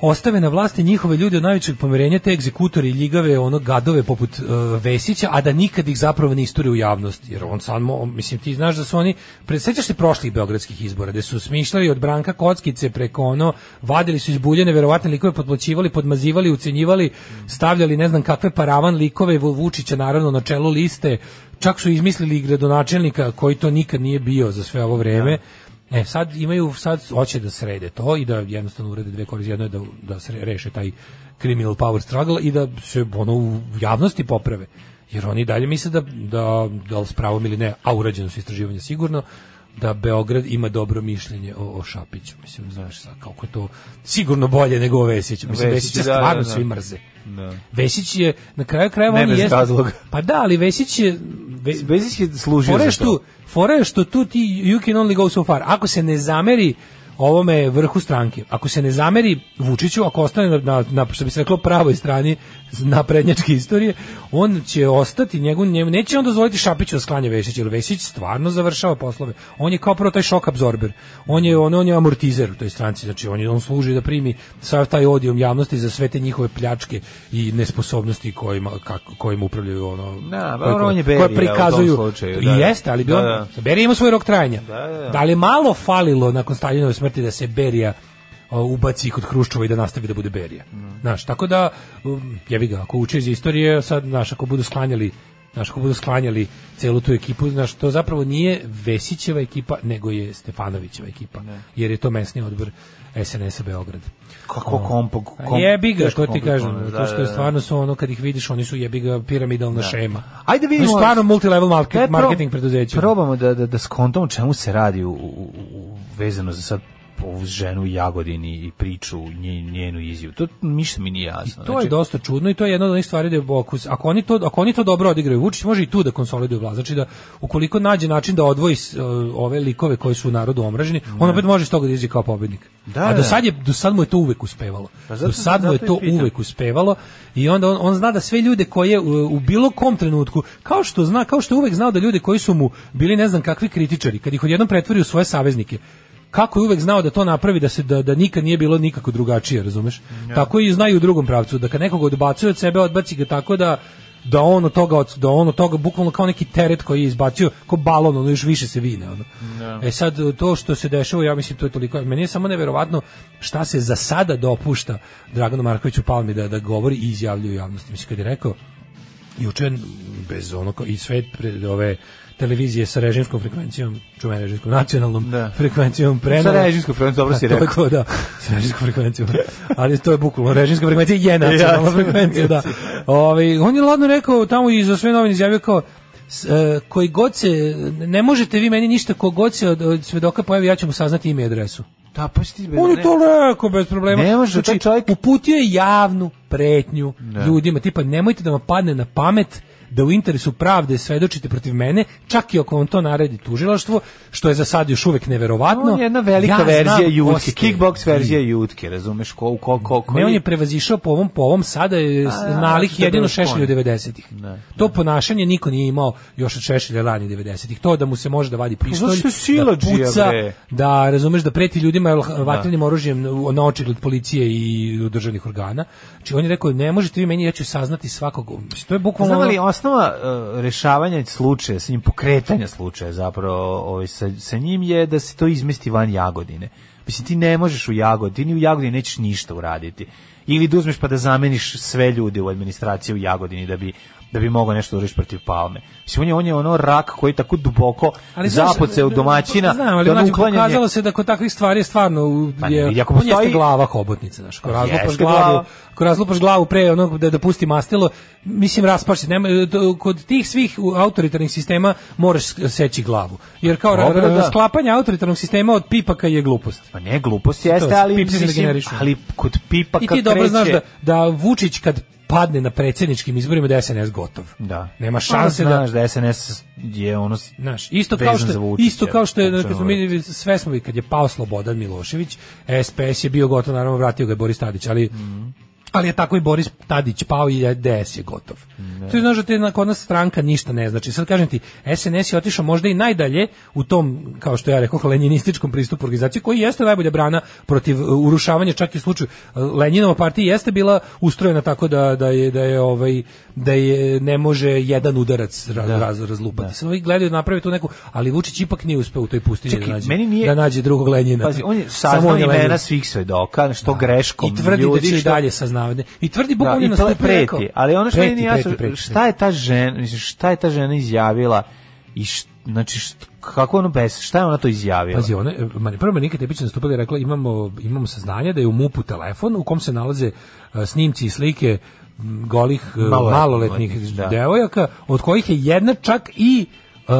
ostave na vlasti njihove ljude od najvećeg pomirenja, te egzekutori i ljigave, ono gadove poput e, Vesića, a da nikad ih zapravo ne isture u javnosti, jer on samo, on- mislim, ti znaš da su oni, predsjećaš se prošlih beogradskih izbora, gde su smišljali od Branka Kockice preko ono, vadili su iz buljene, verovatne likove potplaćivali, podmazivali, ucenjivali, stavljali ne znam kakve paravan likove, Vu- Vučića naravno na čelu liste, čak su izmislili i gradonačelnika koji to nikad nije bio za sve ovo vreme. Da. E, sad imaju, sad hoće da srede to i da jednostavno urede dve korize. Jedno je da, da se reše taj criminal power struggle i da se ono u javnosti poprave. Jer oni i dalje misle da, da, da li s pravom ili ne, a urađeno su istraživanje sigurno, da Beograd ima dobro mišljenje o, o Šapiću. Mislim, znaš, sad, kako je to sigurno bolje nego o Vesiću. Mislim, Vesić, Vesića da, da, stvarno da. svi mrze. Da. Vesić je, na kraju krajeva, Ne on bez jeste- razloga. Pa da, ali Vesić je... Ve, Bezić je služio Fora je za što, to. fora je što tu ti you can only go so far. Ako se ne zameri ovome vrhu stranke, ako se ne zameri Vučiću, ako ostane na, na, na što bi se reklo pravoj strani naprednjačke istorije, on će ostati njegov, njemu, neće on dozvoliti Šapiću da sklanja Vešić, jer Vešić stvarno završava poslove. On je kao prvo taj šok absorber. On je, on, on je amortizer u toj stranci, znači on, je, on služi da primi sav taj odijom javnosti za sve te njihove pljačke i nesposobnosti kojima, kako, kojima upravljaju ono, Da, koje- dobro, on je koje Berija u tom prikazuju. slučaju, I da, da. jeste, ali bi Da, on, da. Berija ima svoj rok trajanja. Da, da, da. li je malo falilo nakon Staljinove smrti da se Berija o, ubaci kod Hruščova i da nastavi da bude Berija. Mm. Znaš, tako da, um, jebi ga, ako uče iz istorije, sad, znaš, ako budu sklanjali znaš, ako budu sklanjali celu tu ekipu, znaš, to zapravo nije Vesićeva ekipa, nego je Stefanovićeva ekipa, jer je to mesni odbor SNS-a Beograd. Kako kompog... A kom- jebi ga, teško Da, to ti kažem, komplikovano, to što je stvarno su ono, kad ih vidiš, oni su jebi ga piramidalna šema. Ajde Oni vidimo. su stvarno multilevel market, Daj, pro- marketing preduzeće. Probamo da, da, da skontamo čemu se radi u, u, u- u, vezano za sad ovu ženu u Jagodini i priču nje, njenu izjavu. To ništa mi nije jasno. Znači, To je dosta čudno i to je jedna od onih stvari da je Bokus, ako oni to ako oni to dobro odigraju, Vučić može i tu da konsoliduje vlast. Znači da ukoliko nađe način da odvoji s- e, ove likove koji su u narodu omraženi, on opet može iz toga da izađe kao pobednik. Da, A do da. sad je do sad mu je to uvek uspevalo. Pa zato- do sad mu je zato i to pitam. uvek uspevalo i onda on, on zna da sve ljude koje u, u bilo kom trenutku, kao što zna, kao što je uvek znao da ljude koji su mu bili ne znam kakvi kritičari, kad ih odjednom pretvori u svoje saveznike, kako je uvek znao da to napravi da se da, da nikad nije bilo nikako drugačije, razumeš? Tako i znaju u drugom pravcu da kad nekog odbacuje od sebe, odbaci ga tako da da on od toga od- da on od toga bukvalno kao neki teret koji je izbacio kao balon ono još više se vine ono. Da. E sad to što se dešava ja mislim to je toliko meni je samo neverovatno šta se za sada dopušta Draganu Markoviću Palmi da da govori i izjavljuje u javnosti mislim kad je rekao juče bez ono kao- i sve pred ove televizije sa režimskom frekvencijom, čujem režimskom, nacionalnom Da. frekvencijom Sa prenela. režimskom frekvencijom, dobro si A to je rekao. To, da, sa režimskom frekvencijom. Ali to je bukvalno, režimska frekvencija je nacionalna Ja, frekvencija, da. Ove, on je ladno rekao tamo i za sve novine izjavio kao s- e, koji god se, ne možete vi meni ništa kogod se od, od svedoka pojavi, ja ću mu saznati ime i adresu. Da, pa si ti- On je to rekao bez problema. Znači, Ne može, taj čovjek- Uputio je javnu pretnju ljudima, tipa nemojte da vam padne na pamet da u interesu pravde svedočite protiv mene, čak i ako vam to naredi tužilaštvo, što je za sad još uvek neverovatno. On je jedna velika Ja verzija znam ko ste jutke, kickbox vi. verzija jutke, razumeš ko, ko, ko, ko Ne, on je prevazišao po ovom, po ovom, sada je s- da, nalik da, jedino da, Šešelju da. 90-ih. To ponašanje niko nije imao još od Šešelja rani 90-ih. To da mu se može da vadi Pa zato pištolj, što je da siledžija, puca, bre. da, razumeš, da preti ljudima jel, vatrenim oružjem na očigled policije i državnih organa. Znači, on je rekao, ne možete vi meni, ja ću saznati svakog. Mislim, to je bukvalno... Znamo li ono- Pa osnova e, rešavanja slučaja, sa njim pokretanja slučaja zapravo ovaj, sa, sa njim je da se to izmesti van Jagodine. Mislim, ti ne možeš u Jagodini, u Jagodini nećeš ništa uraditi. Ili da uzmeš pa da zameniš sve ljude u administraciji u Jagodini da bi da bi mogao nešto uriš protiv palme. Mislim, on je, on je ono rak koji je tako duboko znaš, e, zapoceo domaćina. Znam, ali da ono znači, uklanjanje- pokazalo se da kod takvih stvari je stvarno u- Pa ne, je, i ako on postoji- jeste glava hobotnica, znaš, ako razlupaš Jeste glavu, glava. ako razlupaš glavu pre onog da, da pusti mastilo, mislim raspaš se, nema, to- kod tih svih u- autoritarnih sistema moraš s- seći glavu. Jer kao ra- Dobro, ra- da. sklapanje autoritarnog sistema od pipaka je glupost. Pa ne, glupost jeste, To, ali, pipci se ne mislim, generišu. ali kod pipa I Pa kad ti dobro kreće- znaš da, da Vučić kad padne na predsjedničkim izborima da je SNS gotov. Da. Nema Onda šanse da, znaš da SNS je ono s- Znaš, isto kao vezan što za Vučića, isto kao što je kako kad smo ono- mi sve smo vidjeli, kad je pao Slobodan Milošević, SPS je bio gotov, naravno vratio ga je Boris Tadić, ali Mm. Ali je tako i Boris Tadić pao i DS je gotov. Ti znaš da te na- kod nas stranka ništa ne znači. Sad kažem ti, SNS je otišao možda i najdalje u tom, kao što ja rekao, leninističkom pristupu organizacije, koji jeste najbolja brana protiv e, urušavanja, čak i u slučaju e, Lenjinova partija jeste bila ustrojena tako da, da je da je ovaj da je ne može jedan udarac ra- Da. raz, razlupati. Sad ovi gledaju da naprave tu neku, ali Vučić ipak nije uspeo u toj pustinji Čekaj, da nađe, meni nije- da nađe drugog Lenjina. Pazi, on je Samo saznao on je Lenjin. imena svih svedoka, što greškom I tvrdi ljudi, da će i što- dalje saznavati. I tvrdi Da, bukvalno i na to je stupu rekao- preti, ali ono što Preti, meni nije jasno, preti, preti, šta je ta žena, mislim, šta je ta žena izjavila i š, znači, št- kako ono bez, šta je ona to izjavila? Pazi, ona, e, mani- prvo Marinika Tepić je nastupila i rekla imamo, imamo saznanje da je u MUP-u telefon u kom se nalaze e, snimci i slike m, golih e, Maloletnih, maloletnih da. devojaka, od kojih je jedna čak i e,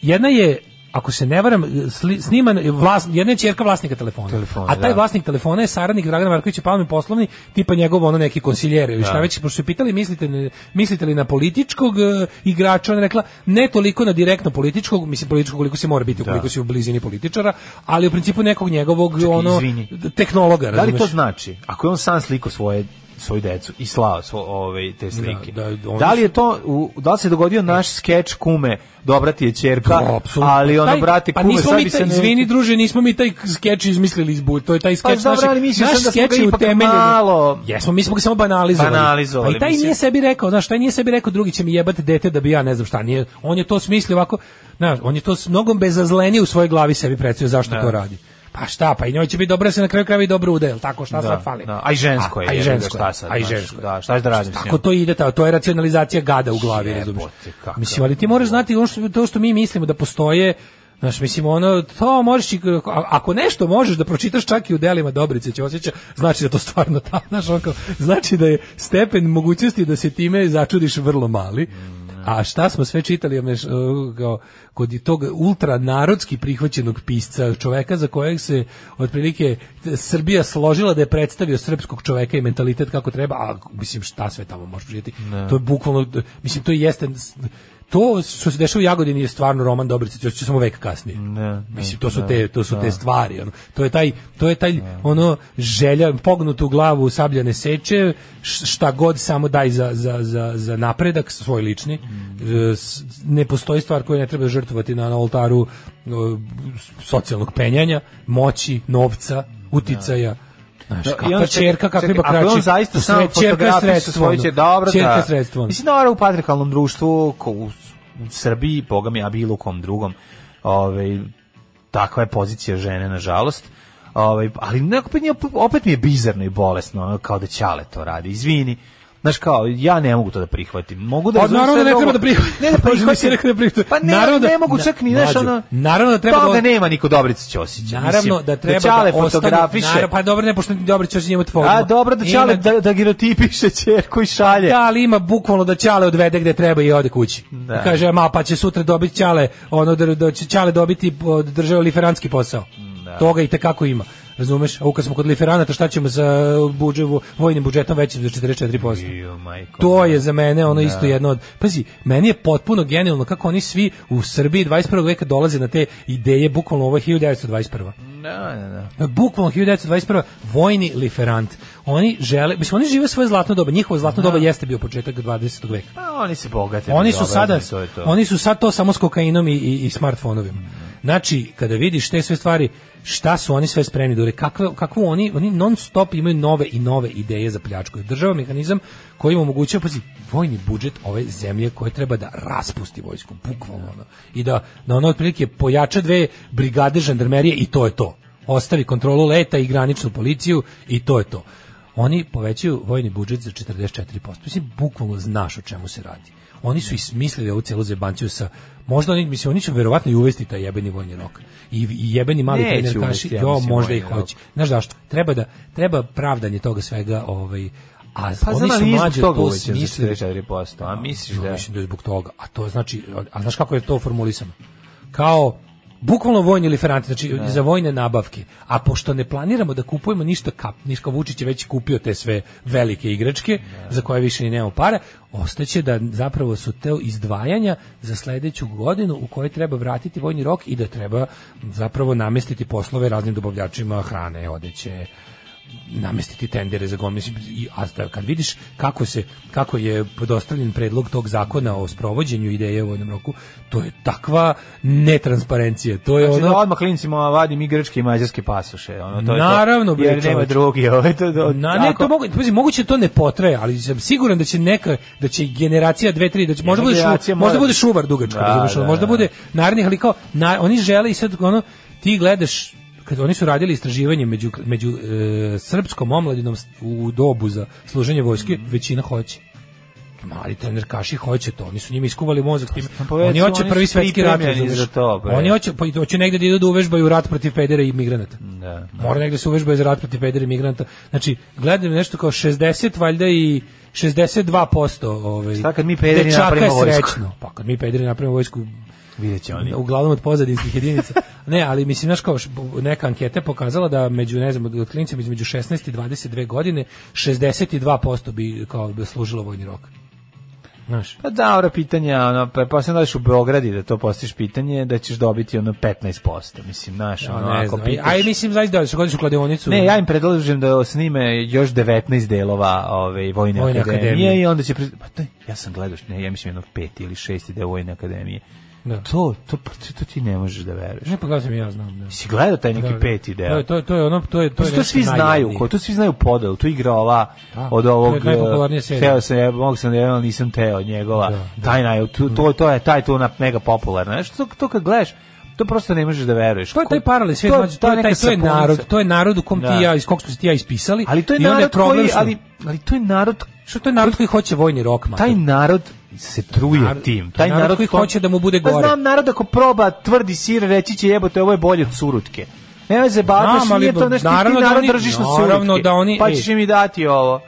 jedna je ako se ne varam, sli- sniman vlas, jedna je ćerka vlasnika telefona. Telefona, a taj da. vlasnik telefona je saradnik Dragana Markovića Palme poslovni, tipa njegov ono neki konsiljere, da. šta već, pošto su je pitali mislite, ne- mislite li na političkog e, igrača, ona je rekla ne toliko na direktno političkog, mislim političkog koliko se mora biti Da. ukoliko si u blizini političara, ali u principu nekog njegovog ono izvini. tehnologa, da li razumeš? to znači, ako je on sam sliko svoje svoju decu i slao svo, ove, te slike. da, Da, oni E. li je to, u, da li se dogodio naš skeč kume, dobra ti je čerka, Da, apsolutno. ali ono, Taj- brate, pa kume, nismo sad mi bi taj, se ne... Pa izvini druže, nismo mi taj skeč izmislili iz bu- to je taj skeč dobro, našeg- ali mislio naš sam da smo skeč ga je ipak utemeljen. malo- Jesmo, mi smo ga samo banalizovali. Banalizovali, Pa i taj mislim. nije sebi rekao, znaš, taj nije sebi rekao drugi će mi jebati dete da bi ja ne znam šta, nije. Da. On je to smislio ovako, znaš, on je to s mnogom bezazlenije u svojoj glavi sebi predstavio zašto to radi. Pa šta, pa i njoj će biti dobro da se na kraju krajeva i dobro ude, jel tako šta Da, sad fali. da. A i žensko je, A, a i jebi ga, žensko. šta je, sad, a i znaš, žensko. je. da, šta da radim s Tako njom? to ide, ta- to je racionalizacija gada u glavi, Jebote, razumiješ. kakav. Mislim, ali ti moraš znati ono što, to što mi mislimo da postoje, Znaš, mislim, ono, to možeš i, a- ako nešto možeš da pročitaš čak i u delima Dobrice će osjeća, znači da to stvarno ta, znaš, ono kao, znači da je stepen mogućnosti da se time začudiš vrlo mali, a šta smo sve čitali o meš- o, uh, kao, kod tog ultranarodski prihvaćenog pisca, čoveka za kojeg se otprilike Srbija složila da je predstavio srpskog čoveka i mentalitet kako treba, a mislim šta sve tamo možeš pročitati. To je bukvalno mislim to jeste to što se dešava u Jagodini je stvarno roman Dobrice, to će samo vek kasnije. Ne, da, Mislim to su te to su te stvari, ono. To je taj to je taj ono želja pognutu glavu sabljane seče, š- šta god samo daj za, za, za, za napredak svoj lični. Mm. E, s- Ne postoji stvar koju ne treba žrtvovati na, na oltaru e, s- socijalnog penjanja, moći, novca, uticaja. Znaš, Da, i kakva onda Da. ček- čerka, kakvi čekaj, Ako je bakrači. on zaista Sve- samo čerka je fotografija sa sredstvo, svoje ono. će, dobro da. Čerka je sredstvo. ono. Mislim, dobro, u patrihalnom društvu, ko u, u Srbiji, boga mi, a bilo u kom drugom, ovaj, takva je pozicija žene, nažalost. Ovaj, ali nekako opet, nije- opet mi je bizarno i bolesno, ono, kao da ćale to radi. Izvini. Znaš kao, ja ne mogu to da prihvatim. Mogu da Pa razumem naravno da sve ne drugo. treba da prihvatim. Ne da Možda bi se prihvatim. rekao da prihvatim. Pa ne, Naravno da- ne mogu čak ni, Mlađo, znaš, ono... naravno da treba da- Toga nema niko Dobrica Ćosića. Naravno mislim, da treba da, Ćale ostanu- fotografiše. naravno, pa dobro, ne, pošto dobro ćeš njemu tvoju. A dobro da Ćale da, da, da girotipiše ćerku i šalje. da, ali ima bukvalno da Ćale odvede gde treba i ode kući. Da. I Kaže, ma pa će sutra dobiti Ćale, ono da, da će Ćale dobiti od države liferanski posao. Da. Toga i tekako ima. Razumeš? A u kad smo kod liferanata, šta ćemo sa budževu, vojnim budžetom većim za 44%? Bio, majko. To je za mene Da. ono isto jedno od... Pazi, meni je potpuno genijalno kako oni svi u Srbiji 21. veka dolaze na te ideje, bukvalno ovo je 1921. Da, da, da. Bukvalno 1921. vojni liferant. Oni žele, mislim, oni žive svoje zlatno doba. Njihovo zlatno doba jeste bio početak 20. veka. Pa oni se bogate. Oni su bezobrazni, sada, da, to je to. oni su sad to samo s kokainom i, i, i smartfonovima. Znači, kada vidiš te sve stvari, šta su oni sve spremni da urade, kakve, kakvu oni, oni non stop imaju nove i nove ideje za pljačku. Država mehanizam koji im omogućava, pazi, vojni budžet ove zemlje koje treba da raspusti vojsku, bukvalno, ono, i da na ono otprilike pojača dve brigade žandarmerije i to je to. Ostavi kontrolu leta i graničnu policiju i to je to. Oni povećaju vojni budžet za 44%. Mislim, bukvalno znaš o čemu se radi oni su i smislili ovu celu zebanciju sa možda oni mislim oni će verovatno i uvesti taj jebeni vojni rok i, i jebeni mali Neće trener kaši uvesti, ja jo mislim, možda vojni i rok. hoće znaš zašto treba da treba pravdanje toga svega ovaj a Pa oni znam, su ali nije zbog mlađi toga to uvećan za smislili 44%, a misliš ja da... mislim da je zbog toga. A to znači, a znaš kako je to formulisano? Kao bukvalno vojni liferanti, znači za vojne nabavke. A pošto ne planiramo da kupujemo ništa kap, Niška Vučić je već kupio te sve velike igračke za koje više ni nemamo para, ostaće da zapravo su te izdvajanja za sledeću godinu u kojoj treba vratiti vojni rok i da treba zapravo namestiti poslove raznim dobavljačima hrane, odeće, namestiti tendere za gomile i a da- kad vidiš kako se kako je dostavljen predlog tog zakona o sprovođenju ideje u vojnom roku to je takva netransparencija to je Znači, da ono odmah klincima vadim igračke i mađarske pasoše. Ono, to je Naravno, to, bre, Jer nema čoveče. drugi. Ovo, je to, to, Na, ne, to mogu, pazi, moguće to ne potraje, ali sam siguran da će neka da će generacija 2 3 da će možda bude Generacija šu, mora- možda bude šuvar dugačka, Da, razumeš, ono, da, možda da. bude narednih ali kao na, oni žele i sad ono ti gledaš kad oni su radili istraživanje među među e, srpskom omladinom s- u dobu za služenje vojske, Mhm. većina hoće. Mali trener Kaši hoće to, oni su njima iskuvali mozak tim. pa već Oni su- hoće oni prvi su svetski rat, pripremljeni razumeš. za to, bre. Oni hoće pa i hoće negde da idu da uvežbaju rat protiv pedera i migranata. Da. Mora negde se uvežba za rat protiv pedera i migranta. Znači, gledam nešto kao 60 valjda i 62% ovaj. Šta kad mi pederi dečaka napravimo je vojsku? srećno. Pa kad mi pederi napravimo vojsku, Vidjet će oni. uglavnom od pozadinskih jedinica. ne, ali mislim, znaš kao, š- bu- neka anketa je pokazala da među, ne znam, od- od klinicama između 16 i 22 godine, 62% bi kao bi služilo vojni rok. Znaš, Pa da, ora pitanja, ono, pa, pa sam daš u Beogradi da to postiš pitanje, da ćeš dobiti ono 15%, mislim, znaš, ja, ono, ne ako znam. pitaš... Aj, mislim, zaista da se godiš u kladionicu. Ne, ja im predlažem da snime još 19 delova ove Vojne, Vojne akademije, akademije. i onda će pre... pa to, je- ja sam gledao, što- ne, ja mislim jedno pet ili šest deo Vojne akademije. Da. To, to, pa to, to ti ne možeš da veruješ. Ne, pa gledam sam i ja znam, da. Si gledao taj neki Da, da. peti deo? To je- To je to je ono to je to To, je to nešto svi znaju, najjadnije. ko, to svi znaju podelu, tu igra ova Da, od to je ovog... najpopularnija eh, serija. Teo sam, ja, mogu sam da je, ali nisam teo njegova. Da, da. Taj naj, tu, to, to je taj tu na, mega popularna. Znaš, to, to kad gledaš, To prosto ne možeš da veruješ. To je taj Ko- paralelni svijet, mlađe, to, je taj, neka to je sapunica. narod, to je narod u kom Da. ti ja, iz kog smo se ti ja ispisali. Ali to je i onda narod problem koji, što- ali, ali to je narod, Što to je narod koji hoće vojni rok, mater. taj narod se truje Pa da. Narod- tim. to je narod koji to- hoće da mu bude Pa gore. znam, narod ako proba tvrdi sir, reći će jebote, ovo je bolje od surutke. Ne se babaš, Znam, ali nije to nešto, ti naravno da narod oni- držiš na naravno surutke. da oni- pa ej. ćeš mi dati ovo.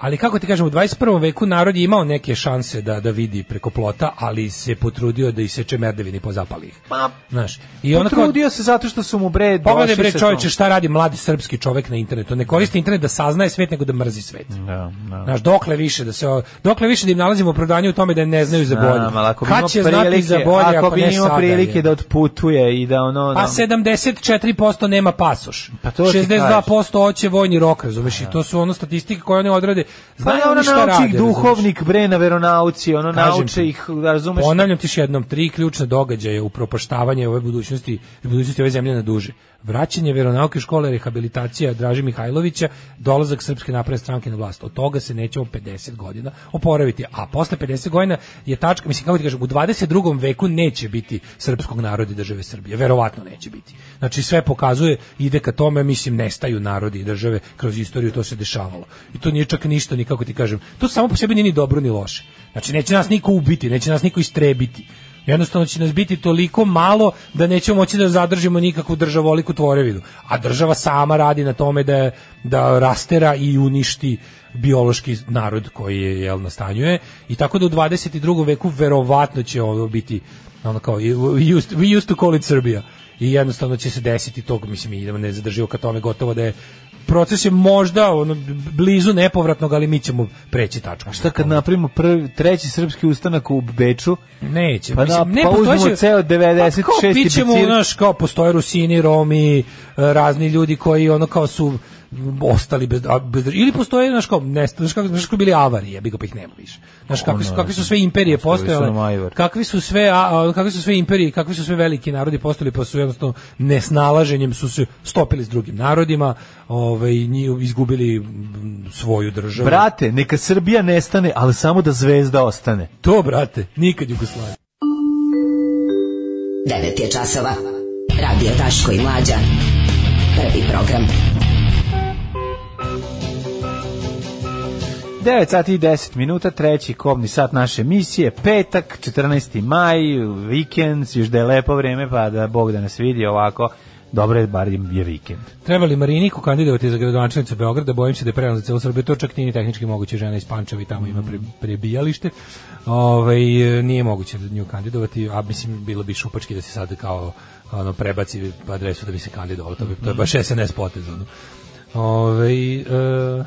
Ali kako ti kažem, u 21. veku narod je imao neke šanse da da vidi preko plota, ali se potrudio da iseče merdevini po zapalih. Pa, Znaš, I i onako Potrudio se zato što su mu bre Pogledaj došli bre sa čoveče tom- šta radi mladi srpski čovek na internetu. Ne koristi internet da saznaje svet nego da mrzi svet. Da, da. Znaš, dokle više da se o- dokle više da im nalazimo opravdanje u tome da ne znaju za bolje. Znam, ali ako bi Kad imao će znati prilike- za bolje ako bi ne imao sada, prilike je? da otputuje i da ono... Pa da- 74% nema pasoš. Pa to ti 62% hoće vojni rok, razumeš? I to su ono statistike koje oni odrade. Pa Znaju ono oni šta nauči rade. ih razumeš? duhovnik bre na veronauci, ono Kažem nauče ti. ih, da razumeš? Ponavljam ti još jednom, tri ključna događaja u propaštavanje ove budućnosti, budućnosti ove zemlje na duže. Vraćanje veronauke škole, rehabilitacija Draže Mihajlovića, dolazak Srpske napredne stranke na vlast. Od toga se nećemo 50 godina oporaviti. A posle 50 godina je tačka, mislim kako ti kažem, u 22. veku neće biti srpskog naroda i države Srbije. Verovatno neće biti. Znači sve pokazuje, ide ka tome, mislim, nestaju narodi i države kroz istoriju, to se dešavalo. I to nije čak ništa, ni kako ti kažem. To samo po sebi nije ni dobro ni loše. Znači neće nas niko ubiti, neće nas niko istrebiti. Jednostavno će nas biti toliko malo da nećemo moći da zadržimo nikakvu državoliku tvorevinu. A država sama radi na tome da, da rastera i uništi biološki narod koji je jel, na stanju je. I tako da u 22. veku verovatno će ovo biti ono kao we used, we used to call it Serbia. I jednostavno će se desiti tog, mislim, da mi idemo nezadrživo ka tome gotovo da je proces je možda ono, blizu nepovratnog, ali mi ćemo preći tačku. Šta kad napravimo prvi, treći srpski ustanak u Beču? Neće. Pa da, pa postojeće- uzmemo ceo Pa 96. kao pićemo, bicikl. znaš, kao postoje Rusini, Romi, e, razni ljudi koji ono kao su m, ostali bez, a, bez ili postoje znaš kao ne znaš kako znaš kako bili avari jebi ga pa ih nema više znaš kakvi su kakvi su sve imperije Ostali su nam postojale ajvar. kakvi su sve a, a, kakvi su sve imperije kakvi su sve veliki narodi postali pa su jednostavno nesnalaženjem su se stopili s drugim narodima ovaj nji- izgubili m, svoju državu Brate, neka Srbija nestane, ali samo da zvezda ostane. to brate nikad Jugoslavija 9 je časova. Radio Daško i Mlađa. Prvi program. 9 sati i 10 minuta, treći kobni sat naše emisije, petak, 14. maj, vikend, još da je lepo vreme, pa da Bog da nas vidi ovako, dobro je, bar je vikend. Treba li Mariniku kandidovati za gradonačelnicu Beograda? Bojim se da je prerano za celu Srbiju. To čak nije ni tehnički moguće. Žena iz Pančeva i tamo ima pre, prebijalište. Ovaj, nije moguće da nju kandidovati, a mislim bilo bi šupački da se sad kao ono, prebaci adresu da bi se kandidovalo. To, bi, to je baš SNS potez. Ono. Ovaj, e,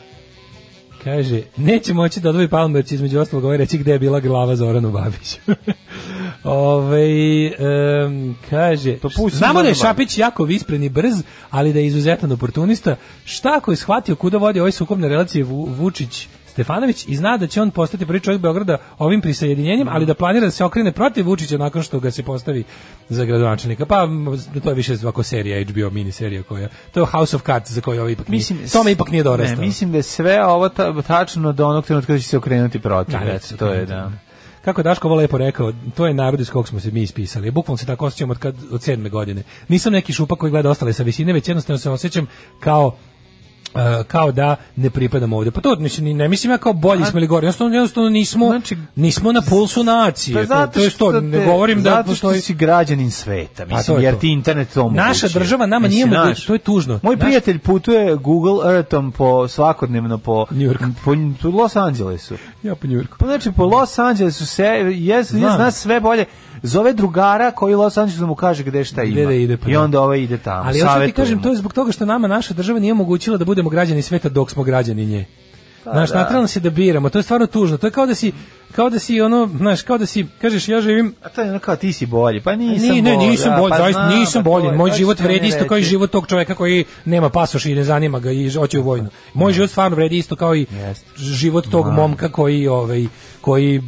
Kaže, neće moći da odvoji Palmer će između ostalog ovaj reći gde je bila glava Zoranu Babiću. Ove, kaže, Pa pusti znamo Zoranu da je Babić. Šapić jako vispren i brz, ali da je izuzetan oportunista. Šta ako je shvatio kuda vodi ovaj sukob na relaciji Vu- Vučić Stefanović i zna da će on postati prvi čovjek Beograda ovim prisajedinjenjem, ali da planira da se okrene protiv Vučića nakon što ga se postavi za gradonačelnika. Pa m, to je više ovako serija, HBO miniserija koja, to je House of Cards za koju ovo ipak mislim, nije, tome ipak nije dorastao. Ne, mislim da je sve ovo ta, tačno do onog trenutka da će se okrenuti protiv. Da, Da, neće se to je, okrenuti. da. Kako je Daško ovo lepo rekao, to je narod iz kog smo se mi ispisali. Bukvalno se tako osjećam od, kad, od sedme godine. Nisam neki šupak koji gleda ostale sa visine, već jednostavno se osjećam kao e, kao da ne pripadam ovde. Pa to mislim, ni- ne mislim ja kao bolji smo ili gori. Jednostavno, jednostavno nismo, Znači- nismo na pulsu nacije. Pa to, to je to. što Ne te- govorim da zato što postoji- si građanin sveta, Pa to mislim, je jer to. ti internet to omogućuje. Naša država nama nije Mislim, omogućila, naš- to je tužno. Moj Naš- prijatelj putuje Google Earthom po svakodnevno po New Yorku. po, po Los Angelesu. Ja po Njujorku. Pa znači po Los Angelesu se je Znam. zna sve bolje. Zove drugara koji u Los Angelesu mu kaže gde šta Gde ima. da ide, pa I da. onda ovaj ide tamo. Ali ja ti savetuje kažem, mu. to je zbog toga što nama naša država nije omogućila da budemo građani sveta dok smo građani nje. znaš, da. natralno se da biramo, to je stvarno tužno. To je kao da si, kao da si ono, znaš, kao da si, kažeš, ja živim, A to je ono kao ti si bolji. Pa nisam ni, ne, bolji, nisam a, bolji, pa zaista znam, nisam pa to bolji. je, Moj pa život ćete mi vredi isto kao i reći. život tog čoveka koji nema pasoš i ne zanima ga i hoće u vojnu. Moj život stvarno vredi isto kao i Jeste. život tog momka koji ovaj koji e,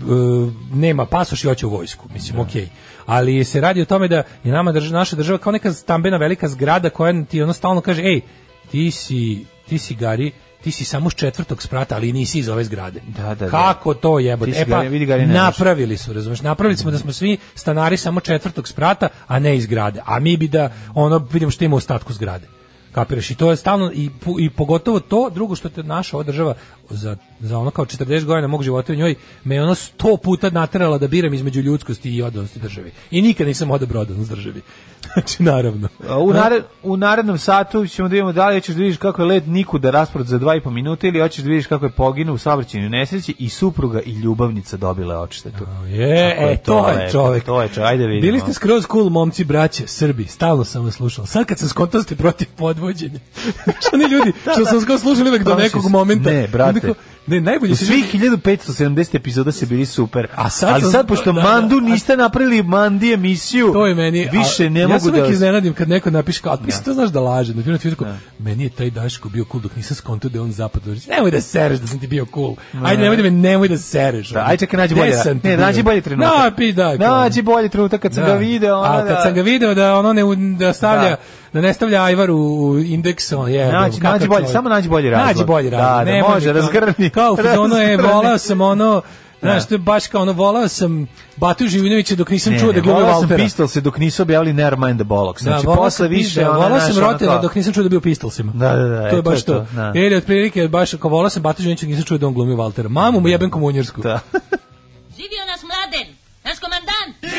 nema pasoš i hoće u vojsku. Da. Mislim, okej. Ali se radi o tome da je nama drž- naša država kao neka stambena velika zgrada koja ti ono stalno kaže, ej, ti si ti si Gari, ti si samo s četvrtog sprata, ali nisi iz ove zgrade. Da, da, da. Kako to jebote? Ti si E pa, ga- vidi ga, ali ne znaš. napravili su, razumeš? Napravili smo da smo svi stanari samo četvrtog sprata, a ne iz zgrade. A mi bi da ono vidimo što ima u ostatku zgrade. Kapiraš? I to je stalno i, pu- i pogotovo to, drugo što te naša ova država za, za ono kao 40 godina mog života u njoj me je ono 100 puta naterala da biram između ljudskosti i odanosti državi. I nikad nisam odabrao odanost državi. Znači, naravno. A U, nared, u narednom satu ćemo da vidimo da li hoćeš da vidiš kako je let Niku da rasport za 2,5 minuta ili hoćeš da vidiš kako je poginuo u saobraćajnoj nesreći i supruga i ljubavnica dobila odštetu. Je, Tako e, to je lepo, čovek. To je čovek, ajde vidimo. Bili ste skroz cool momci, braće, Srbi, stalno sam vas slušao. Sad kad sam skontao ste protiv podvođenja. što oni ljudi, Da, što sam skroz slušao uvek do Prošli nekog su. momenta. Ne, brate. Onda kao- ne, najbolje U su svih 1570 epizoda se bili super. A sad ali sam- sad, pošto da, da, Mandu a- niste napravili Mandi emisiju, To je meni. a više ne ja mogu Ja da... se uvijek iznenadim kad neko napiše kao, "Mislim, to znaš da laže." Na primjer, Twitteru kao, Da. meni je taj Daško bio cool dok nisam skontao da je on zapad. Nemoj da sereš da sam ti bio cool. Ajde, nemoj da me, nemoj da sereš. Da, aj čekaj, nađi Gde bolje. sam ti Ne, bio? nađi bolje trenutak. Da, pi, da. kao- Nađi bolje trenutak kad sam Da. ga video, ona A kad sam ga video da ono ne da stavlja Da. da, ne stavlja Ajvar u, u indeks on je. Nađi- kakav nađi bolji, čovjek. samo nađi bolji razlog. Nađi bolji Da, razlog. da, nemoj mi može, to. razgrni. Kao ono je Razgrni. Da. volao sam ono Znaš, to je baš kao ono, volao sam Batu Živinovića dok nisam Ne, čuo ne, da glumi volao sam Valtera. Da, Pistol se dok nisu objavili Nevermind the Bollocks. Znači, volao posle sam više... Pistol, ona, volao znaš, sam ono Rotela kao- dok nisam čuo da je bio Pistolsima. Da, da, da, To e, je baš to je to. to, da. Jer je otprilike baš kao volao sam Batu Živinovića dok nisam čuo da on glumi Valtera. Mamu mu jebem komunjarsku. Da. Živio nas mladen, naš komandant.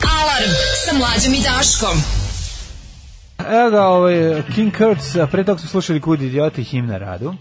Alarm sa mlađom i Daškom. Evo ga, ovaj, King Kurtz, a pre toga smo slušali Kud idioti him na radu.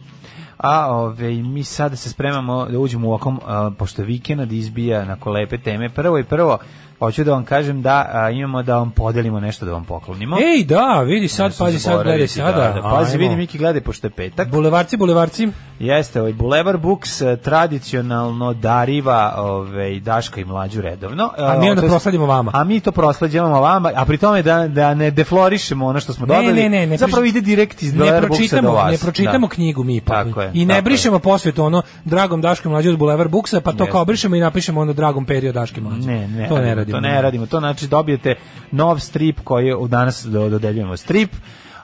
A ovaj, mi sada se spremamo da uđemo u okom, a, pošto je vikend izbija na lepe teme. Prvo i prvo, hoću da vam kažem da a, imamo da vam podelimo nešto da vam poklonimo. Ej, da, vidi sad, pazi sad, gledaj Zaboraviti, sada. Da, da, pazi, Ajmo. vidi Miki, gledaj, pošto je petak. Bulevarci, bulevarci. Jeste, ovaj Bulevar Books eh, tradicionalno dariva ovaj Daška i mlađu redovno. Eh, A mi onda To jest- prosladimo vama. A mi to proslađujemo vama, a pri tome da da ne deflorišemo ono što smo Ne, dobili. ne, ne, ne Pa Zapravo proči- ide direkt iz ne Bulevar Booksa do pročitamo, vas. ne pročitamo Da. knjigu mi pa. Tako je, I ne tako brišemo posvetu ono dragom Daškom mlađe od Bulevar Buksa, pa to Jeste. kao obrišemo i napišemo onda dragom Perio Daške mlađe. Ne, ne, to ne radimo. To ne radimo. To znači dobijete nov strip koji je u danas do- dodeljujemo strip.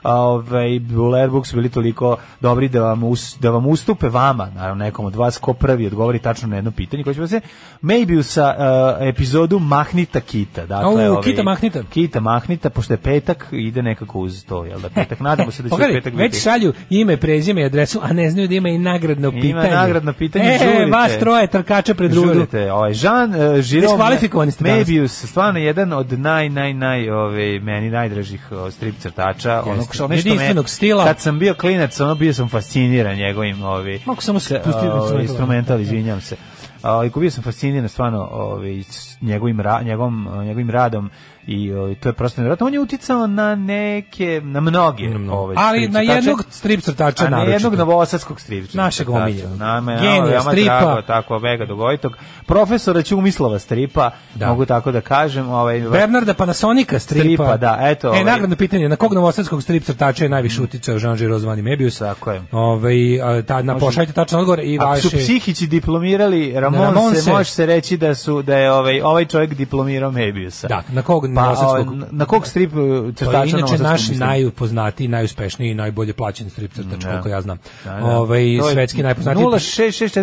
A, Ovaj Buler Books su bili toliko dobri da vam us, da vam ustupe vama, naravno nekom od vas ko prvi odgovori tačno na jedno pitanje koje će se maybe sa uh, epizodu Mahnita Kita. Dakle, Au, Kita Mahnita. Kita Mahnita pošto je petak ide nekako uz to, jel da petak nadamo se da će E, Pogledaj, petak biti. već šalju ime, prezime i adresu, a ne znaju da ima i nagradno pitanje. nagradno pitanje, E, žurite. vas troje trkača pred rudu. Žurite, ovaj Jean uh, Giraud Diskvalifikovani ste danas. Mebius, stvarno jedan od naj naj naj ovaj meni najdražih o, strip crtača, onog što nešto me- Jedinstvenog stila. Kad sam bio klinac, ono bio sam fasciniran njegovim ovaj Mogu samo se- spustiti ovaj, instrumental. instrumental, izvinjavam se. Ali bio sam fasciniran stvarno ovaj s njegovim ra, njegovom eh, njegovim radom i ovaj, to je prosto nevjerojatno. On je uticao na neke na mnoge, ovaj, Ali strip na crtače. jednog strip crtača A ne naročito. jednog novosadskog stripčića. Našeg Tako, omiljenog. da, nama je Genija veoma stripa. Drago, tako, Vega Dogojtog. Profesora Ćumislava stripa, Da. mogu tako da kažem. Ovaj, Bernarda Panasonika stripa. Stripa, da, eto, ovaj- E, nagradno pitanje, na kog novosadskog strip crtača je najviše uticao Jean Giraud zvani Mebius? Tako je. Ovaj, a, ta, na, pošaljite tačan odgovor i Ako vaše... su psihići diplomirali Da, Ramon, Ramonse. se, može se reći da su da je ovaj ovaj čovjek diplomirao Mebiusa. Da, na kog Pa, novosadskog- ovaj, na kog strip eh, crtača To je inače novosadskog naš mislim? najupoznatiji, najuspešniji i najbolje plaćen strip crtač, koliko ja znam. Da, da. Ovaj, To je svetski najpoznatiji.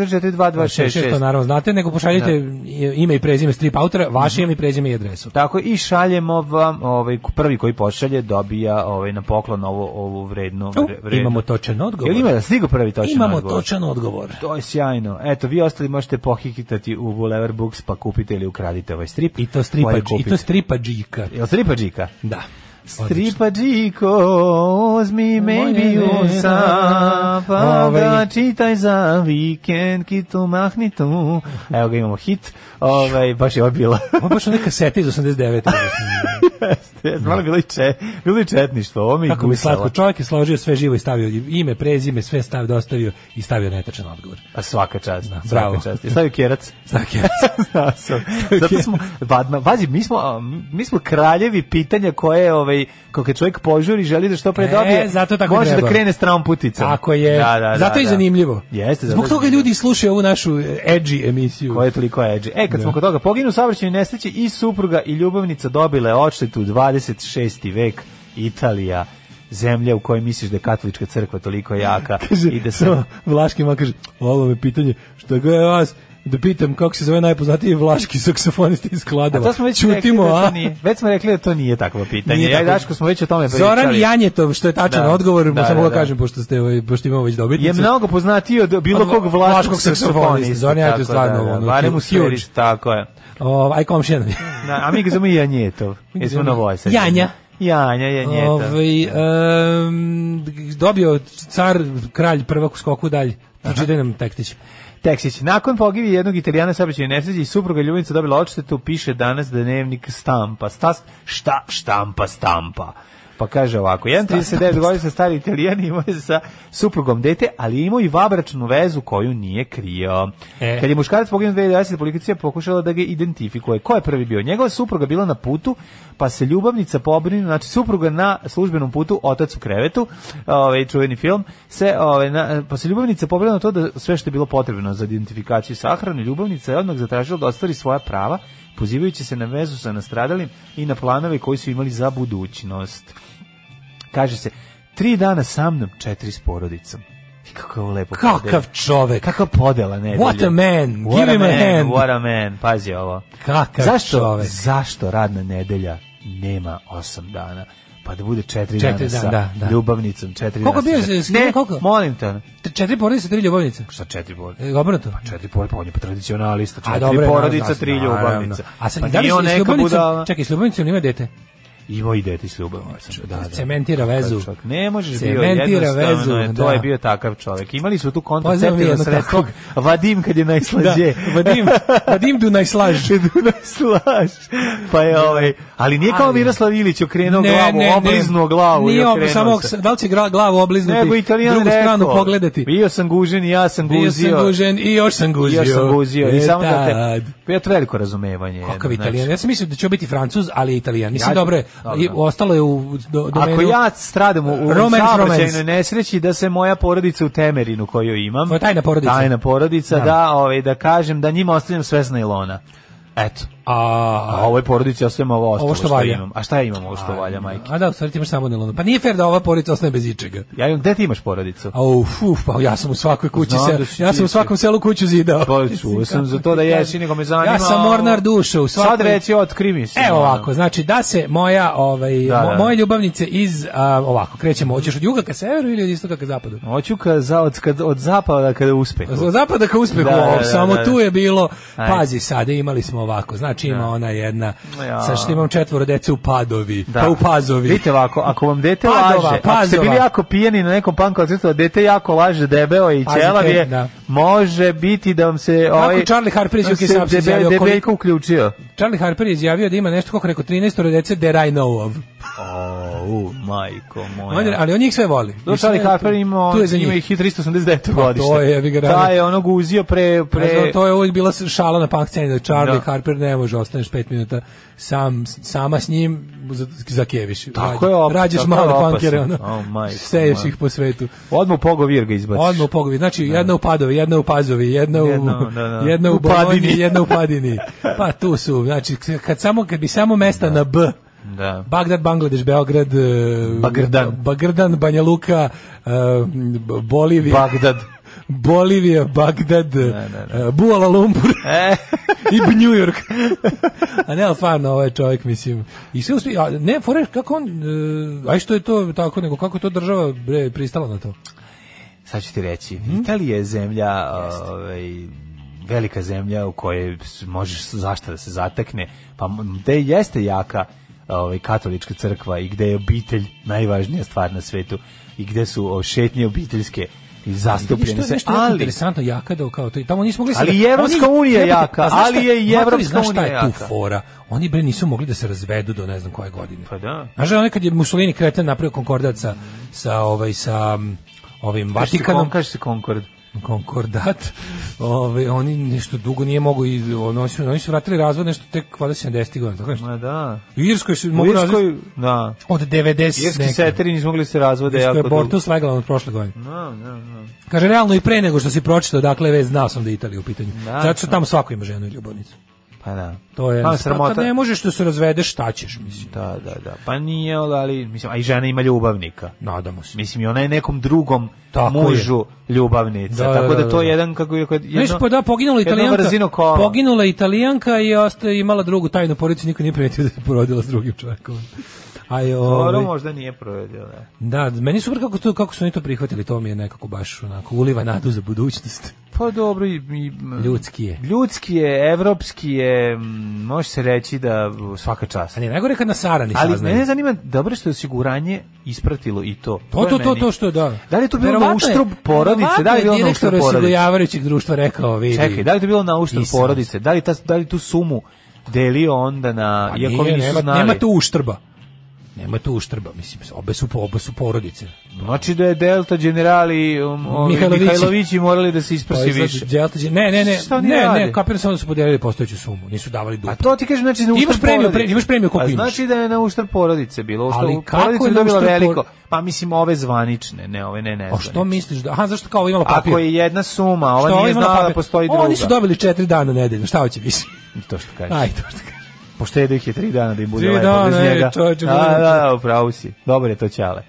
066442266. to naravno znate, nego pošaljite Da. ime i prezime strip autora, vaše ime i prezime i adresu. Tako i šaljemo vam ovaj prvi koji pošalje dobija ovaj na poklon ovo ovu vrednu U, vre- vrednu. imamo točan odgovor. Jel ima da stigo prvi točan Imamo odgovor? točan odgovor. To je sjajno. Eto, vi ostali možete pohikitati u Boulevard Books pa kupite ili ukradite ovaj strip. I to Bolje stripa, i kupite. to stripa džika. Jel stripa džika? Da. Stripa džiko, uzmi maybe usa, pa Ovaj. da čitaj za vikend, kitu mahni tu. Evo ga imamo hit, ovaj, baš je ovo bila. Ovo je Pa baš neka seta iz 89. Jeste, malo je bilo i, če, bilo i četništvo, ovo mi je Da. Kako mi gusalo. slatko, čovjek je složio sve živo i stavio ime, prezime, sve stavio, dostavio i stavio netačan odgovor. A svaka čast, da, svaka bravo. čast. I stavio kjerac. Stavio Znao sam. Zato smo, vadma, vazi, mi smo, a, mi smo kraljevi pitanja koje, ovaj, kako čovjek požuri, želi da što pre E, dobije, zato tako može da treba. krene stranom puticom. Tako je. Da, da, da, zato je da. zanimljivo. Jeste, Zbog zato je toga ljudi slušaju ovu našu e, edgy emisiju. koja je toliko edgy. E, Da. kad smo kod toga, poginu saobraćaju nesreći i supruga i ljubavnica dobile odštetu 26. vek Italija. zemlja u kojoj misliš da je katolička crkva toliko jaka kaže, i da se... Vlaški ma kaže, ovo me pitanje, što ga je vas, da pitam kako se zove najpoznatiji vlaški saksofonist iz A Kladova. to smo već Ćutimo, rekli da to a? nije, već smo rekli da to nije takvo pitanje. Nije Ja i takvo- Daško smo već o tome pričali. Zoran Janjetov, što je tačan Da. odgovor, pa Da, samo da, ga da. kažem, pošto, ste, ovaj, pošto imamo već je dobitnicu. mnogo poznatiji od bilo Od kog vlaškog vlaškog saksofonista. saksofonista. Zoran Janjetov je tako da, stvarno, da, ono, barem u huge. sferi, tako je. O, Ovaj, aj komšija nam je. Na, a mi ga zovemo i Janjetov. Jesmo na Vojsa. Janja. Janja, Janjetov. Ovaj, em, dobio car, kralj prvak u skoku dalje. Pročitaj nam tekstić. Teksić, nakon pogivi jednog italijana saobraćajne nesreće i supruga Ljubinica dobila odštetu, piše danas da dnevnik stampa. Stas, šta štampa stampa? Pa kaže ovako, jedan 39 godina stari italijan imao je sa suprugom dete, ali je imao i vabračnu vezu koju nije krio. E. Kad je muškarac poginuo 2020, policija je pokušala da ga identifikuje. Ko je prvi bio? Njegova supruga bila na putu, pa se ljubavnica pobrinu, znači supruga na službenom putu, otac u krevetu, ovaj čuveni film, se ovaj na, pa se ljubavnica pobrinu na to da sve što je bilo potrebno za identifikaciju i sahranu, ljubavnica je odmah zatražila da ostvari svoja prava, pozivajući se na vezu sa nastradalim i na planove koji su imali za budućnost. Kaže se, tri dana sa mnom, četiri s porodicom. I kako je ovo lepo. podeljeno. Kakav čovek. Kakva E, podela nedelje. What a man, What give him a man, hand. What a man, pazi ovo. Kakav zašto, čovek. Zašto radna nedelja nema osam dana? Pa da bude četiri, Četiri dana dana, sa da, da. ljubavnicom, četiri Koliko dana bio sa- je- s- Ne, koliko? molim te. ono. T- Četiri porodice, tri ljubavnice. Šta četiri porodice? E, obrnuto. Četiri porodice, pa on je pa tradicionalista. A Četiri dobro, je, porodica, naravno, tri naravno. ljubavnice. A sad, pa da li nije on se s neka budala. ljubavnicom, čekaj, s ljubavnicom ima dete? Imao i deti s ljubavnicom. Da, da. cementira vezu. Čak, Ne možeš bio Cementira jednostavno, je, vezu, to da. je bio takav čovjek. Imali su tu Pozdravljam kontraceptivno jednog sredstvo. takvog. Vadim kad je najslađe. Da. Vadim, Vadim Dunaj slaž. Kaže Dunaj slaž. Pa je ovaj, ali nije kao Da. Ali- Miroslav Ilić okrenuo glavu, obliznuo glavu i Nije ob- okrenuo samo, se. da li će gra- glavu obliznuti, Nego Italijan drugu rekao, stranu pogledati. Bio sam gužen i ja sam Bio sam guzio. gužen i još sam guzio. Ja sam guzio i E, samo da tad. te... Pa Ja to veliko razumevanje. Kakav jedno, znači. italijan? Ja sam mislio da će biti francuz, ali je italijan. Mislim, Ja- dobro je. dobro. I Ostalo je u do, domenu... da. Ako ja stradam u, u Romance, saobraćajnoj romance. nesreći da se moja porodica u Temerinu koju imam, Tvoja tajna porodica. tajna porodica Da. da, da, ovaj, da kažem da njima ostavljam sve s nailona. Eto. A A, ovoj porodici ostavljam ovo ostalo Ovo što što, valja. imam. A šta ja imam ovo što valja, majke? a da, u stvari ti imaš samo nelonu. Pa nije fair da ova porodica ostane bez ičega. Ja imam, gde ti imaš porodicu? A uf, uf, pa ja sam u svakoj kući Znam se, da si ja ti sam u svakom selu kuću zidao. Pa, čuo sam za to da jesi, nego me zanima. Ja sam mornar duše u svakoj... Sad reći, otkri mi se. Evo ono. ovako, znači da se moja ovaj Da, mo- da. moje ljubavnice iz a, ovako krećemo, hoćeš od juga ka severu ili od istoka ka zapadu? Hoću ka, za, od, kad, od zapada kada uspehu. Od zapada ka uspehu, Da, da, o, da, samo da, da. tu je bilo. Ajde. Pazi, sada imali smo ovako. Znači ima ona jedna, Da. Ja. sa što imam četvoro dece u Padovi, Da. pa u Pazovi. Vidite ovako, ako vam dete Padova, laže, ako ste Pazova. bili jako pijeni na nekom punk koncertu, a dete jako laže, debeo je i Pazite, ćelav je, da. može biti da vam se... Kako Ovaj, Charlie Harper iz da UK se Subs debe- izjavio debeljko koliko- uključio. Charlie Harper je izjavio da ima nešto, kako rekao, 13 dece that I know of. O, majko On je- moja. ali on njih sve voli. Do I sve Charlie da je Harper tu- ima, tu je za ima njih. Pa ih i 389 godište. to je, ja bih ga Da radio. je onog uzio pre... Pre... pre... to je uvijek bila šala na punk sceni da Charlie Da. Harper ne može, ostaneš pet minuta sam, sama s njim za, za keviš. Tako je op- Rađaš tako male je opasno. punkere, ono, O, majko seješ moja. ih po svetu. Odmah u pogovir ga izbaciš. Odmah u pogovi, znači jedna u Padovi, jedna u Pazovi, jedna u, Jedna, da, da. jedna u U Padini. Bolonji, jedna u Padini. Pa tu su, znači kad, samo, kad bi samo mesta na B, Da. Bagdad, Bangladeš, Beograd, eh, Bagrdan. Bagrdan, Banja Luka, eh, B- Bolivija, Bagdad. Bolivija, Bagdad, ne, eh, Kuala Lumpur E, i New York. a ne, ali stvarno, ovaj čovjek, mislim, i sve uspije, a ne, fore, kako on, eh, aj što je to tako, nego kako to država bre, pristala na to? sad ću ti reći, Mhm. Italija je zemlja, ovaj, velika zemlja u kojoj s- možeš zašta da se zatekne, pa m- gde jeste jaka ovaj, katolička crkva i gde je obitelj najvažnija stvar na svetu i gde su o, šetnje obiteljske i zastupljene Što je se, nešto jako ali interesantno jaka da kao to i tamo nisu mogli se- Ali i Evropska Oni- unija je Jebote, jaka, znaš ali šta- je i Matori, Evropska znaš šta unija je tu jaka. fora? Oni bre nisu mogli da se razvedu do ne znam koje godine. Pa da. Znaš, onaj kad je Mussolini kreten napravio konkordat sa, sa, ovaj, sa mm, ovim Kaže se Vatikanom, kon- kaže se Concord. konkordat, ovaj, oni nešto dugo nije mogu, i, oni, su, oni su vratili razvod nešto tek valjda 70. godina. Tako nešto. Ma da. U Irskoj su U mogu razvod Irskoj, da. od 90. Irski neke. seteri nisu mogli da se razvode Što jako je dugo. Bortus legala od prošle godine. Da, da, da. Kaže, realno i pre nego što si pročitao, dakle, već znao sam da je Italija u pitanju. Zato što tamo svako ima ženu i ljubavnicu. Pa da. To je, Pa, pa, sramota. kad ne možeš da se razvedeš, šta ćeš, mislim. Da, da, da. Pa nije, ali, mislim, a i žena ima ljubavnika. Nadamo se. Mislim, i ona je nekom drugom Tako mužu ljubavnica. Da, da, tako da da, to je da. jedan, kako je rekao, jedno... Znaš, pa da, poginula jedno italijanka, vrzino kola. poginula italijanka i osta, imala drugu tajnu porodicu, niko nije primetio da se porodila s drugim čovjekom. A je, Dobro, ovaj, možda nije provedio, da. da, meni je super kako, to, kako su oni to prihvatili, to mi je nekako baš onako uliva nadu za budućnost. Pa dobro, i, i, m, Ljudski je. Ljudski je, evropski je, m, može se reći da svaka čast. A Pa ne, najgore kad na Sarani Ali saznaju. mene zanima, dobro što je osiguranje ispratilo i to. To, je to, to, meni- to što, da. Da li je to bilo na Verovatno je- uštrb porodice? Da li je bilo na direktor uštrb porodice? osiguravajućeg društva rekao, vidi. Čekaj, da li je to bilo na uštrb Nisam. porodice? Da li, ta, da li tu sumu delio onda na... Pa iako vi nije, nisu nema, znali? nema tu uštrba. Nema tu uštrba, mislim, obe su, obe su porodice. Znači da je Delta generali um, ovi Mihajlovići. Pa Mihajlovići morali da se isprsi izgleda više. Đeltić- ne, ne, ne, Šta oni ne, rade? ne, kapiram samo da su podelili postojeću sumu, nisu davali duplo. A to ti kažem, znači na Imaš uštrb premiju, porodice. pre- imaš premiju koliko A imaš. Znači da je na uštrb porodice bilo. Što Ali Ali kako porodice je je na dobila uštrb por- veliko. Pa mislim ove zvanične, ne ove ne ne. A što misliš da? Aha, zašto kao ovo imala papir? Ako je jedna suma, ova Što ovo nije imala znala da papir? postoji druga. Oni su dobili četiri dana nedeljno, šta hoće više? To što kažeš. Aj, to što kažeš. Pošto je ih je tri dana da im bude Tri lepo dana, e, bez ej, njega. čoveče, da, molim te. da, da, upravo si. Dobar je to Ćale.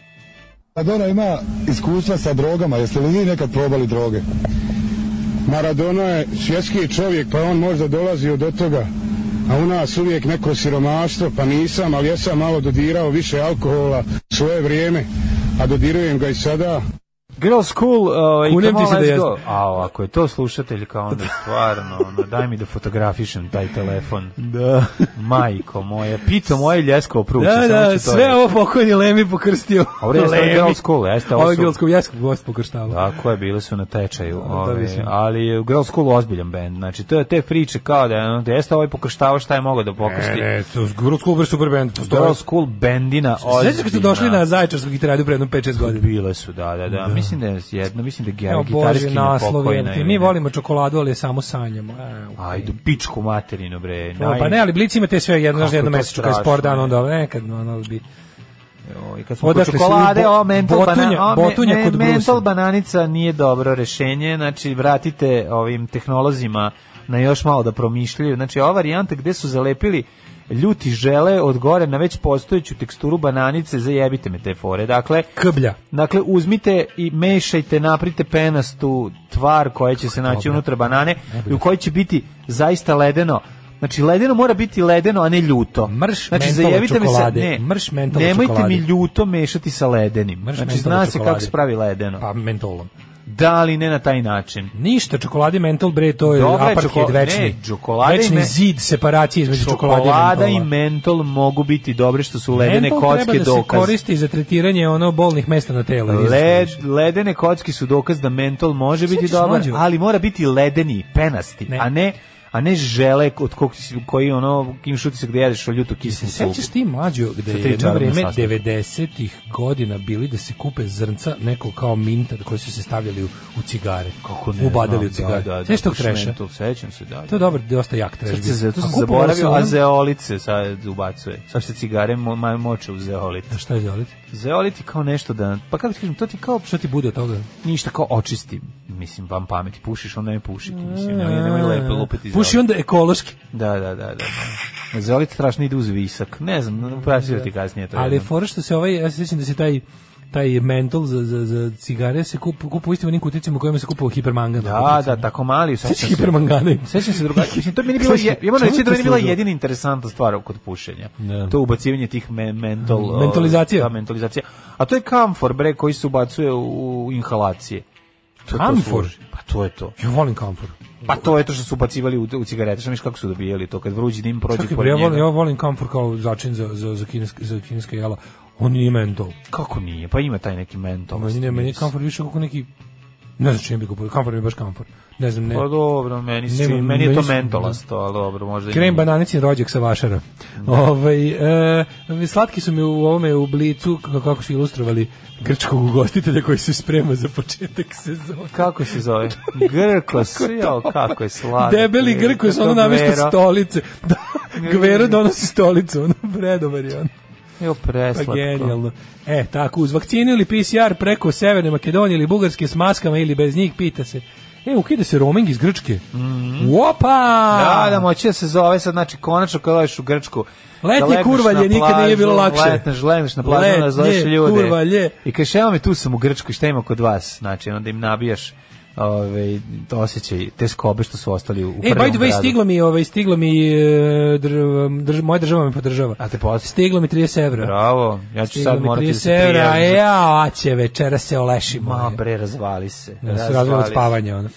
Maradona ima iskustva sa drogama, jeste li vi nekad probali droge? Maradona je svjetski čovjek, pa on možda dolazi od toga. A u nas uvijek neko siromaštvo, pa nisam, ali jesam malo dodirao više alkohola svoje vrijeme, a dodirujem ga i sada. Girls School, uh, Kunem come ti se on, da let's jeste. go. A, ako je to slušatelj, kao onda stvarno, ono, daj mi da fotografišem taj telefon. Da. Majko moja, pito moje ljesko opruče. Da, da, sve ovo pokojni Lemi pokrstio. Ovo je Lemi. Girls School, jeste, ovo Ovo je su- Da. Girls School, ja sam gost pokrštavao. Tako je, bile su na tečaju. da, ove, mislim. ali je Girls School ozbiljan band. Znači, to je te priče kao da, ono, da jeste ovaj pokrštava šta je mogao da pokrsti. E, to je Girls School, super band. Girls School bendina ozbiljna. Sveći kad su došli na Zaječarsku gitaru pre jedno 5-6 godina. Bile su, da, da, da. Mislim da je jedno, mislim da je Evo Gera Bože, gitariskinja naslov pokojna. je. ti. ili Mi ne. volimo čokoladu, ali je samo sanjamo. Evo. Ajde, pičku materinu, bre. To, pa ne, ali Blic imate sve jedno, znaš, Kako jedno je to mesečno, kad je strašno, sport dan, ne. onda ovo nekad, ono bi... Oj, kad Da smo kod Odakle su čokolade, bo- o, mental, botunja- bana, o, me- botunja me- kod brusa. mental bananica nije dobro rešenje, znači vratite ovim tehnolozima na još malo da promišljaju. Znači ova varijanta gde su zalepili ljuti žele od gore na već postojeću teksturu bananice, zajebite me te fore. Dakle, Krblja. Dakle, uzmite i mešajte, naprite penastu tvar koja će se naći unutra banane i u kojoj će biti zaista ledeno. Znači, ledeno mora biti ledeno, a ne ljuto. Mrš znači, mentole zajebite me sa- čokolade, ne, mrš mentole nemojte čokolade. mi ljuto mešati sa ledenim. Mrš znači, mentole zna se čokolade. kako se pravi ledeno. Pa mentolom. Da, ali ne na taj način. Ništa, čokolade i mentol, bre, to je Dobra je apartheid čoko- večni. ne, čokolada i večni me- zid separacije između čokolade i mentola. Čokolada i mentol mogu biti dobre što su ledene Mentol kocke treba da se dokaz. koristi za tretiranje ono bolnih mesta na telu. ili Led, za- ledene kocke su dokaz da mentol može biti ćeš dobar, mlađu. ali mora biti ledeni, penasti, Ne. a ne a ne žele od kog si- koji ono kim šuti se gde jedeš o ljutu kisnu supu. Sećaš ti mlađo gde Sa je tri jedno čarobna vreme sastojka. 90-ih godina bili da se kupe zrnca nekog kao minta koji su se stavljali u, u cigare. Kako ne Ubadali u znam, cigare. Da, da, da, Sećaš tog baš treša? Mentol, sećam se, da. To je dobar, dosta jak trash. Sad se, zato sam A kupovao zaboravio, sam a ono- zeolice sad ubacuje. Sad se cigare mo, ma- moče u zeolit. A Šta je zeolit? Zeolit je kao nešto da, pa kako ti kažem, to ti kao Šta ti bude od toga? ništa kao očisti, mislim, vam pameti. Pušiš, onda ne pušiti, mislim, nemoj, nemoj lepo lupiti zeolit. Puši onda ekološki. Da, da, da, da. Zeolit strašno ide uz visak. Ne znam, praćio ti kasnije to. Da, Ali je jednom. fora što se ovaj, ja se sjećam da se taj taj mentol za, za, za cigare se kup, kupu u istim onim kuticama u kojima se kupao hipermangan. Da, da, tako mali. Sećam Sećaš se, hipermangana? sećam se drugačije. Mislim, to je meni bilo, Slušaj, je, ja moram čemu reći to da je meni bila služilo? jedina interesantna stvar kod pušenja. Da. To ubacivanje tih me, mentol... o, Mentolizacija. Da, mentolizacija. A to je kamfor, bre, koji se ubacuje u inhalacije. To to Kamfor? služi. Pa to je to. Ja volim kamfor. Pa to je to što su ubacivali u, u cigarete. Što miš kako su dobijeli to? Kad vruđi dim prođe Čekaj, bre, pored ja njega. volim, ja volim kamfor kao začin za, za, za, kineske, za kineske jela. On nije mentol. Kako nije? Pa ima taj neki mentol. Meni ne, meni je kamfor više kako neki... Ne znam čim bi kupio. Kamfor mi je baš kamfor. Ne znam, ne. Pa dobro, meni, se E. Nema- čini, meni je to nisam- mentolasto, ali dobro, možda i Krem nije. bananicin rođak sa vašara. Da. Ovaj, e, slatki su mi u ovome u blicu, k- kako su ilustrovali grčkog ugostitelja koji se sprema za početak sezona. Kako se zove? Grkos, jao, kako je slatko. Debeli grko je ono namješta stolice. Da, gvero donosi stolicu, ono predobar je on. Evo Pa preslatko. genijalno. E, tako, uz vakcinu ili PCR preko Severne Makedonije ili Bugarske s maskama ili bez njih, pita se E, ukide se roaming iz Grčke. Mm Opa! Mhm. Da, da, moći da se zove sad, znači, konačno kad odeš u Grčku. Letnje da legneš kurvalje, na nikad nije bilo plažu, lakše. Letneš, legneš na plažu, Letnje onda zoveš ljude. kurvalje. I kažeš, evo me, tu sam u Grčku, šta ima kod vas? Znači, onda im nabijaš ove, osjećaj, te skobe što su ostali u, u E, prvom by the way, gradu. stiglo mi, ovaj, stiglo mi, e, drž- drž- moja država me podržava. A te posle? Stiglo mi 30 evra. Bravo, ja ću Stiglo sad mi morati da se 30 evra, E, a prijavim. za- ja, aće, večera se olešimo. e. Ma bre, Da, razvali se. Ja se razvila od spavanja. Ono.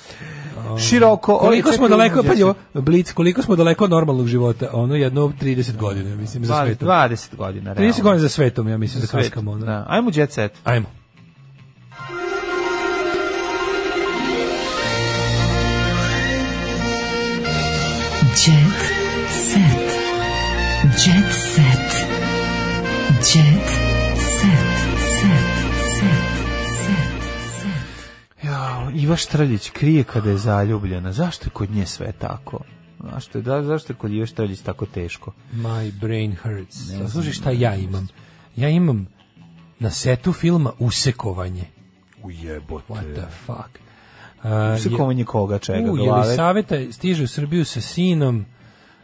Široko. Koliko ali smo čekaj, daleko, uđe pa se. jo, blic, koliko smo daleko od normalnog života? Ono jedno 30 godina, mislim, za Dva- svetom. 20 godina, 30 realno. godina za svetom, ja mislim, da Svet, kaskamo. Ono. Da. Ajmo u jet set. Ajmo. Jet set. Jet set. Jet set. Ja, Iva Štrljić krije kada je zaljubljena. Zašto je kod nje sve tako? Zašto je, da, zašto je kod Iva Štrljić tako teško? My brain hurts. Ne da Slušaj šta ja imam. Ja imam na setu filma Usekovanje. Ujebote. What the fuck? A, je- Usikovanje koga, čega, U, glave. Jelisaveta stiže u Srbiju sa sinom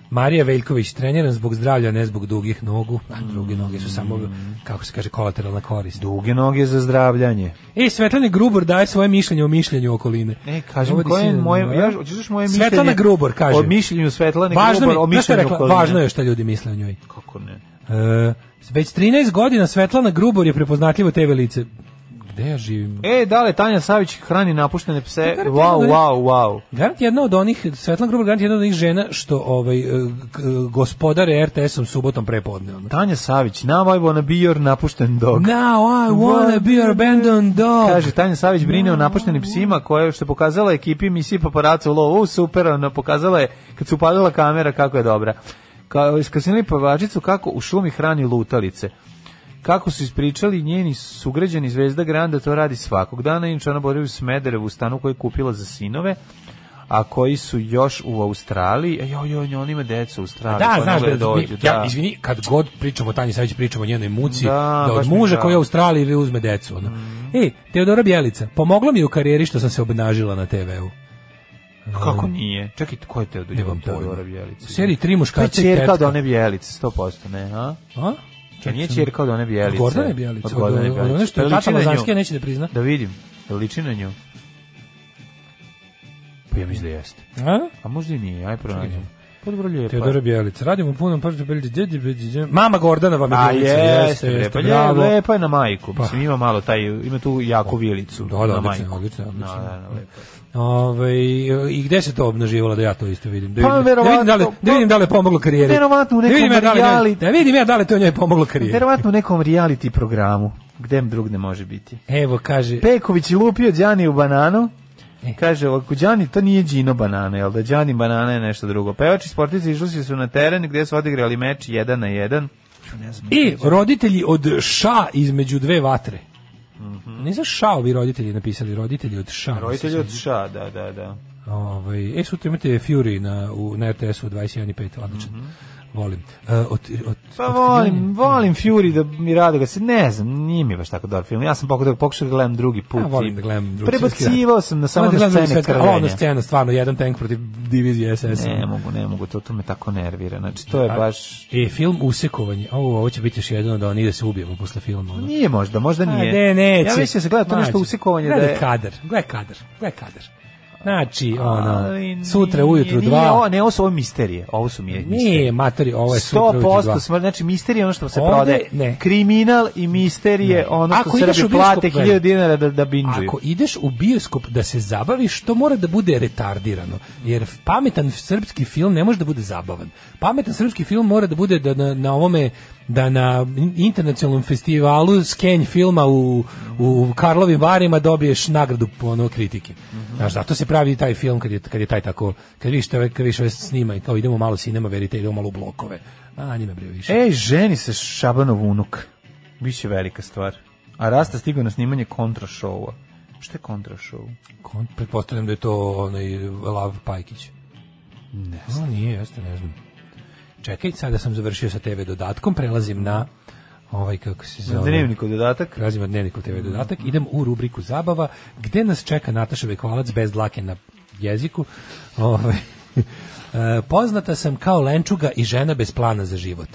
Marija Veljković, treniran zbog zdravlja, ne zbog dugih nogu. A druge noge su samo, Mm. kako se kaže, kolateralna korist. Duge noge za zdravljanje. E, Svetlana Grubor daje svoje mišljenje o mišljenju okoline. E, kažem, Dovodi koje je sina na moje, noge. ja, hoćeš da moje mišljenje? Svetlana Grubor, kaže. O mišljenju Svetlane Važno mi- Grubor, o znaš šta je mišljenju rekla? okoline. Važno je šta ljudi misle o njoj. Kako ne? E, već 13 godina Svetlana Grubor je prepoznatljivo TV lice. Gde ja živim? E, da li Tanja Savić hrani napuštene pse? Pa, Wow, garantirano. wow, wow. Garant jedna od onih, Svetlana Grubor garant jedna od onih žena što ovaj, e, k- e, gospodare RTS-om subotom prepodne. Ono. Tanja Savić, now I wanna be your napušten dog. Now I wanna be your abandoned dog. Kaže, Tanja Savić brine o napuštenim psima koja što je pokazala ekipi misiji paparaca u lovu. U, super, ona pokazala je, kad se upadala kamera, kako je dobra. Ka, iskasnili pavačicu kako u šumi hrani lutalice. Kako su ispričali njeni sugrađani Zvezda Granda, to radi svakog dana. Inače, ona boravi u Smederevu, stanu koju je kupila za sinove a koji su još u Australiji. E, joj, joj, ona ima decu u Australiji. Da, pa znaš ne da, dođu, ja, izvini, kad god pričamo o Tanji Savić, pričamo o njenoj muci, Da, da, od baš mi je muža žao. Mm. koji je u Australiji uzme decu. Ono. Ej, Teodora Bjelica, pomogla mi je u karijeri što sam se obnažila na TV-u. Kako nije? Um, Čekaj, ko je da te Nemam odljubom pojma. Teodora Bjelica? da. U seriji Tri To je muškarca i tetka. Pa čerka od one Bjelice, 100%, ne, a? A? Čekaj, nije čerka od one Bjelice. Pa Od Gordane Bjelice, Od od- Gordane od- od Bjelice. one što je Da liči tata na nju? Lazanskija, neće da prizna. Da vidim. Da liči na nju? Pa ja mislim da jeste. A? A možda i nije, aj pronađem. Pa dobro lijepa. Teodora Bjelica, radimo punom pažnju, Bjelica, djedi, djedi, mama Gordana vam je A Bjelica, Pa jeste, lepa, bravo. je, lepa je na majku. Pa. Mislim, ima malo taj, ima tu jaku vilicu Da, da, na odlično, majku. odlično, odlično. Da, da, da, lepo. Ove, I gde se to obnaživalo da ja to isto vidim? Da Pa, vidim, da verovatno, vidim, da, li, da vidim da li je pomoglo karijeri. Verovatno u da vidim, nekom ja da, li njoj, reality- da vidim ja da li je to njoj pomoglo karijeri. Verovatno u nekom reality programu. Gde drug ne može biti? Evo, kaže, Peković je lupio Đani u bananu. E. Kaže, ovako, Đani, to nije Đino banana, jel da? Đani banana je nešto drugo. Pevači i sportici išli su na teren gdje su odigrali meč 1 na 1. Ne znam. i roditelji od ša između dve vatre. Nisu ša ovi roditelji napisali, roditelji od ša. Mhm. Roditelji od ša, da, da, da. Ovaj, e, sutra imate Fury na, u, na RTS-u u 21.5, odličan. Volim. E, od, od, Mhm. Pa od- volim, volim Fury da mi rado ga se, ne znam, nije mi baš tako dobar film. Ja sam pokušao, pokušao da gledam drugi put. Ja volim i da gledam drugi svetski Prebacivao rat. sam na Volim samo da na gledam drugi scene svetski rat, ali Ono krvenja. scena, stvarno, jedan tank protiv divizije SS. Ne mogu, ne mogu, to, to me tako nervira. Znači, to je baš... E, film Usekovanje. O, ovo će biti još jedan od onih da se ubijemo posle filma. ono. Nije možda, možda nije. A, ne, neće. Ja mislim da se gleda to nešto Mlađe, usikovanje da gledaj je... kadar, gledaj kadar, gledaj kadar. Znači, ono, Ali nije, sutra ujutru nije, dva. Ovo, ne, ovo su ovo misterije. Ovo su mi Nije, misterije. matori, ovo je sutra ujutru 100% dva. smrt, znači misterije je ono što se Ovde prodaje. ne. Kriminal i misterije, ono što Ako ideš u Srbi bioskop, plate gledaj. 1000 dinara da, da binđuju. Ako ideš u bioskop da se zabaviš, to mora da bude retardirano. Jer pametan srpski film ne može da bude zabavan. Pametan srpski film mora da bude da na, na ovome da na internacionalnom festivalu skenj filma u, u Karlovim varima dobiješ nagradu po ono kritike. Znaš, zato se pravi taj film kad je, kad je taj tako, kad vidiš tebe, kad vidiš ove snima i kao idemo malo cinema verite, idemo malo u blokove. A, njime bre više. Ej, E, ženi se Šabanov unuk. Biće velika stvar. A Rasta stigao na snimanje kontra šova. Šta je kontra show? Kon- Pretpostavljam da je to onaj Lav Pajkić. Ne znam. nije, jeste, ne znam. Čekaj, sada sam završio sa TV dodatkom, prelazim na ovaj kako se zove. Dnevniku dodatak. Razima dnevniku TV dodatak. Idem u rubriku zabava, gde nas čeka Nataša Bekvalac bez dlake na jeziku. Ovaj, e, poznata sam kao lenčuga i žena bez plana za život.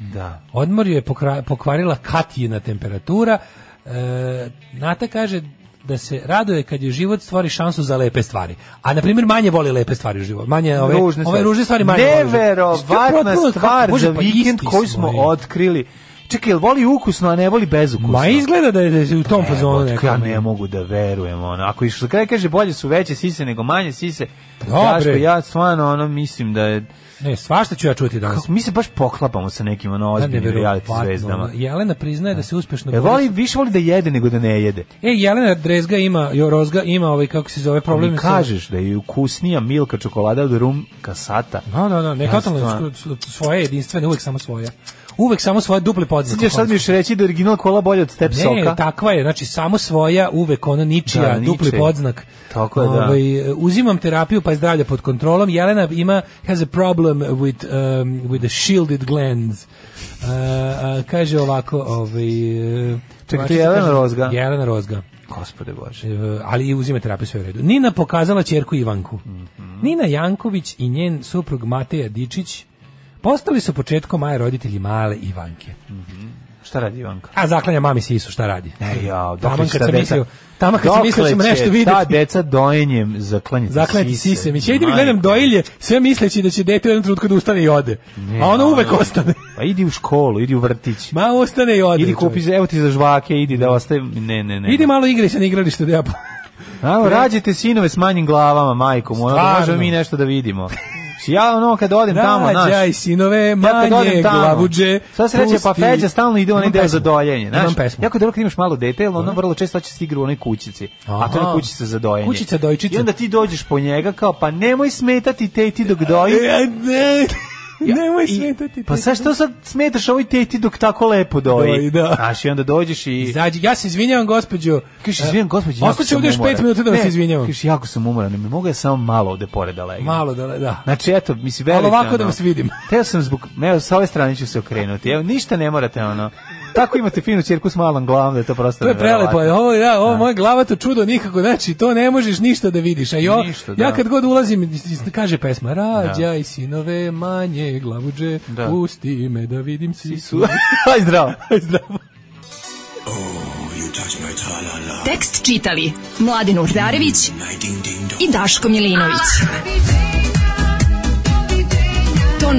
Da. Odmor ju je pokra- pokvarila katijina temperatura. E, Nata kaže da se raduje kad je život stvori šansu za lepe stvari. A na primjer manje voli lepe stvari u životu. Manje ove ružne ove stvari. ružne stvari manje voli u životu. Mislim, to je Neverovatna potpuno- stvar Bože, za pa vikend isti koju smo, smo je. otkrili. Čekaj, jel voli ukusno, a ne voli bezukusno? Ma izgleda da je, da je u tom fazonu Evo, neka. ja ne mogu da verujem ono. Ako iš kraj kaže bolje su veće sise nego manje sise. Dobre. Daško, ja stvarno ono mislim da je Ne, svašta ću ja čuti danas. mi se baš poklapamo sa nekim ono Da, ozbiljnim reality neverovatno. zvezdama. Jelena priznaje da se uspešno E, bori voli, više voli da jede nego da ne jede. E, Jelena Drezga ima, jo, Rozga ima ovaj, kako se zove, problem Mi sa- kažeš da je ukusnija milka čokolada od rum kasata. No, no, no, Da, ne, Ja totalno stvarno- sku- s- svoje jedinstvene, uvek samo svoje. Uvek samo svoje duple podznak. Sjećaš sad mi još reći da je original kola bolje od step Ne, soka? takva je, znači samo svoja, uvek ona ničija, Da, ničija. dupli podznak. Tako je, da. Ovaj, uzimam terapiju pa je zdravlje pod kontrolom. Jelena ima has a problem with um, with the shielded glands. Uh, uh, kaže ovako, ovaj uh, Čekaj, to Mačica je Jelena kaže- Rozga? Jelena Rozga. Gospode Bože. E, ali i uzima terapiju sve u redu. Nina pokazala ćerku Ivanku. Mhm. Nina Janković i njen suprug Mateja Dičić postali su početkom maja roditelji male Ivanke. Šta radi Ivanka? A zaklanja mami Sisu, šta radi? E, taman ja, dokle će kad ta sam deca... mislio, taman kad sam dokle mislio da ćemo će nešto Ta vidjeti. deca dojenjem zaklanjati Zaklanjati sise. sise. Mi će idem i gledam doilje, sve misleći da će dete u jednom trenutku da ustane i ode. A ono uvek ostane. Pa idi u školu, idi u vrtić. Ma ostane i ode. Idi čovječe. kupi, za- evo ti za žvake, idi da ostaje... Ne, ne, ne. Idi malo igre se na igralište da ja... po- Evo, rađete sinove s manjim glavama, majkom, ono da Stvarno. možemo mi nešto da vidimo. Ja ono kad odem tamo, znaš. Rađaj, sinove, Ja kad manje, odem tamo, glavuđe. Sad se reče, pa pusti- Feđa stalno ide u onaj Imam deo pesmu. za dojenje. Znaš, Imam pesmu. Jako je dobro kad imaš malo dete, jer ono vrlo često će stigra u onoj kućici. A to je Aha. ona kućica za dojenje. Kućica dojčica. I onda ti dođeš po njega kao, pa nemoj smetati teti dok doji. E, ne, Ja, nemoj i- smetati. Pa te. sad što sad smetaš ovoj teti dok tako lepo doji? Doji, da. Znaš, i onda dođeš i... Izađi, ja se izvinjavam, gospođo. Kažeš, izvijem, gospodin, jako Ostaću sam ovdje još umoran. pet minuta da vas Ne, izvinjavam. Kažeš, jako sam umoran, ne mogu ja samo malo ovde pored da legnem. Malo da, da. Znači, eto, mislim, verite. Ali ovako da ono, vas vidim. Teo sam zbog, evo, sa ove strane ću se okrenuti. Evo, ništa ne morate, ono. Tako imate finu čerku s malom glavom, da je Da. to prosto To je prelepo, je, neverovatno. ovo, ja, ovo moje glavato čudo nikako, znači, to ne možeš ništa da vidiš. A jo, Ništa, da. ja kad god ulazim, iz- iz- kaže pesma, rađaj sinove manje glavuđe, Da. pusti me da vidim sisu. Aj, zdravo. Zdravo. Oh, Tekst čitali Mladin Urdarević i Daško Milinović. Ton